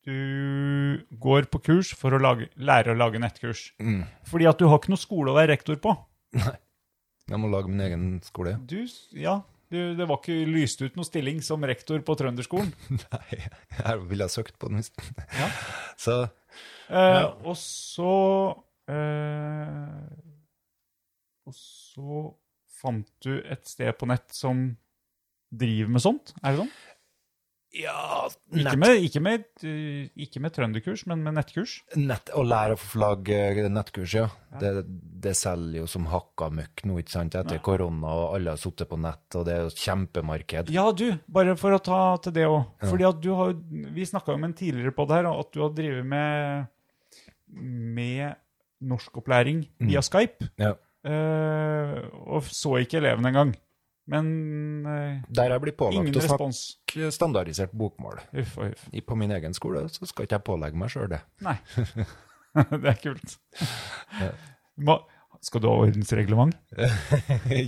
Du går på kurs for å lage, lære å lage nettkurs.
Mm.
Fordi at du har ikke noe skole å være rektor på.
Jeg må lage min egen skole.
Du, ja, du, det var ikke lyst ut noe stilling som rektor på Trønderskolen.
Nei, her ville jeg søkt på den hvis
Ja.
Så
Eh, Og så eh, Og så fant du et sted på nett som driver med sånt? Er det sånn?
ja,
Ikke
nett,
med, ikke, med, eh, ikke med trønderkurs, men med nettkurs.
nett, å lære å få lage eh, nettkurs, ja. Det, det selger jo som hakka møkk nå, ikke sant, etter korona, og alle har sittet på nett, og det er jo et kjempemarked.
Ja, du, bare for å ta til det òg. Fordi at du har Vi snakka jo om en tidligere på det her, at du har drevet med med norskopplæring via Skype.
Ja.
eh, og så ikke elevene engang. Men eh,
Der jeg blir
ingen
pålagt å snakke
respons.
standardisert bokmål.
Uff og uff.
i- på min egen skole, så skal ikke jeg pålegge meg sjøl det.
Nei. det er kult. Ma, skal du ha ordensreglement?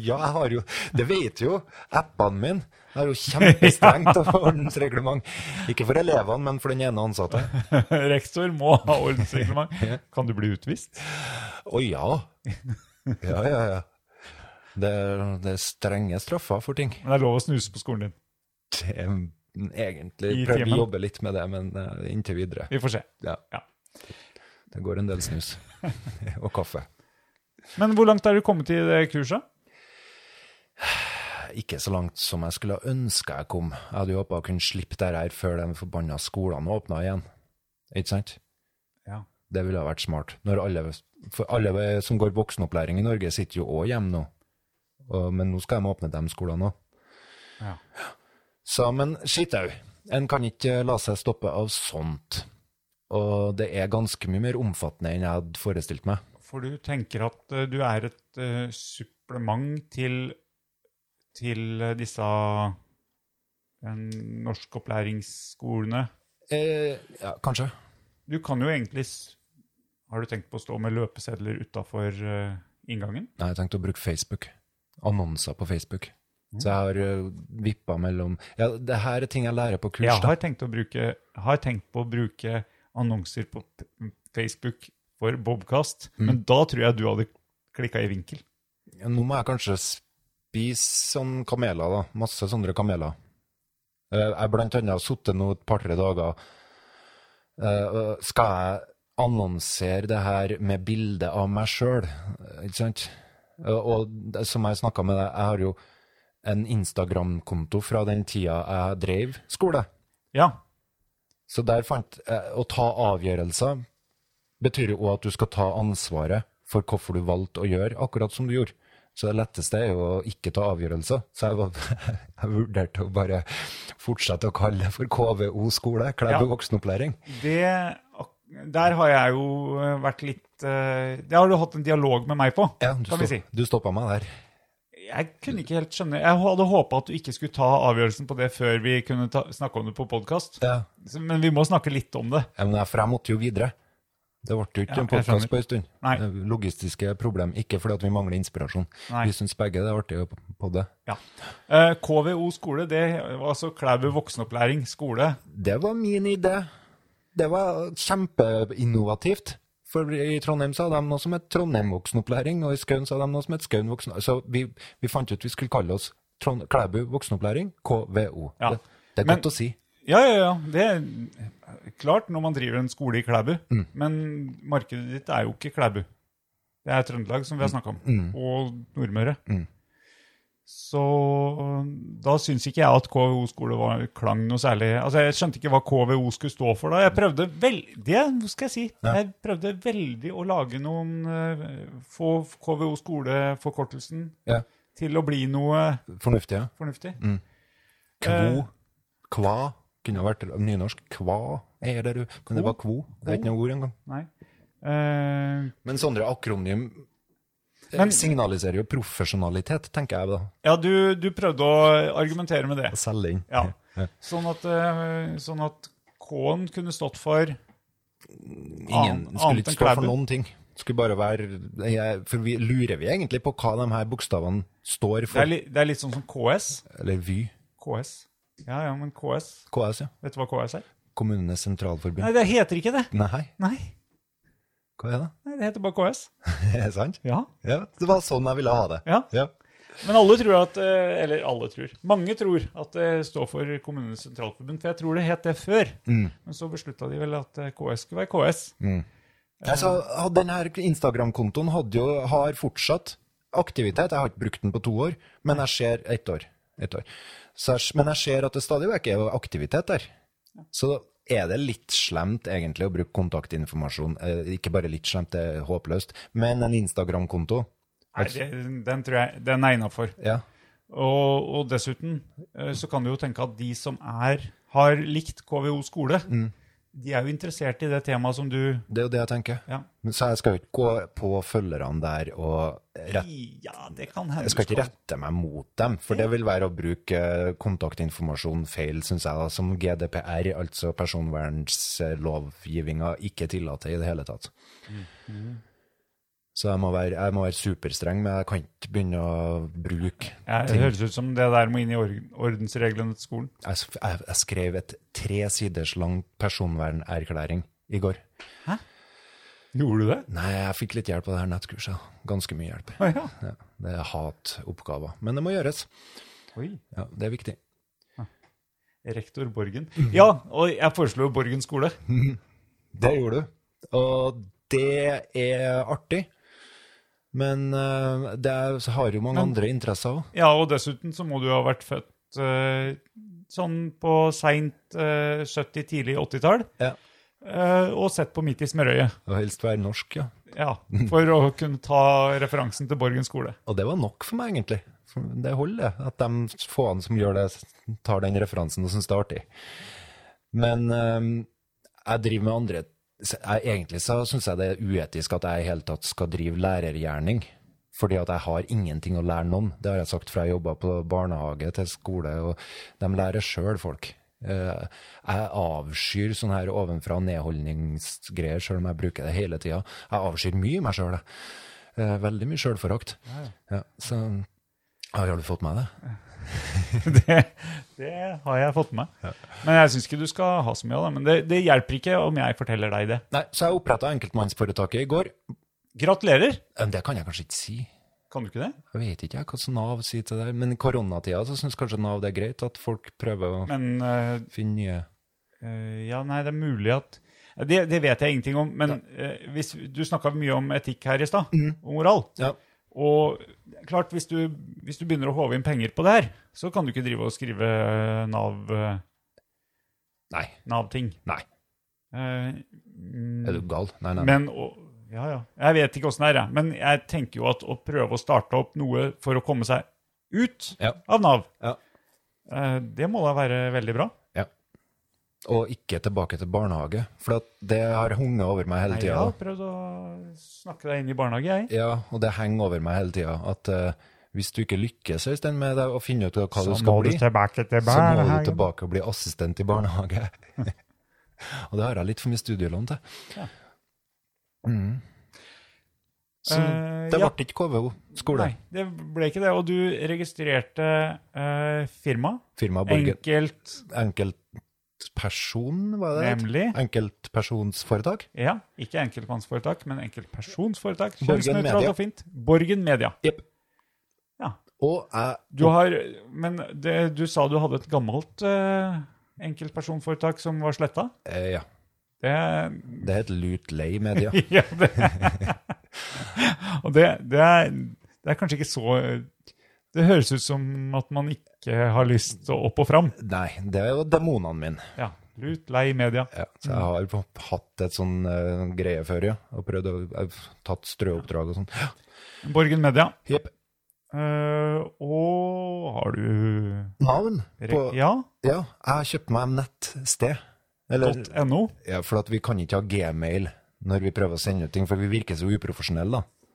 ja, jeg har jo Det vet jo appene mine. Jeg har jo kjempestrengt ordensreglement. Ikke for elevene, men for den ene ansatte.
Rektor må ha ordensreglement. Kan du bli utvist?
Å ja. Ja, ja, ja. Det er, det er strenge straffer for ting.
Men det er lov å snuse på skolen din.
Det er
I
egentlig prøver
timen.
å jobbe litt med det, men eh, inntil videre.
Vi får se.
Ja.
Ja.
Det går en del snus. Og kaffe.
Men hvor langt er du kommet i det kurset?
ikke så langt som jeg skulle ha ønska jeg kom. Jeg hadde jo håpa å kunne slippe det her før de forbanna skolene åpna igjen. Ikke sant?
Ja.
Det ville ha vært smart. Når alle, for alle som går voksenopplæring i Norge, sitter jo òg hjemme nå. Og, men nå skal de åpne de skolene òg.
Ja.
Så, men skitt au. En kan ikke la seg stoppe av sånt. Og det er ganske mye mer omfattende enn jeg hadde forestilt meg.
for du tenker at eh, du er et eh, supplement til, til eh, disse eh, norskopplæringsskolene.
Eh, ja, kanskje.
Du kan jo egentlig s- Har du tenkt på å stå med løpesedler utafor eh, inngangen?
Nei, jeg tenkte å bruke Facebook. Annonser på Facebook. Så jeg har eh, vippa mellom Ja, det her er ting jeg lærer på kurs,
Jeg
da.
har tenkt, å bruke, har tenkt på å bruke annonser på p- Facebook for Bobkast,
Mm.
men da tror jeg du hadde klikka i vinkel.
Ja, Nå må jeg kanskje spise sånne kameler, da. Masse sånne kameler. Eh, Jeg blant annet har sittet nå et par-tre dager Eh, og Skal jeg annonsere det her med bilde av meg sjøl, ikke sant? Eh, Og det- som jeg snakka med deg, jeg har jo en Instagram-konto fra den tida jeg drev skole.
Ja.
Så der fant eh, Å ta avgjørelser betyr jo også at du skal ta ansvaret for hvorfor du valgte å gjøre akkurat som du gjorde. Så det letteste er jo å ikke ta avgjørelser. Så jeg, var, jeg vurderte å bare fortsette å kalle det for KVO skole, Klæbu
Ja.
voksenopplæring.
Det, ak- der har jeg jo eh, vært litt eh, Det har du hatt en dialog med meg på,
Ja, du,
kan vi si.
stopp- du stoppa meg der.
Jeg kunne ikke helt skjønne Jeg hadde håpa at du ikke skulle ta avgjørelsen på det før vi kunne ta, snakke om det på podkast,
Ja.
men vi må snakke litt om det.
Ja, men jeg, for jeg måtte jo videre. Det ble jo ikke
Ja,
en
jeg
podkast
skjønner.
på en stund.
Nei.
Logistiske problem. Ikke fordi at vi mangler inspirasjon.
Nei.
Vi syns begge det er artig å podde.
Ja. Eh, KVO skole, det var altså Klæbu voksenopplæring skole.
Det var min idé. Det var kjempeinnovativt. For i Trondheim så hadde de noe som het Trondheim voksenopplæring, og i Skaun så hadde de noe som het Skaun voksenopplæring. Så vi, vi fant ut vi skulle kalle oss Trond Klæbu voksenopplæring, KVO.
Ja.
Det, det er
Men-
godt å si.
Ja, ja, ja. Det er klart når man driver en skole i Klæbu. Men markedet ditt er jo ikke Klæbu. Det er Trøndelag, som vi har snakka om, og Nordmøre. Så da syns ikke jeg at KVO skole var klang noe særlig Altså, Jeg skjønte ikke hva KVO skulle stå for da. Jeg prøvde veldig Det skal jeg si. Jeg prøvde veldig å lage noen eh, Få KVO skole-forkortelsen
Ja.
til å bli noe
Fornuftig, ja.
fornuftig. Eh.
Kvo. Kva. Kunne ha vært nynorsk. Kva er det du Kan det være kvo? Det er ikke noe ord engang.
Nei. Eh,
Men Sondre, akronym eh,
Men-
signaliserer jo profesjonalitet, tenker jeg da.
Ja, du, du prøvde å argumentere med det.
Å selge inn.
Ja. Sånn at, eh, sånn at K-en kunne stått for
Ingen
Annet-
skulle
annet
ikke
enn
stå for
Klæbu.
noen ting. Skulle bare være jeg, For vi lurer vi egentlig på hva de her bokstavene står
det er,
for?
li, det er litt sånn som KS.
Eller Vy.
KS. Ja, ja, men KS
KS, ja.
Vet du hva KS er?
Kommunenes sentralforbund.
Nei, det heter ikke det.
Nei,
Nei,
hva er det?
nei det heter bare KS.
Er det sant?
Ja.
Ja, det var sånn jeg ville ha det.
ja.
Ja.
Men alle tror at eh, Eller alle tror. Mange tror at det står for Kommunenes sentralforbund, for jeg tror det het det før. Men så beslutta de vel at eh, KS skulle være KS.
Altså, denne Instagram-kontoen hadde jo, har fortsatt aktivitet. Jeg har ikke brukt den på to år, men jeg ser ett år. Ett år. Så jeg, men jeg ser at det stadig vekk er aktivitet der. Så er det litt slemt egentlig å bruke kontaktinformasjon. Eh, Ikke bare litt slemt, det er håpløst, men en Instagram-konto.
Nei, det, den tror jeg den er innafor.
Ja.
Og, og dessuten eh, så kan du jo tenke at de som er, har likt KVO skole,
Mm.
de er jo interessert i det temaet som du
Det er jo det jeg tenker.
Ja,
Men Så jeg skal jo ikke gå på følgerne der og rett,
ja det kan hende.
jeg skal
du
ikke rette meg mot dem, for det vil være å bruke eh, kontaktinformasjon feil, syns jeg, da, som GDPR, altså personvernlovgivninga, ikke tillater i det hele tatt. Så jeg må, være, jeg må være superstreng, men jeg kan ikke begynne å bruke
Ja, det høres ut som det der må inn i or- ordensreglene til skolen.
Jeg, s- jeg, jeg skrev et tre siders lang personvernerklæring i går.
Gjorde du det?
Nei, jeg fikk litt hjelp av det her nettkurset. da. Ganske mye hjelp.
Å, ja.
Ja, det er hatoppgaver. Men det må gjøres.
Oi.
Ja, det er viktig.
Rektor Borgen.
Mm.
Ja, og jeg foreslo Borgen skole.
Det gjorde du. Og det er artig. Men eh, det er, så har jo mange andre interesser òg.
Ja, og dessuten så må du ha vært født eh, sånn på seint eh, 70-, tidlig 80-tall,
Ja.
eh, og sett på Midt i smørøyet.
Og helst være norsk, ja.
Ja,
Mm.
for å kunne ta referansen til Borgen skole.
Og det var nok for meg, egentlig. For Det holder, det, at de få som gjør det, tar den referansen og syns det er artig. Men eh, ehm, jeg driver med andre så jeg, egentlig så syns jeg det er uetisk at jeg i hele tatt skal drive lærergjerning. Fordi at jeg har ingenting å lære noen. Det har jeg sagt fra jeg jobba på barnehage til skole, og de lærer sjøl, folk. Eh, Jeg avskyr sånne her ovenfra og nedholdningsgreier, sjøl om jeg bruker det hele tida. Jeg avskyr mye meg sjøl, jeg. Eh, Veldig mye sjølforakt. Ja, så har du fått med deg det?
Det, det har jeg fått med meg. Men jeg syns ikke du skal ha så mye av det. Men det, det hjelper ikke om jeg forteller deg det.
Nei, så jeg oppretta enkeltmannsforetaket i går.
Gratulerer!
Eh, Det kan jeg kanskje ikke si.
Kan du ikke det?
Jeg vet ikke jeg, hva Nav sier til det, men i koronatida så syns kanskje Nav det er greit at folk prøver å
Men eh,
finne nye
Eh, ja, nei, det er mulig at Det, det vet jeg ingenting om, men eh, hvis, du snakka mye om etikk her i stad, og moral.
Ja.
Og det er klart, hvis du, hvis du begynner å håve inn penger på det her, så kan du ikke drive og skrive eh, Nav, eh,
Nei.
Nav-ting.
Nei.
Eh, mm,
Er du gal? Nei, nei. nei.
men å, Ja, ja. Jeg vet ikke åssen det er, jeg. Men jeg tenker jo at å prøve å starte opp noe for å komme seg ut
Ja.
av Nav,
Ja.
eh, det må da være veldig bra.
Og ikke tilbake til barnehage, for at det har hunget over meg hele
Nei, jeg har
tida.
prøvd å snakke deg inn i barnehage, jeg.
Ja, og det henger over meg hele tida at eh, hvis du ikke lykkes Øystein, med det, å finne ut hva du skal bli,
tilbake til
så må du tilbake og bli assistent i barnehage. og det har jeg litt for mye studielån til. Mm. Så
Eh,
det
ja.
ble ikke KVO. Skole.
Nei, det ble ikke det. Og du registrerte eh, firma.
Firma Borgen.
Enkelt,
enkeltperson, var det det? het?
nemlig.
Enkeltpersonsforetak?
Ja, ikke enkeltmannsforetak, men enkeltpersonsforetak.
Borgen
Kjønnsnøytralt
Media.
og fint. Borgen Media.
Jepp.
Ja.
Og jeg,
Du har Men det, du sa du hadde et gammelt eh, enkeltpersonforetak som var sletta.
eh, ja,
Det
det heter Lutlei Media.
Ja, det Og det, det, er, det er kanskje ikke så Det høres ut som at man ikke har lyst å opp og fram.
Nei, det er jo demonene mine.
Ja. Lut, lei media.
Ja, så jeg har jo hatt et sånn eh, greie før, ja. Og prøvd å jeg har tatt strøoppdrag og sånn. Ja,
Borgen Media.
Jepp.
Eh, og har du
Navn på
rek-
Ja,
Ja,
jeg kjøpte meg nettsted. Eller
.no.
Ja, for at vi kan ikke ha gmail når vi prøver å sende ut ting, for vi virker så uprofesjonelle, da.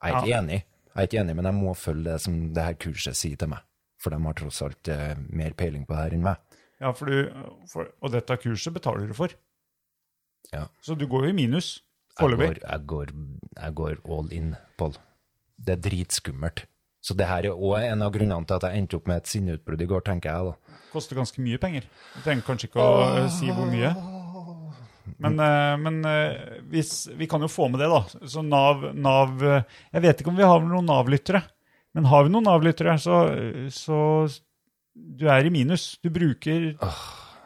Jeg er ikke
Ja.
enig, jeg er ikke enig, men jeg må følge det som det her kurset sier til meg. For de har tross alt eh, mer peiling på det her enn meg.
Ja, for du, for, og dette kurset betaler du for.
Ja.
Så du går jo i minus
Jeg
foreløpig.
går, jeg, går, jeg går all in, Pål. Det er dritskummelt. Så det her er òg en av grunnene til at jeg endte opp med et sinneutbrudd i går, tenker jeg, da.
Koster ganske mye penger. Du trenger kanskje ikke å eh, si hvor mye. Men, eh, men eh, hvis, vi kan jo få med det, da. Så Nav, NAV eh, Jeg vet ikke om vi har noen Nav-lyttere. Men har vi noen Nav-lyttere, så, så du er i minus. Du bruker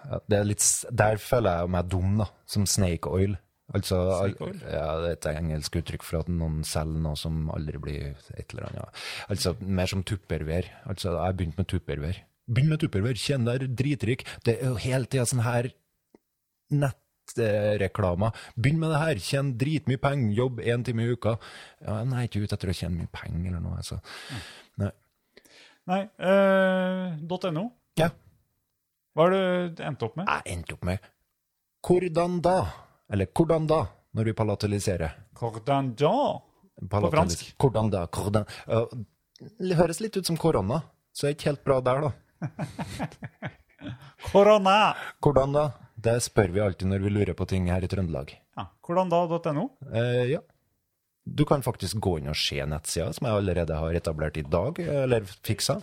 Ja, det er litt, s- der føler jeg meg dum, da. Som snake oil. Altså, al-
Snake oil?
Ja, det er et engelsk uttrykk for at noen selger noe som aldri blir et eller annet. Altså, mer som tupperware. Altså, jeg har begynt med tupperware. Begynn med tupperware, kjenn deg dritrik. Det er jo hele tida sånn her nettreklama. Begynn med det her, tjen dritmye penger, jobb én time i uka. Ja, men jeg er ikke ute etter å tjene mye penger eller noe, altså. Nei.
Nei, eh, .no.
Ja.
Hva har du endt opp med?
Jeg endte opp med Hvordan da? Eller hvordan da? Når vi palataliserer.
Hvordan da?
Palatel-
fransk.
Hvordan da? Hvordan? Ja, det høres litt ut som korona, så det er ikke helt bra der, da.
Korona!
Hvordan da? Det spør vi alltid når vi lurer på ting her i Trøndelag.
Ja, hvordan da.no?
Eh, ja. Du kan faktisk gå inn og se nettsida, som jeg allerede har etablert i dag, eller fiksa.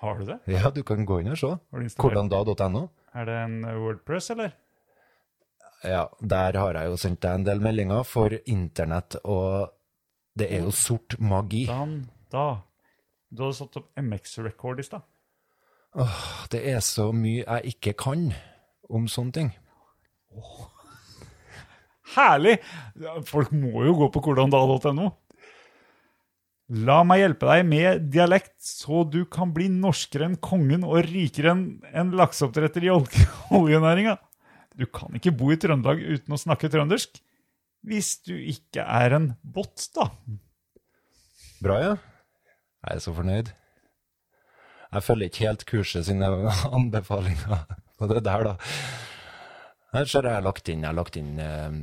Har du det?
Ja, du kan gå inn og se.
Har du installert?
Hvordan da.no.
Er det en Wordpress, eller?
Ja, der har jeg jo sendt deg en del meldinger for internett, og det er jo sort magi.
Dan, da. Du hadde satt opp MX-record i stad.
Det er så mye jeg ikke kan om sånne ting.
Herlig! Folk må jo gå på hvordanda.no. La meg hjelpe deg med dialekt, så du kan bli norskere enn kongen og rikere enn en lakseoppdretter i ol- oljenæringa. Du kan ikke bo i Trøndelag uten å snakke trøndersk. Hvis du ikke er en bot, da.
Bra, ja. Jeg er så fornøyd. Jeg følger ikke helt kurset sine anbefalinger på det der, da. Her ser jeg jeg har lagt inn, jeg har lagt inn eh,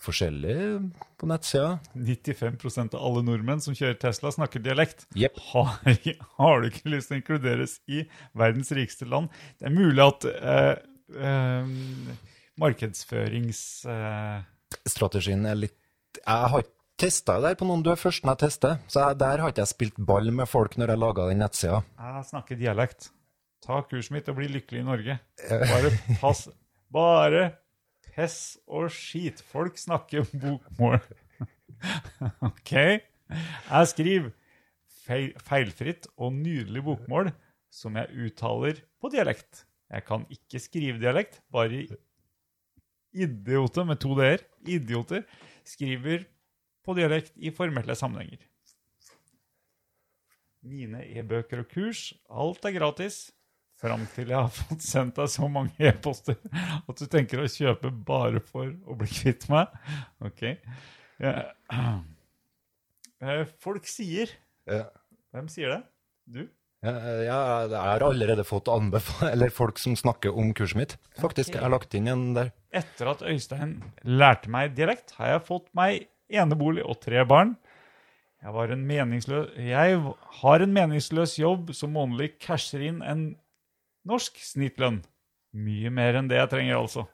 forskjellig på nettsida.
95 av alle nordmenn som kjører Tesla, snakker dialekt.
Jepp.
Har, har du ikke lyst til å inkluderes i verdens rikeste land? Det er mulig at eh, eh, markedsførings... eh,
Strategien er litt Jeg har ikke testa det der på noen. Du er først når jeg tester. Så jeg, der har ikke jeg spilt ball med folk når jeg laga den nettsida.
jeg snakker dialekt. Ta kurset mitt og bli lykkelig i Norge. Bare pass. Bare pess og skit. Folk snakker bokmål. OK? Jeg skriver feil, feilfritt og nydelig bokmål som jeg uttaler på dialekt. Jeg kan ikke skrive dialekt, bare idioter med to d-er, idioter, skriver på dialekt i formelle sammenhenger. Mine e-bøker og kurs, alt er gratis. Fram til jeg har fått sendt deg så mange e-poster at du tenker å kjøpe bare for å bli kvitt meg. Ok. Eh, eh, Folk sier
Ja.
Hvem sier det? Du?
Ja, ja, jeg har allerede fått anbefal eller folk som snakker om kurset mitt. Faktisk, jeg har lagt inn en der.
Etter at Øystein lærte meg dialekt, har jeg fått meg enebolig og tre barn. Jeg, var en meningslø- jeg har en meningsløs jobb som månedlig casher inn en norsk snittlønn. Mye mer enn det jeg trenger, altså.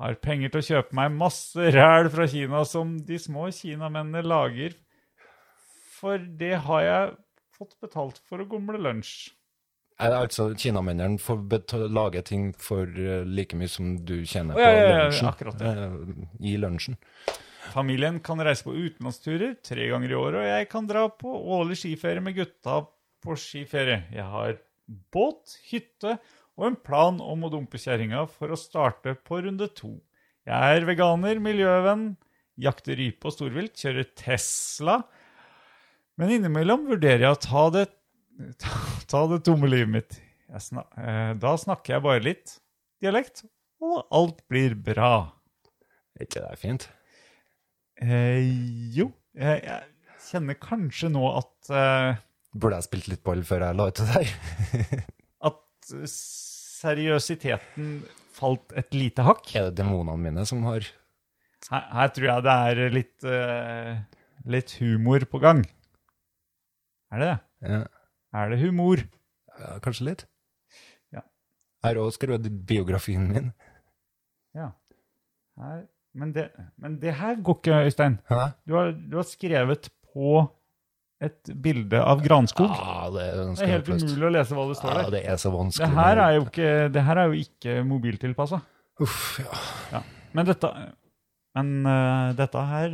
Har penger til å kjøpe meg masse ræl fra Kina som de små kinamennene lager. For det har jeg fått betalt for å gomle lunsj.
Eh, Altså, kinamennene får beta- lage ting for eh, like mye som du tjener
Å, ja,
på
ja, ja,
lunsjen.
akkurat,
Eh, I lunsjen.
Familien kan reise på utenlandsturer tre ganger i året, og jeg kan dra på årlig skiferie med gutta på skiferie. Jeg har båt, hytte og en plan om å dumpe kjerringa for å starte på runde to. Jeg er veganer, miljøvenn, jakter rype og storvilt, kjører Tesla. Men innimellom vurderer jeg å ta det, ta, ta det tomme livet mitt. Jeg sna, eh, da snakker jeg bare litt dialekt, og alt blir bra.
Er ikke det fint?
Eh, jo, jeg, jeg kjenner kanskje nå at, eh,
Burde jeg spilt litt ball før jeg la ut det der?
at seriøsiteten falt et lite hakk.
Er det demonene mine som har
Her, her tror jeg det er litt, eh, litt humor på gang. Er det det?
ja,
Er det humor?
ja, Kanskje litt?
Ja.
Jeg har òg skrevet biografien min.
Ja. Her, men, det, men det her går ikke, Øystein.
Hæ?
Du har, du har skrevet på et bilde av granskog.
Ah, det er
det er helt
ganske håpløst.
umulig å lese hva det står
Ah,
der.
det er så vanskelig.
Det her
med-
er jo ikke, det her er jo ikke mobiltilpassa.
Uff, ja.
Men dette Men eh, dette her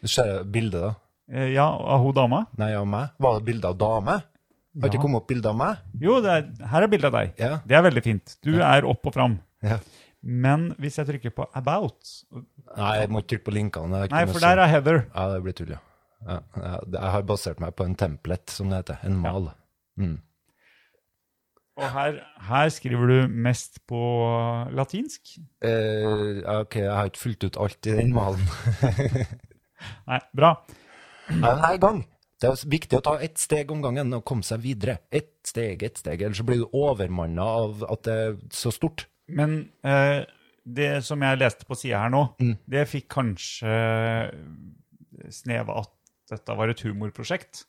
Du ser bildet, da.
eh, Ja, av hun dama?
Nei, av meg? Var det bilde av dame? Har ikke
Ja.
kommet opp bilde av meg?
Jo, det er, her er bildet av deg.
Ja.
Det er veldig fint. Du er opp og fram.
Ja.
Men hvis jeg trykker på About
Nei, jeg må ikke trykke på linkene. det er ikke
Nei,
noe
for
sånn.
der er Heather.
Ja, det blir tull, ja. ja. ja, det- Jeg har basert meg på en template, som det heter. En mal.
Og her, her skriver du mest på latinsk.
Eh, ok, jeg har ikke fulgt ut alt i den malen.
Nei, bra.
Ja, Nei, gang! Det er viktig å ta ett steg om gangen og komme seg videre. Ett steg, ett steg. Ellers så blir du overmanna av at det er så stort.
Men eh, det som jeg leste på sida her nå, det fikk kanskje snev av at dette var et humorprosjekt.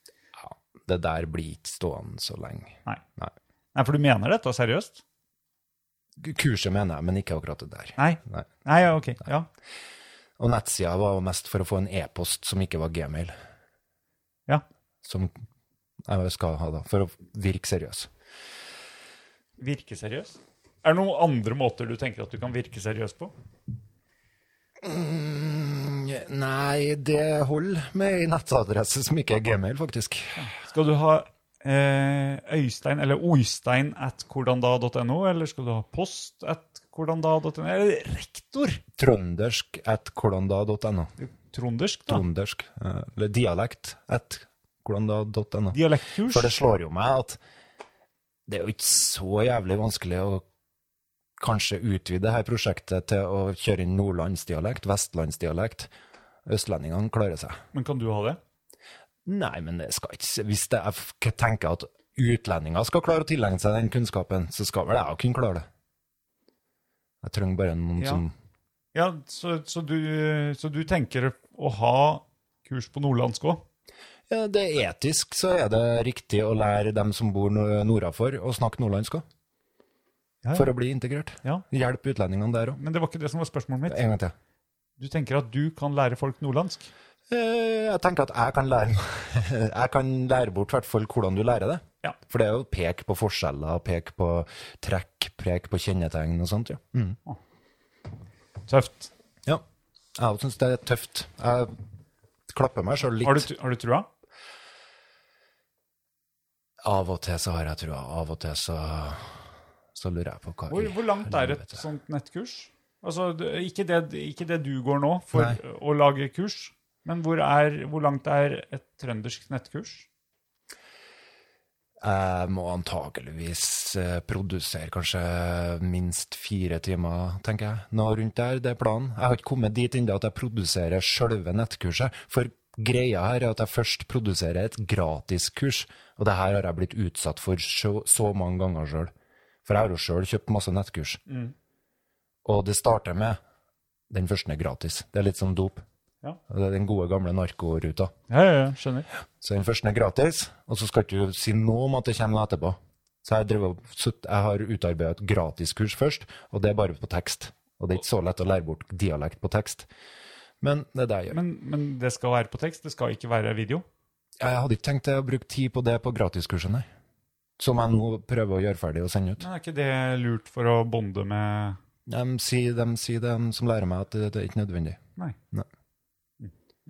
Det der blir ikke stående så lenge.
Nei.
Nei.
Nei, for du mener dette seriøst?
Kurset mener jeg, men ikke akkurat det der.
Nei.
Nei.
Nei, ja, OK. Ja.
Og nettsida var mest for å få en e-post som ikke var gmail.
ja.
som jeg skal ha, da, for å virke seriøs.
Virke seriøs? Er det noen andre måter du tenker at du kan virke seriøs på?
Nei, det holder med en nettadresse som ikke er gmail, faktisk.
Skal du ha eh, Øystein eller Oystein at hvordanda.no, eller skal du ha post at hvordanda.no, eller rektor?
Trøndersk at kolonda.no.
Trondersk, da.
Trøndersk, eh, eller dialekt at kolonda.no.
Dialektkurs.
For det slår jo meg at det er jo ikke så jævlig vanskelig å kanskje utvide dette prosjektet til å kjøre inn nordlandsdialekt, vestlandsdialekt. Østlendingene klarer seg.
Men kan du ha det?
Nei, men det skal ikke Hvis det er, jeg tenker at utlendinger skal klare å tilegne seg den kunnskapen, så skal vel jeg kunne klare det. Jeg trenger bare noen
Ja.
som
Ja, så, så, du, så du tenker å ha kurs på nordlandsk òg?
Ja, det er etisk, så er det riktig å lære dem som bor no- nordafor, å snakke nordlandsk òg.
Ja, ja.
For å bli integrert.
Ja.
Hjelp utlendingene der òg.
Men det var ikke det som var spørsmålet mitt.
En gang til.
Du tenker at du kan lære folk nordlandsk?
Eh, Jeg tenker at jeg kan lære, jeg kan lære bort i hvert fall hvordan du lærer det.
Ja.
For det er jo pek på forskjeller, pek på trekk, pek på kjennetegn og sånt. Ja. Mm.
Tøft.
ja. Jeg syns det er tøft. Jeg klapper meg sjøl litt.
Har du, tr- har du trua?
Av og til så har jeg trua, av og til så, så lurer jeg på hva
Hvor,
i
hvor langt er et
helvete.
sånt nettkurs? Altså, det- ikke det, ikke det du går nå for
Nei.
å lage kurs, men hvor, er, hvor langt er et trøndersk nettkurs?
Jeg må antakeligvis eh, produsere kanskje minst fire timer, tenker jeg. Nå rundt der, det er planen. Jeg har ikke kommet dit ennå at jeg produserer sjølve nettkurset. For greia her er at jeg først produserer et gratiskurs, og det her har jeg blitt utsatt for så, så mange ganger sjøl. For jeg har jo sjøl kjøpt masse nettkurs. Og det starter med den første er gratis. Det er litt som dop.
Ja.
Det er den gode, gamle narkoruta.
Ja, ja, ja, skjønner.
Så den første er gratis, og så skal ikke du si noe om at det kommer noe etterpå. Så jeg, drev, og- så jeg har utarbeidet et gratiskurs først, og det er bare på tekst. Og det er ikke så lett å lære bort dialekt på tekst. Men det er det jeg gjør.
Men, men det skal være på tekst, det skal ikke være video.
Jeg hadde ikke tenkt å bruke tid på det på gratiskurset, nei. Som jeg nå prøver å gjøre ferdig og sende ut.
Men er ikke det lurt for å bonde med
De sier, de sier de som lærer meg at det, det er ikke nødvendig.
Nei.
Nei.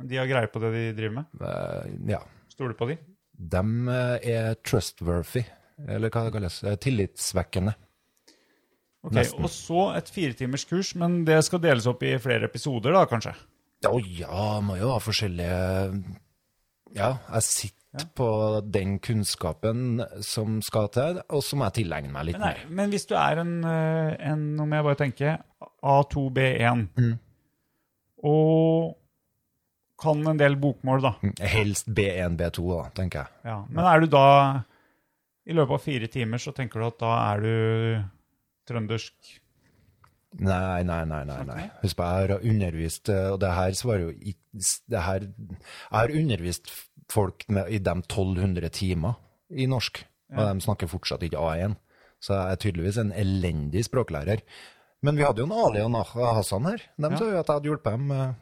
Men de har greie på det de driver med?
Eh, ja.
Stoler du på de?
De eh, er trustworthy, eller hva det kalles. eh, Tillitsvekkende.
Ok,
Nesten.
Og så et firetimerskurs, men det skal deles opp i flere episoder, da, kanskje?
Ja, Å ja, må jo ha forskjellige Ja, jeg sitter på den kunnskapen som skal til, og som jeg tilegner meg litt
Men, nei,
mer.
men hvis du er en, eh, en nå må jeg bare tenke, A2B1,
Mm.
og kan en del bokmål, da.
Mm. Helst B1, B2, da, tenker jeg.
Ja. Men er du da I løpet av fire timer så tenker du at da er du trøndersk
Nei, nei, nei. nei, nei. Husk på, jeg har undervist, eh, og det her svarer jo ikke det her, Jeg har undervist f- folk med, i de 1200 timer i norsk, og de snakker fortsatt ikke A1. Så jeg er tydeligvis en elendig språklærer. Men vi hadde jo en Ali og Nah- Hassan her. De sa jo at jeg hadde hjulpet dem. eh,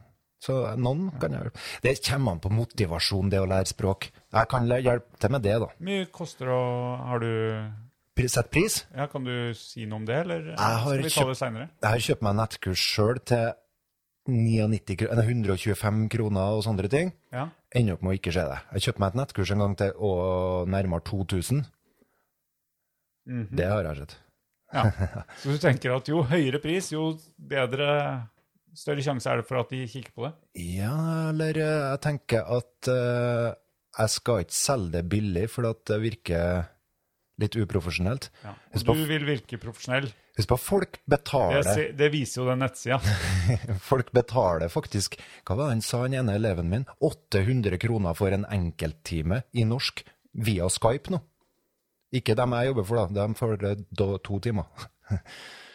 Så noen kan jeg hjelpe. Det kommer an på motivasjon, det å lære språk. Jeg kan læ- hjelpe til med det, da.
Hvor mye koster å Har du
Pri- Sett pris.
Ja, kan du si noe om det, eller
har
skal vi ta
kjøpt-
det seinere?
Jeg har kjøpt meg nettkurs sjøl til 99 kro- nei, 125 kroner og sånne ting.
Ja.
Ender opp med å ikke se det. Jeg kjøpte meg et nettkurs en gang til og nærmere 2000.
Mm.
Det har jeg sett.
ja. Mhm. Så du tenker at jo høyere pris, jo bedre Større sjanse er det for at de kikker på det?
Ja, eller eh, jeg tenker at eh, jeg skal ikke selge det billig, for at det virker litt uprofesjonelt.
Ja.
Husk
Du
på-
vil virke profesjonell.
Husk på, folk
Det,
betaler.
se- det viser jo den nettsida.
Folk betaler faktisk Hva var det han sa, den ene eleven min? 800 kroner for en enkelttime i norsk via Skype nå. Ikke dem jeg jobber for, da. De får eh, da to timer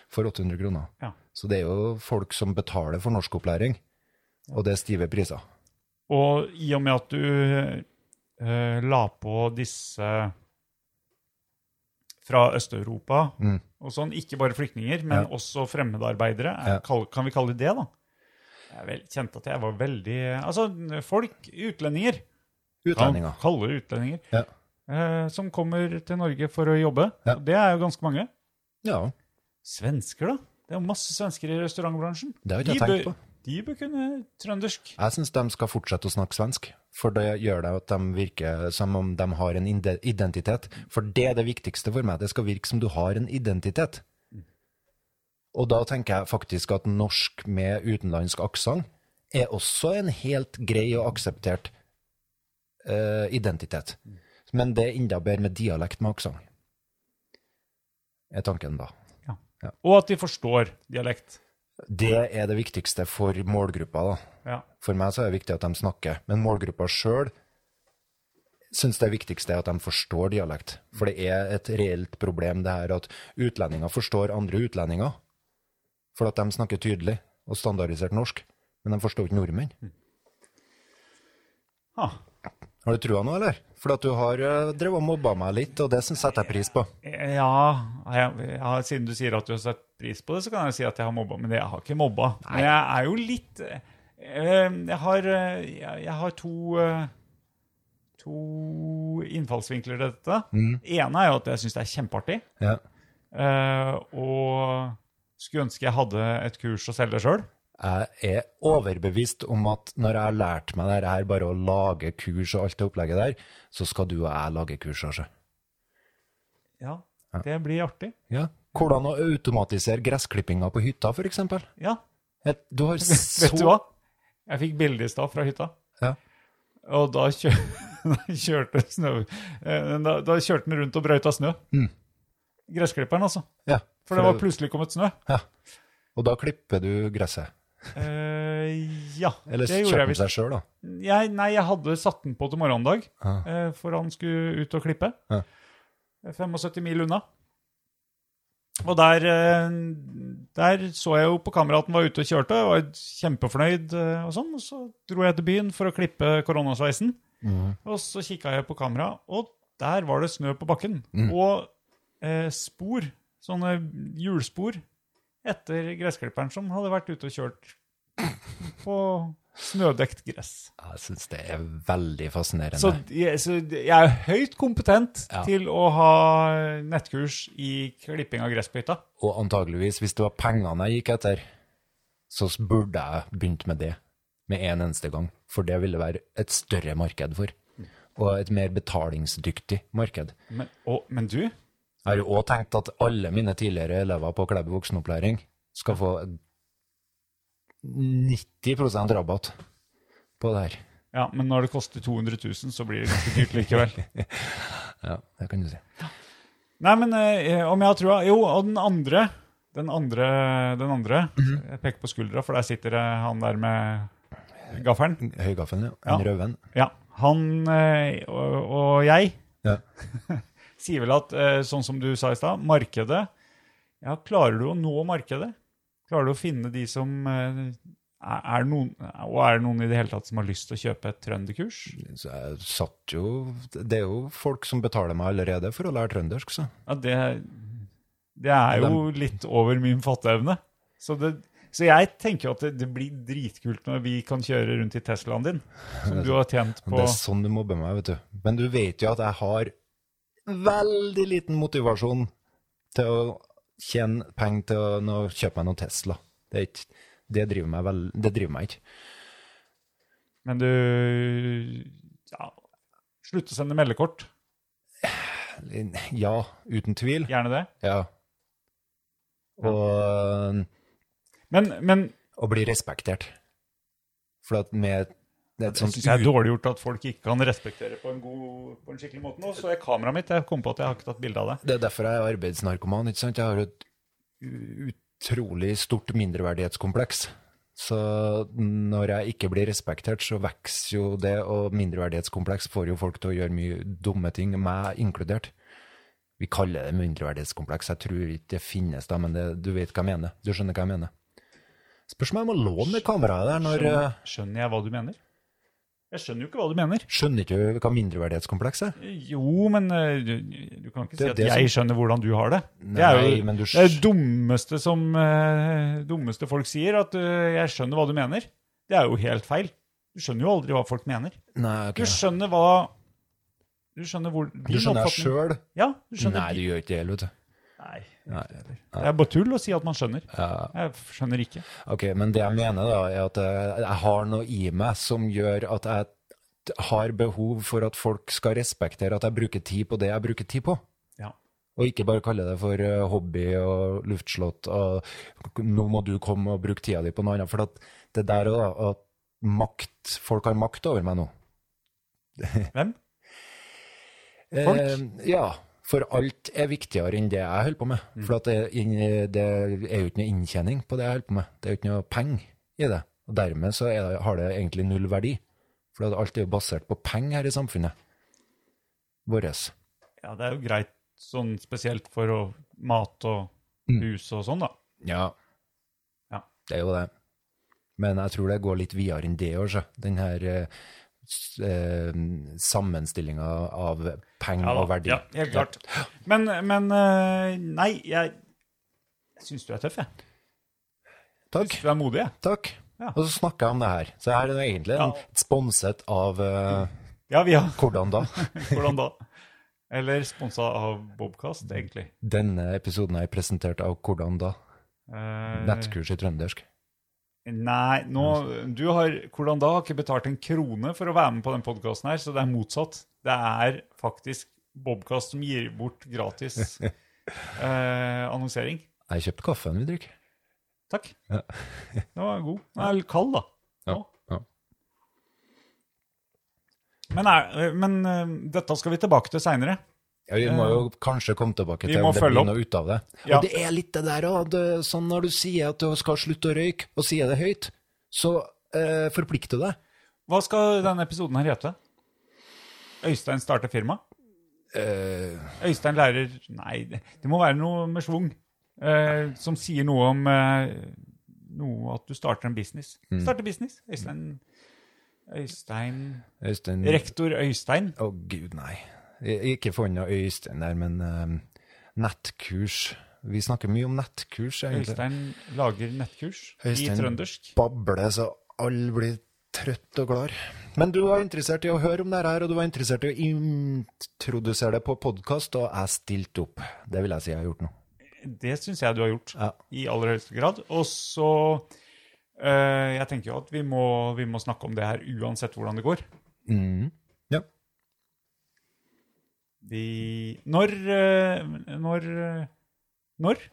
for 800 kroner.
Ja.
Så det er jo folk som betaler for norskopplæring, og det er stive priser.
Og i og med at du eh, la på disse fra Øst-Europa og sånn, ikke bare flyktninger, men
Mm. Ja.
også fremmedarbeidere, er,
Ja.
kall- kan vi kalle det det, da? Jeg vel, kjente at jeg var veldig Altså, folk, utlendinger, kan
Utlendinger.
kalle det utlendinger,
Ja.
eh, som kommer til Norge for å jobbe.
Ja.
Det er jo ganske mange.
ja.
Svensker, da? Det er jo masse svensker i restaurantbransjen.
Det har ikke jeg
De
tenkt
bør-
på.
De bør kunne trøndersk.
Jeg syns de skal fortsette å snakke svensk, for det gjør det at de virker som om de har en inde- identitet. For det er det viktigste for meg, det skal virke som du har en identitet. Og da tenker jeg faktisk at norsk med utenlandsk aksent er også en helt grei og akseptert eh, identitet. Men det er enda bedre med dialekt med aksent, er tanken da.
Og at de forstår dialekt.
Det er det viktigste for målgruppa, da.
Ja.
For meg så er det viktig at de snakker, men målgruppa sjøl syns det viktigste er at de forstår dialekt. For det er et reelt problem det her at utlendinger forstår andre utlendinger, for at de snakker tydelig. og standardisert norsk, men de forstår ikke nordmenn.
Ah,
Har du trua nå, eller? For at du har eh, drevet og mobba meg litt, og det syns- setter jeg pris på.
ja, jeg, ja, siden du sier at du har satt pris på det, så kan jeg si at jeg har mobba. Men jeg har ikke mobba. Men jeg er jo litt eh, Jeg har, eh, jeg, jeg har to eh, To innfallsvinkler til dette. Det ene er jo at jeg syns det er kjempeartig.
Ja.
eh, og skulle ønske jeg hadde et kurs å selge sjøl.
Jeg er overbevist om at når jeg har lært meg dette her, bare å lage kurs og alt det opplegget der, så skal du og jeg lage kurs, altså.
Ja, det blir artig.
Ja. Hvordan å automatisere gressklippinga på hytta, for eksempel.
Ja,
Et- Du har så
Vet du hva? Jeg fikk bilde i stad fra hytta.
Ja.
Og da, kjø da kjørte snø eh, da, da kjørte den rundt og brøyta snø.
Mm.
Gressklipperen, altså.
Ja,
For det var plutselig kommet snø.
ja. Og da klipper du gresset.
Eh, ja,
Eller
det gjorde
kjøper
jeg
den
visst.
seg sjøl, da.
Jeg, nei, jeg hadde satt den på til morgendag,
Ja.
eh, for han skulle ut og klippe.
Ja.
Eh, 75 mil unna. Og der, eh, der så jeg jo på kamera at han var ute og kjørte, og var kjempefornøyd eh, og sånn. Og så dro jeg til byen for å klippe koronasveisen.
Mm.
Og så kikka jeg på kamera, og der var det snø på bakken.
Mm.
Og eh, spor, sånne hjulspor, etter gressklipperen som hadde vært ute og kjørt på snødekt gress.
Jeg syns det er veldig fascinerende.
Så, jeg- så jeg er høyt kompetent
Ja.
til å ha nettkurs i klipping av gress på hytta.
Og antageligvis, hvis det var pengene jeg gikk etter, så burde jeg begynt med det med en eneste gang. For det ville være et større marked for.
Mm.
Og et mer betalingsdyktig marked.
Men, å, men du,
Jeg har jo òg tenkt at alle mine tidligere elever på Klæbu voksenopplæring skal få 90 rabatt på det her.
ja, men når det koster 200 000, så blir det ganske dyrt likevel.
Ja, det kan du si.
Nei, men eh, om jeg har trua Jo, og den andre Den andre, den andre Jeg peker på skuldra, for der sitter det han der med gaffelen.
Høygaffelen, ja.
Ja.
En røven.
Ja, han eh, og, og jeg
Ja.
sier vel at, eh, sånn som du sa i stad, markedet Ja, klarer du å nå markedet? Klarer du å finne de som eh, er er det noen, Og er det noen i det hele tatt som har lyst til å kjøpe et trønderkurs?
Så jeg satt jo Det er jo folk som betaler meg allerede for å lære trøndersk, så.
Ja, det, det er jo litt over min fatteevne. Så, det, så jeg tenker jo at det, det blir dritkult når vi kan kjøre rundt i Teslaen din, som du har tjent på
Det er sånn du mobber meg, vet du. Men du vet jo at jeg har veldig liten motivasjon til å tjene penger til å nå kjøpe meg noen Tesla. Det, er ikke, det driver meg vel, det driver meg ikke.
Men du ja, Slutt å sende meldekort.
Ja, uten tvil.
Gjerne det.
Ja. Og, øh,
Men, men
og bli respektert. For at med det er et
Jeg
sånt
synes det er dårlig gjort at folk ikke kan respektere på en, god, på en skikkelig måte nå. Så er kameraet mitt Jeg kom på at jeg har ikke tatt bilde av det.
Det er derfor jeg er arbeidsnarkoman. ikke sant? Jeg har et u- utrolig stort mindreverdighetskompleks. Så når jeg ikke blir respektert, så vokser jo det, og mindreverdighetskompleks får jo folk til å gjøre mye dumme ting, meg inkludert. Vi kaller det mindreverdighetskompleks. Jeg tror ikke det finnes, da, men det, du vet hva jeg mener. Du skjønner hva jeg mener. Spørs om jeg må låne det kameraet der når eh,
Skjønner, skjønner jeg hva du mener? Jeg skjønner jo ikke hva du mener.
Skjønner ikke du hva mindreverdighetskompleks er?
Jo, men eh, du, du kan
Det
ikke si
er
at
det
jeg skjønner hvordan du har det. det er
Nei,
jo
men du
det er det dummeste som eh, dummeste folk sier, at eh, 'jeg skjønner hva du mener'. Det er jo helt feil. Du skjønner jo aldri hva folk mener.
Nei, ok.
Du skjønner hva Du skjønner hvor
Du
din
skjønner deg
oppfatning-
sjøl?
Ja, du skjønner
Nei, du gjør ikke det heller, vet du.
Nei.
Nei.
Det er bare tull å si at man skjønner.
Ja.
Jeg skjønner ikke.
Ok, men det jeg mener da, er at jeg, jeg har noe i meg som gjør at jeg t- har behov for at folk skal respektere at jeg bruker tid på det jeg bruker tid på.
Ja.
Og ikke bare kalle det for eh, hobby og luftslott og k- nå må du komme og bruke tida di på noe annet. For at det der òg, da, at makt, folk har makt over meg nå.
Hvem?
Folk? Eh, ja. For alt er viktigere enn det jeg holder på med.
Mm.
For at det, inn- det er jo ikke noe inntjening på det jeg holder på med. Det er jo ikke noe penger i det. Og dermed så er det, har det egentlig null verdi. For at alt er jo basert på penger her i samfunnet vårt.
Ja, det er jo greit sånn spesielt for
Mm.
å, mat og hus og sånn, da.
Ja.
Ja.
Det er jo det. Men jeg tror det går litt videre enn det òg, så. Den her eh, s- eh, sammenstillinga av penger
Ja,
og
da.
verdi.
ja helt klart. Men, men eh, Nei, jeg, jeg syns du er tøff, jeg.
Takk.
Du er modig, jeg.
Takk.
Ja.
Og så snakker jeg om det her. Så her er det egentlig en
Ja.
sponset av eh,
Ja, vi har
Hvordan da?
Hvordan da? Eller sponsa av Bobkast, egentlig.
Denne episoden er presentert av Hvordan da?
Eh,
Nettkurs i trøndersk.
Nei, nå, du har, hvordan da, har ikke betalt en krone for å være med på den podkasten her, så det er motsatt. Det er faktisk Bobkast som gir bort gratis eh, annonsering.
Jeg kjøpte kaffen vi drikker.
Takk. Den var god. Den er litt kald, da.
Ja.
Nå.
ja.
Men, er, men eh, dette skal vi tilbake til seinere.
Ja, vi må jo kanskje komme tilbake
Vi
til
må
om det
følge
blir
opp.
noe ut av det.
Ja.
Og det er litt det der òg, sånn når du sier at du skal slutte å røyke, og sier det høyt, så eh, forplikter du deg.
Hva skal denne episoden her hete? Øystein starter firma?
Eh,
Øystein lærer Nei, det, det må være noe med schwung. Eh, som sier noe om eh, noe at du starter en business.
Mm.
Starter business. Øystein Øystein
Øystein
Rektor Øystein.
Å, gud, nei. Jeg- Ikke få noe Øystein der, men eh, nettkurs. Vi snakker mye om nettkurs, egentlig.
Øystein lager nettkurs
Øystein
i trøndersk.
babler så alle blir trøtt og klar. Men du var interessert i å høre om det her, og du var interessert i å introdusere det på podkast, og jeg stilte opp. Det vil jeg si jeg har gjort nå.
Det syns jeg du har gjort.
Ja.
I aller høyeste grad. Og så eh, Jeg tenker jo at vi må, vi må snakke om det her uansett hvordan det går.
Ja.
Vi Når eh, Når eh, Når?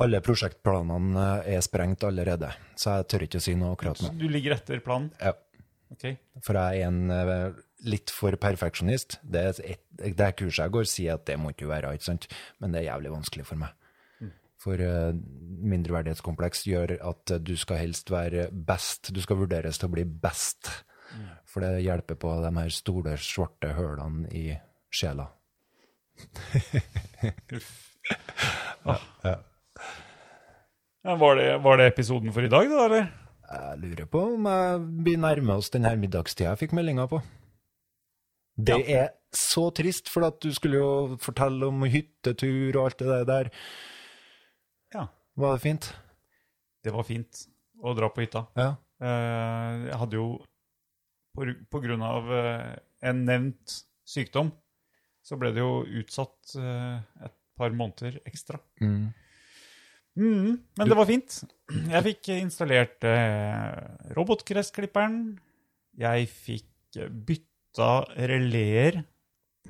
Alle prosjektplanene eh, er sprengt allerede, så jeg tør ikke å si noe akkurat nå.
Du ligger etter planen?
Ja.
Ok.
For jeg er en eh, litt for perfeksjonist. Det, er et, det her kurset jeg går, sier at det må ikke være, ikke sant? Men det er jævlig vanskelig for meg. For eh, mindreverdighetskompleks gjør at eh, du skal helst være best. Du skal vurderes til å bli best. For det hjelper på de her store, svarte hølene i sjela.
Ja, var, det, var det episoden for i dag, da, eller?
Jeg lurer på om jeg blir nærme oss den her middagstida jeg fikk meldinga på. Det er så trist, for at du skulle jo fortelle om hyttetur og alt det der.
Ja.
Var det fint?
Det var fint å dra på hytta.
Ja.
Eh, Jeg hadde jo på, gru- på grunn av eh, en nevnt sykdom, så ble det jo utsatt eh, et par måneder ekstra. Mm, men det var fint. Jeg fikk installert eh, robotgressklipperen. Jeg fikk eh, bytta releer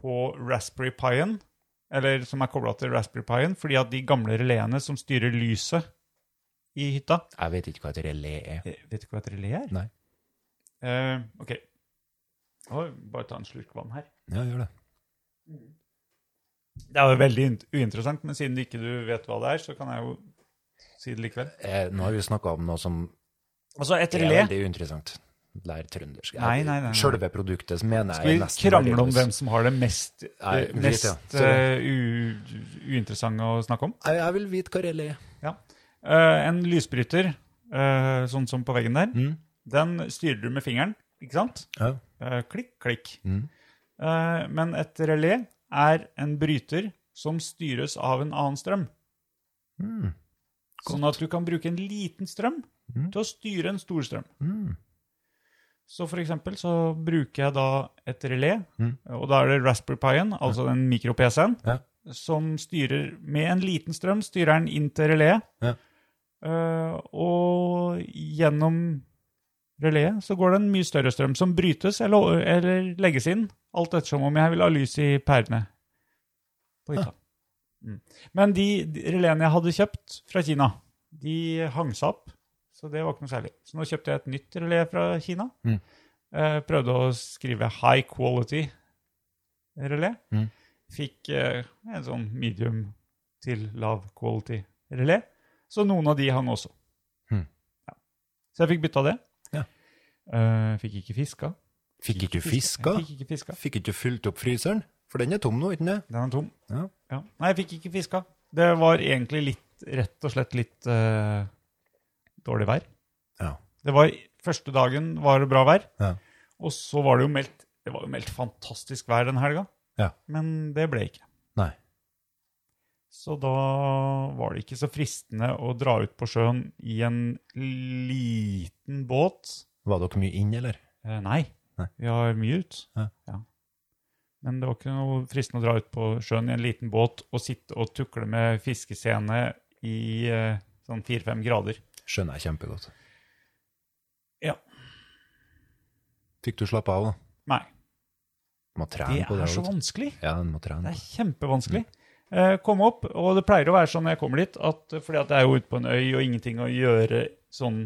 på Raspberry Pien, eller som er kobla til Raspberry Pien, fordi at de gamle releene som styrer lyset i hytta
Jeg vet ikke hva et relé er.
Eh, Vet du ikke hva et relé er?
Nei.
Eh, ok. Oi, bare ta en slurk vann her.
Ja, gjør det.
Det er jo veldig uint- uinteressant, men siden ikke du vet hva det er, så kan jeg jo si det likevel.
Eh, nå har vi snakka om noe som
Altså, et
er
relé
veldig uinteressant. Lær trøndersk.
Nei, nei, nei, nei.
Selve produktet mener
Vi
jeg er nesten
krangler om
verdiløst.
hvem som har det mest,
Nei,
eh,
vi vet
mest
det. Sorry.
eh, u, uinteressante å snakke om.
Jeg, jeg vil vite hva relé er.
Ja. Eh, en lysbryter, eh, sånn som på veggen der,
Mm.
den styrer du med fingeren, ikke sant?
Ja.
Eh, klikk, klikk.
Mm.
Eh, men et relé er en bryter som styres av en annen strøm.
Mm.
Sånn at du kan bruke en liten strøm til å styre en stor strøm.
Mm.
Så for eksempel så bruker jeg da et relé, og da er det Raspberry Pien, altså den mikro-PC-en,
Mm. Ja.
som styrer med en liten strøm, styrer den inn til reléet.
Ja.
Eh, og gjennom reléet så går det en mye større strøm som brytes eller, eller legges inn, alt ettersom om jeg vil ha lys i pærene på hytta. Mm. Men de, de reléene jeg hadde kjøpt fra Kina, de hang seg opp, så det var ikke noe særlig. Så nå kjøpte jeg et nytt relé fra Kina.
Mm.
Eh, prøvde å skrive high quality relé.
Mm.
Fikk eh, en sånn medium til lav quality relé. Så noen av de hang også.
Mm.
Ja. Så jeg fikk bytta det.
Ja.
Eh, fikk ikke fiska.
Fikk ikke du fiska?
Fikk ikke fiska.
Fikk ikke du fylt opp fryseren? For den er tom nå, ikke den?
Den er tom.
Ja.
Ja. Nei, jeg fikk ikke fiska. Det var egentlig litt, rett og slett litt eh, dårlig vær.
Ja.
Det var, første dagen var det bra vær,
Ja.
og så var det jo meldt, det var jo meldt fantastisk vær den helga,
Ja.
men det ble ikke.
Nei.
Så da var det ikke så fristende å dra ut på sjøen i en liten båt.
Var dere mye inn, eller?
Eh, nei.
Nei.
vi har mye ut.
Ja.
Men det var ikke noe fristende å dra ut på sjøen i en liten båt og sitte og tukle med fiskescene i eh, sånn fire-fem grader.
Skjønner jeg kjempegodt.
Ja.
Fikk du slappe av, da?
Nei,
Må trene
det
på det.
er så
vet du.
vanskelig.
Ja, du må trene.
Det
på
er
det.
kjempevanskelig. Eh, komme opp, og det pleier å være sånn når jeg kommer dit, at, fordi at det er jo ute på en øy og ingenting å gjøre sånn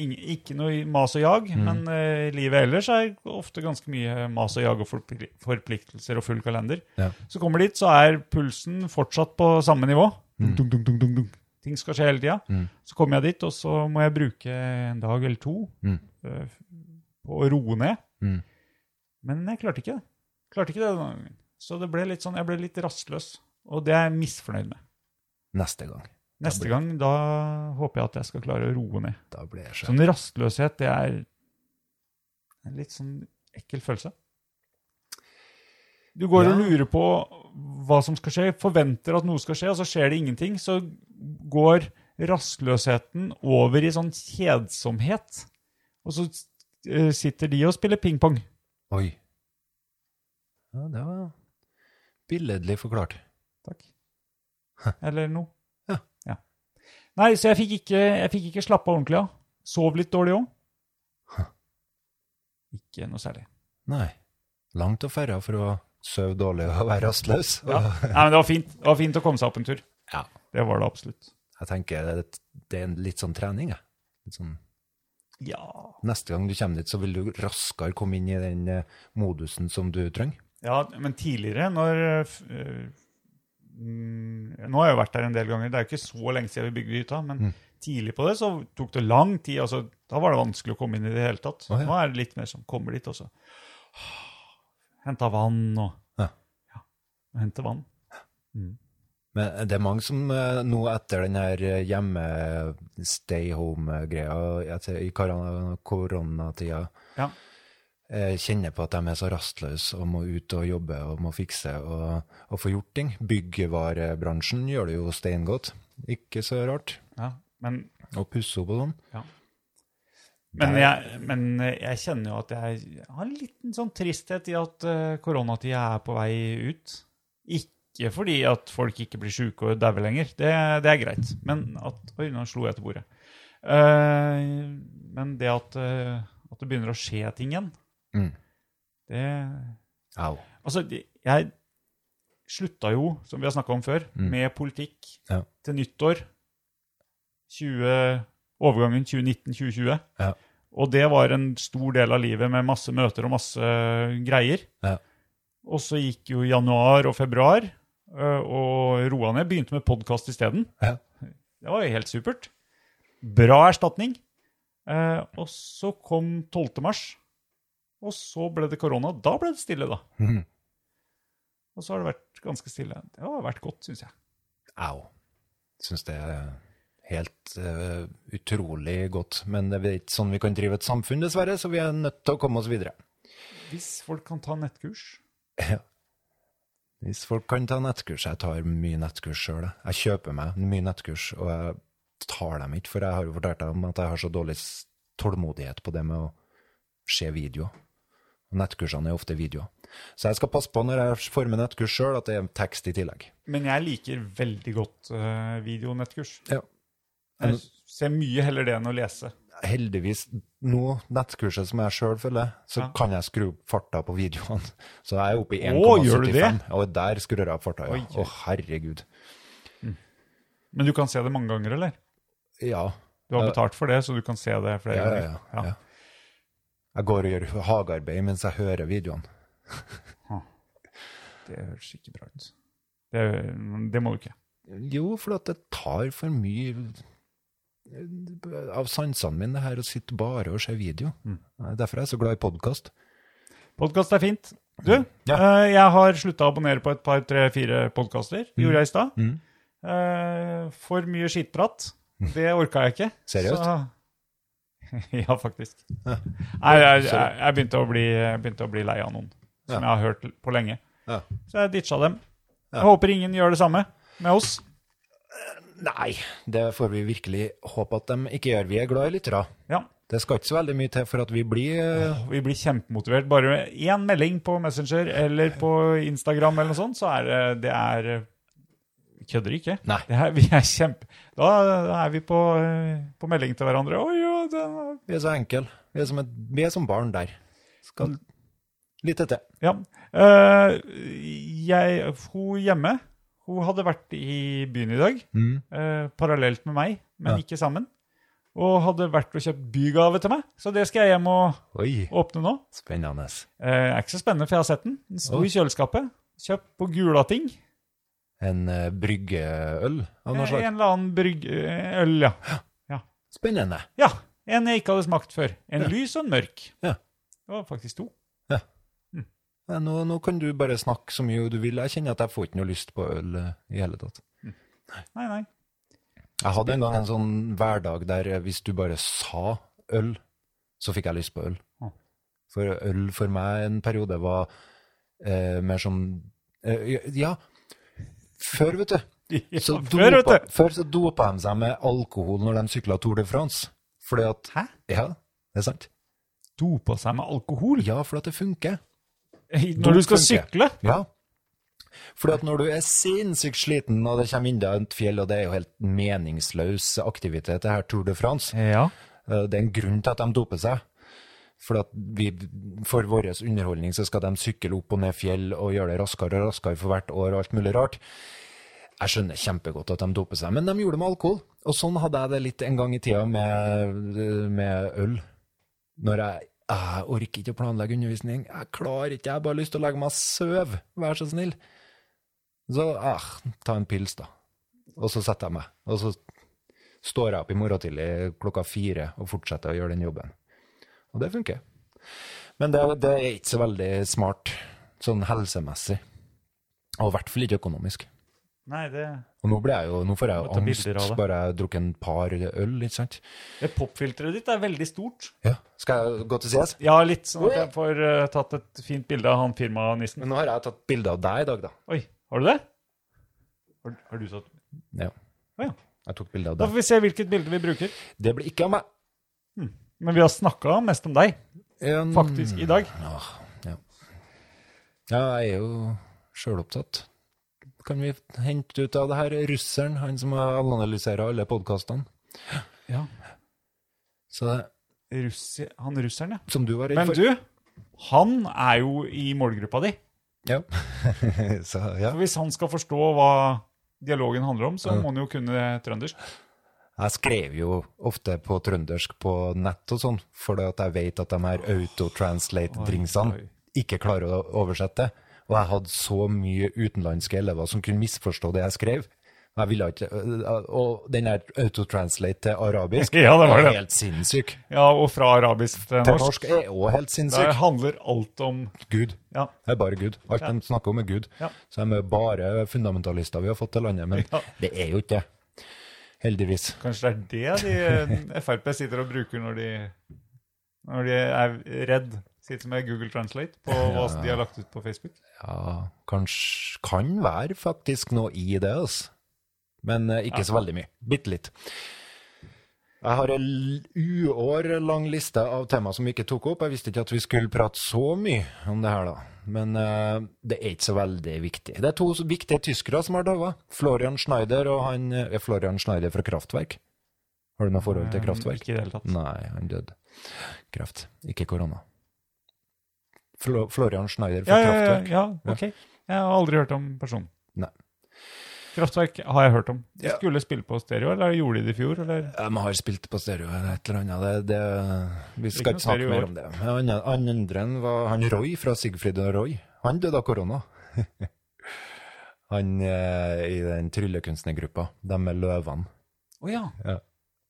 ing- Ikke noe mas og jag,
Mm.
men eh, livet ellers er ofte ganske mye mas og jag og forpli- forpliktelser og full kalender.
Ja.
Så kommer dit, så er pulsen fortsatt på samme nivå.
Mm.
Dunk, dunk, dunk, dunk, dunk. Ting skal skje hele tida. Så kommer jeg dit, og så må jeg bruke en dag eller to
Mm.
eh, på å roe ned.
Mm.
Men jeg klarte ikke det. Klarte ikke det denne gangen. Så det ble litt sånn, jeg ble litt rastløs, og det er jeg misfornøyd med.
Neste gang.
Neste gang, da håper jeg at jeg skal klare å roe ned.
Da blir jeg sjef.
Sånn rastløshet, det er en litt sånn ekkel følelse. Du går
Ja.
og lurer på hva som skal skje, forventer at noe skal skje, og så skjer det ingenting, så går rastløsheten over i sånn kjedsomhet. Og så eh, sitter de og spiller pingpong.
Oi. Ja, det var billedlig forklart.
Takk. Eller noe.
Ja.
Nei, så jeg fikk ikke, jeg fikk ikke slappa ordentlig av. Sov litt dårlig òg. Ikke noe særlig.
Nei. Langt å ferde for å sove dårlig og være rastløs.
Ja. Nei, men det var fint. Det var fint å komme seg opp en tur.
Ja.
Det var det absolutt.
Jeg tenker det, det er en litt sånn trening, jeg. Litt sånn,
Ja.
neste gang du kommer dit, så vil du raskere komme inn i den eh, modusen som du trenger.
ja, men tidligere, når eh, f- eh, mm, Nå har jeg jo vært der en del ganger. Det er jo ikke så lenge siden vi bygde hytta, men
Mm.
tidlig på det så tok det lang tid. altså Da var det vanskelig å komme inn i det hele tatt.
Å, ja.
Nå er det litt mer som kommer dit også. Henta vann og
Ja.
Ja, Hente vann.
Men det er mange som eh, nå etter den her eh, hjemme stay eh, home-greia etter- i korona- koronatida
Ja.
eh, kjenner på at de er så rastløse og må ut og jobbe og må fikse og, og få gjort ting. Byggevarebransjen gjør det jo steingodt. Ikke så rart.
ja. Men,
Å pusse opp og sånn.
men,
Det
jeg, men eh, jeg kjenner jo at jeg har en liten sånn tristhet i at uh, koronatida er på vei ut. Ikke fordi at folk ikke blir sjuke og dauer lenger, det, det er greit. Men at Oi, nå slo jeg til bordet. Eh, men det at, eh, at det begynner å skje ting igjen,
Mm.
det
Au.
Altså, de- jeg slutta jo, som vi har snakka om før, med politikk
Mm. Ja.
til nyttår. 20, overgangen 2019-2020.
Ja.
Og det var en stor del av livet med masse møter og masse eh, greier.
Ja.
Og så gikk jo januar og februar ø, og roa ned. Begynte med podkast isteden.
Ja.
Det var jo helt supert. Bra erstatning. Eh, og så kom 12. mars, og så ble det korona. Da ble det stille, da.
Mhm.
Og så har det vært ganske stille. Det har vært godt, syns jeg.
Au. Syns det er helt eh, utrolig godt. Men det er ikke sånn vi kan drive et samfunn, dessverre, så vi er nødt til å komme oss videre.
Hvis folk kan ta nettkurs
Hvis folk kan ta nettkurs Jeg tar mye nettkurs sjøl. jeg. Jeg kjøper meg mye nettkurs, og jeg tar dem ikke, for jeg har jo fortalt dem at jeg har så dårlig s- tålmodighet på det med å se videoer. Og Nettkursene er ofte videoer. Så jeg skal passe på når jeg former nettkurs sjøl, at det er tekst i tillegg.
Men jeg liker veldig godt eh, videonettkurs.
Ja.
Jeg ser mye heller det enn å lese.
heldigvis nå, nettkurset som jeg sjøl følger, så
Ja.
kan jeg skru opp farta på videoene. Så jeg er oppe i
Å, gjør du
1,75, og der skrur jeg opp farta,
Oi,
ja.
oi.
Å, herregud.
Men du kan se det mange ganger, eller?
Ja.
Du har
Ja.
betalt for det, så du kan se det flere
Ja, ja,
ganger.
ja, ja. Jeg går og gjør hagearbeid mens jeg hører videoene.
Det høres ikke bra ut. Det, det må du ikke.
Jo, for at det tar for mye eh, av sansene mine, det her, å sitte bare og se video. Nei, Derfor er jeg så glad i podkast.
Podkast er fint. Du,
Mm.
eh, jeg har slutta å abonnere på et par, tre, fire podkaster. Gjorde jeg i stad.
Mm.
Eh, for mye skittprat. Det orka jeg ikke.
Seriøst?
Så- ja, faktisk. Nei, jeg, jeg, jeg begynte, å bli, jeg begynte å bli lei av noen som jeg har hørt på lenge.
Ja.
Så jeg ditcha dem. Jeg håper ingen gjør det samme med oss.
Nei, det får vi virkelig håpe at de ikke gjør. Vi er glad i lyttere.
Ja.
Det skal ikke så veldig mye til for at vi blir eh,
Vi blir kjempemotivert. Bare én melding på Messenger eller på Instagram, eller noe sånt, så er det, det er vi Kødder ikke.
Nei.
Det er, vi er kjempe... Da er vi på, eh, på melding til hverandre. Oi, jo, det var...
Vi er så enkle. Vi er som, et, vi er som barn der. Skal lytte til.
Ja. Eh, jeg, hun hjemme hun hadde vært i byen i dag,
Mm.
eh, parallelt med meg, men ikke sammen. Og hadde vært og kjøpt bygave til meg, så det skal jeg hjem og
Oi,
åpne nå.
spennende.
Eh, det er ikke så spennende, for jeg har sett den. Den sto i kjøleskapet. Kjøpt på Gulating.
En eh, bryggeøl av
Eh,
noe slag.
En eller annen brygg... eh, Øl, ja.
Spennende.
Ja, En jeg ikke hadde smakt før. En lys og en mørk.
Ja.
Det var faktisk to.
Nei, Nå, nå kan du bare snakke så mye du vil. Jeg kjenner at jeg får ikke noe lyst på øl eh, i hele tatt.
Nei, nei.
Jeg hadde en gang en sånn hverdag der eh, hvis du bare sa øl, så fikk jeg lyst på øl.
Ah.
For øl for meg en periode var eh, mer som eh, Ja, før, vet du. Så
før, vet
dopa,
du.
før så dopa de seg med alkohol når de sykla Tour de France. Fordi at
Hæ?
Ja, det er sant.
Dopa seg med alkohol?
Ja, fordi at det funker.
Når du skal
funker.
sykle?
Ja. Fordi at når du er sinnssykt sliten, og det kommer inn deg et fjell, og det er jo helt meningsløs aktivitet, det her Tour de France
Ja.
Eh, Det er en grunn til at de doper seg. For, at vi, for vår underholdning så skal de sykle opp og ned fjell og gjøre det raskere og raskere for hvert år og alt mulig rart. Jeg skjønner kjempegodt at de doper seg, men de gjorde det med alkohol. Og sånn hadde jeg det litt en gang i tida med, eh, med øl. Når jeg, jeg orker ikke å planlegge undervisning. Jeg klarer ikke, jeg har bare lyst til å legge meg og sove. Vær så snill. Så ah, ta en pils, da. Og så setter jeg meg. Og så står jeg opp i morgen tidlig klokka fire og fortsetter å gjøre den jobben. Og det funker. Men det, det er ikke så veldig smart sånn helsemessig. Og i hvert fall ikke økonomisk.
Nei, det,
Og nå, blir jeg jo, nå får jeg
Må ta
jo angst
bilder av det.
bare jeg har drukket en par øl, ikke sant?
det popfilteret ditt er veldig stort.
Ja. Skal jeg gå til CS?
Ja, litt sånn at jeg får eh, tatt et fint bilde av han firmanissen.
Men nå har jeg tatt bilde av deg i dag, da.
Oi, har du det? Har, har du tatt
Ja.
Å ja.
Jeg tok bilde av
Da
deg.
får vi se hvilket bilde vi bruker.
Det blir ikke av meg.
Men vi har snakka mest om deg,
En-
faktisk, i dag.
Ah, Ja, jeg er jo sjølopptatt. Kan vi hente ut av det her russeren, han som analyserer alle podkastene?
Ja.
Så det,
Russi, han russeren, ja.
som du var redd
Men
for.
du, han er jo i målgruppa di.
Ja. så, ja.
For hvis han skal forstå hva dialogen handler om, så må han jo kunne trøndersk.
Jeg skrev jo ofte på trøndersk på nett og sånn, fordi at jeg vet at de her autotranslate-dringsene ikke klarer å oversette. Og jeg hadde så mye utenlandske elever som kunne misforstå det jeg skrev. Jeg ville ikke, øh, og den her autotranslate til arabisk
Ja, det var det.
helt sinnssyk.
Ja, og fra arabisk til
Til
norsk.
norsk er òg helt
Det
sinnssyk.
handler alt om
Gud.
Ja.
Det er bare Gud. Alt de snakker om, er Gud.
Ja.
Så de er bare fundamentalister vi har fått til landet. Men det er jo ikke det. Heldigvis.
Kanskje det er det de Frp sitter og bruker når de, når de er redd. Sitter med Google Translate på hva de har lagt ut på Facebook.
Ja, kanskje kan være faktisk noe i det, altså. Men eh, ikke så veldig mye. Bitte litt. Jeg har en uår lang liste av temaer som vi ikke tok opp. Jeg visste ikke at vi skulle prate så mye om det her, da. Men eh, det er ikke så veldig viktig. Det er to så viktige tyskere som har daua. Florian Schneider og han eh, Er Florian Schneider fra Kraftwerk? Har du noe forhold til Kraftwerk?
Eh, Ikke i det hele tatt.
Nei, han døde. Kraft, ikke korona. Flo Florian Schneider
Ja,
fra
ja, ja,
Kraftwerk.
ja, ok. Jeg har aldri hørt om personen.
Nei.
Kraftverk har jeg hørt om. De
Ja.
skulle spille på stereo, eller gjorde de det i fjor? Eller?
De har spilt på stereo eller et eller annet. Det, det, vi skal
Ikke noe
ikke snakke
stereo i år.
mer om det. Han han andre enn var han Roy fra Sigfrid og Roy. Han døde av korona. han eh, i den tryllekunstnergruppa, de med løvene.
Å ja.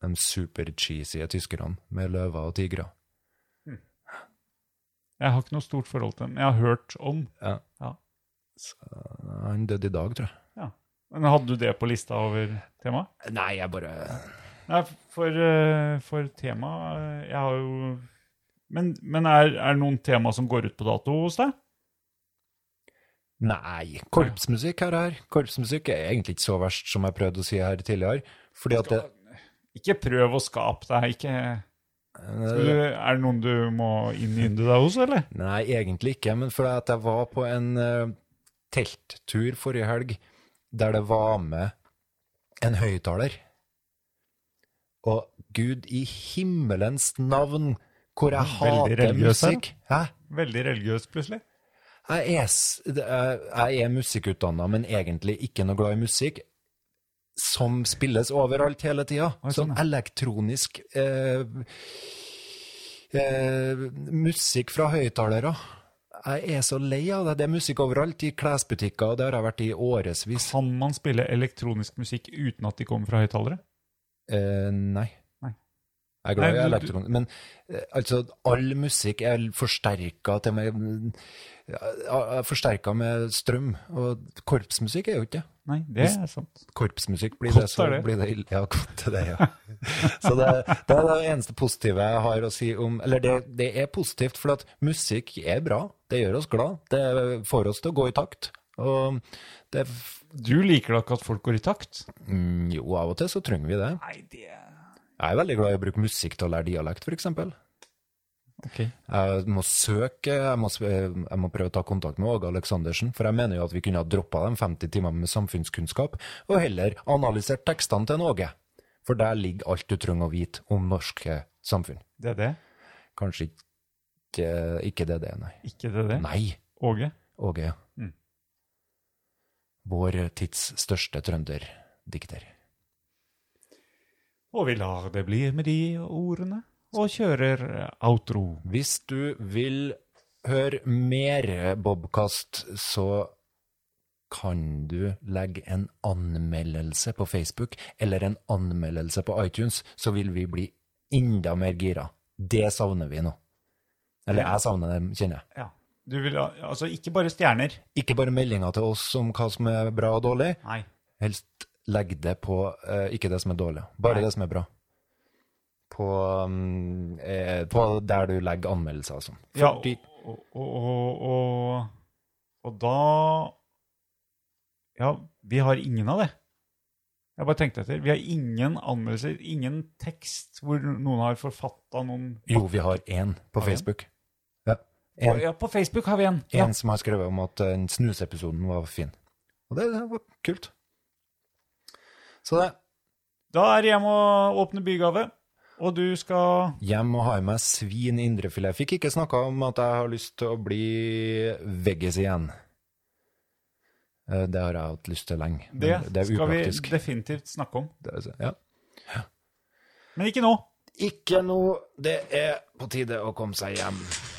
De super-cheesy tyskerne med løver og tigre.
Jeg har ikke noe stort forhold til dem. Jeg har hørt om.
Han døde i dag, tror jeg.
Men hadde du det på lista over temaet?
Nei, jeg bare
Nei, for, eh, for tema eh, Jeg har jo Men, men er, er det noen tema som går ut på dato hos deg?
Nei, korpsmusikk her her. Korpsmusikk er egentlig ikke så verst som jeg prøvde å si her tidligere. Fordi at det,
Ikke prøv å skape deg. Ikke, skal du, er det noen du må innynde deg hos, eller?
Nei, egentlig ikke, men fordi at jeg var på en eh, telttur forrige helg der det var med en høyttaler. Og gud i himmelens navn, hvor jeg
Veldig
hater
religiøs her.
musikk. Hæ?
Veldig religiøs, plutselig.
Jeg er, s- det er- jeg er musikkutdanna, men egentlig ikke noe glad i musikk. Som spilles overalt hele tida.
Oi,
Sånn
sånn,
elektronisk eh, eh, musikk fra høyttalere. Jeg er så lei av det. Det er musikk overalt. I klesbutikker, og det har jeg vært i årevis.
Kan man spille elektronisk musikk uten at de kommer fra høyttalere?
Eh, nei.
Nei.
Jeg er glad i
Nei, du- du-
elektron... Men eh, altså, all musikk er forsterka til meg ja, Forsterka med strøm. Og korpsmusikk er jo ikke det.
Nei, det er sant.
Korpsmusikk blir
Godt
det, så
er det.
blir det ille. Ja, godt er det, ja. Så det, det er det eneste positive jeg har å si om Eller det, det er positivt, for at musikk er bra. Det gjør oss glad. Det får oss til å gå i takt. Og det
Du liker da ikke at folk går i takt?
mm, Jo, av og til så trenger vi det.
Nei, det
Jeg er veldig glad i å bruke musikk til å lære dialekt, f.eks.
Ok.
Jeg må søke, jeg må, s- jeg må prøve å ta kontakt med Åge Aleksandersen, for jeg mener jo at vi kunne ha droppa de 50 timene med samfunnskunnskap, og heller analysert tekstene til en Åge. For der ligger alt du trenger å vite om norske samfunn.
Det er det?
Kanskje ikke, eh, ikke det det, nei.
Ikke det det?
Nei,
Åge?
Åge, ja.
Mm.
Vår tids største trønderdikter.
Og vi lar det bli med de ordene, og kjører eh, outro.
Hvis du vil høre mer Bobkast, så kan du legge en anmeldelse på Facebook eller en anmeldelse på iTunes, så vil vi bli enda mer gira. Det savner vi nå. Eller jeg savner det, kjenner jeg.
Ja. Du vil ha, altså ikke bare stjerner.
Ikke bare meldinger til oss om hva som er bra og dårlig,
Nei.
helst legg det på eh, ikke det som er dårlig, bare
Nei.
det som er bra. På, mm, eh, på der du legger anmeldelser og sånn.
Ja,
Fordi-
og, og, og, og, og da Ja, vi har ingen av det. Jeg bare tenkte etter. Vi har ingen anmeldelser, ingen tekst hvor noen har forfatta noen
Jo, vi har én på
Har vi en?
Facebook. Ja. En,
Ja, på Facebook har vi en. Ja.
en som har skrevet om at den snusepisoden var fin. Og det, det var kult. Så det.
Da er det hjem og åpne bygave, og du skal
Hjem og ha i meg svin indrefilet. Jeg fikk ikke snakka om at jeg har lyst til å bli veggis igjen. Eh, Det har jeg hatt lyst til lenge. men
Det,
det er
skal vi
upraktisk.
definitivt snakke om.
Det er så- ja.
Men ikke nå.
Ikke noe. Det er på tide å komme seg hjem.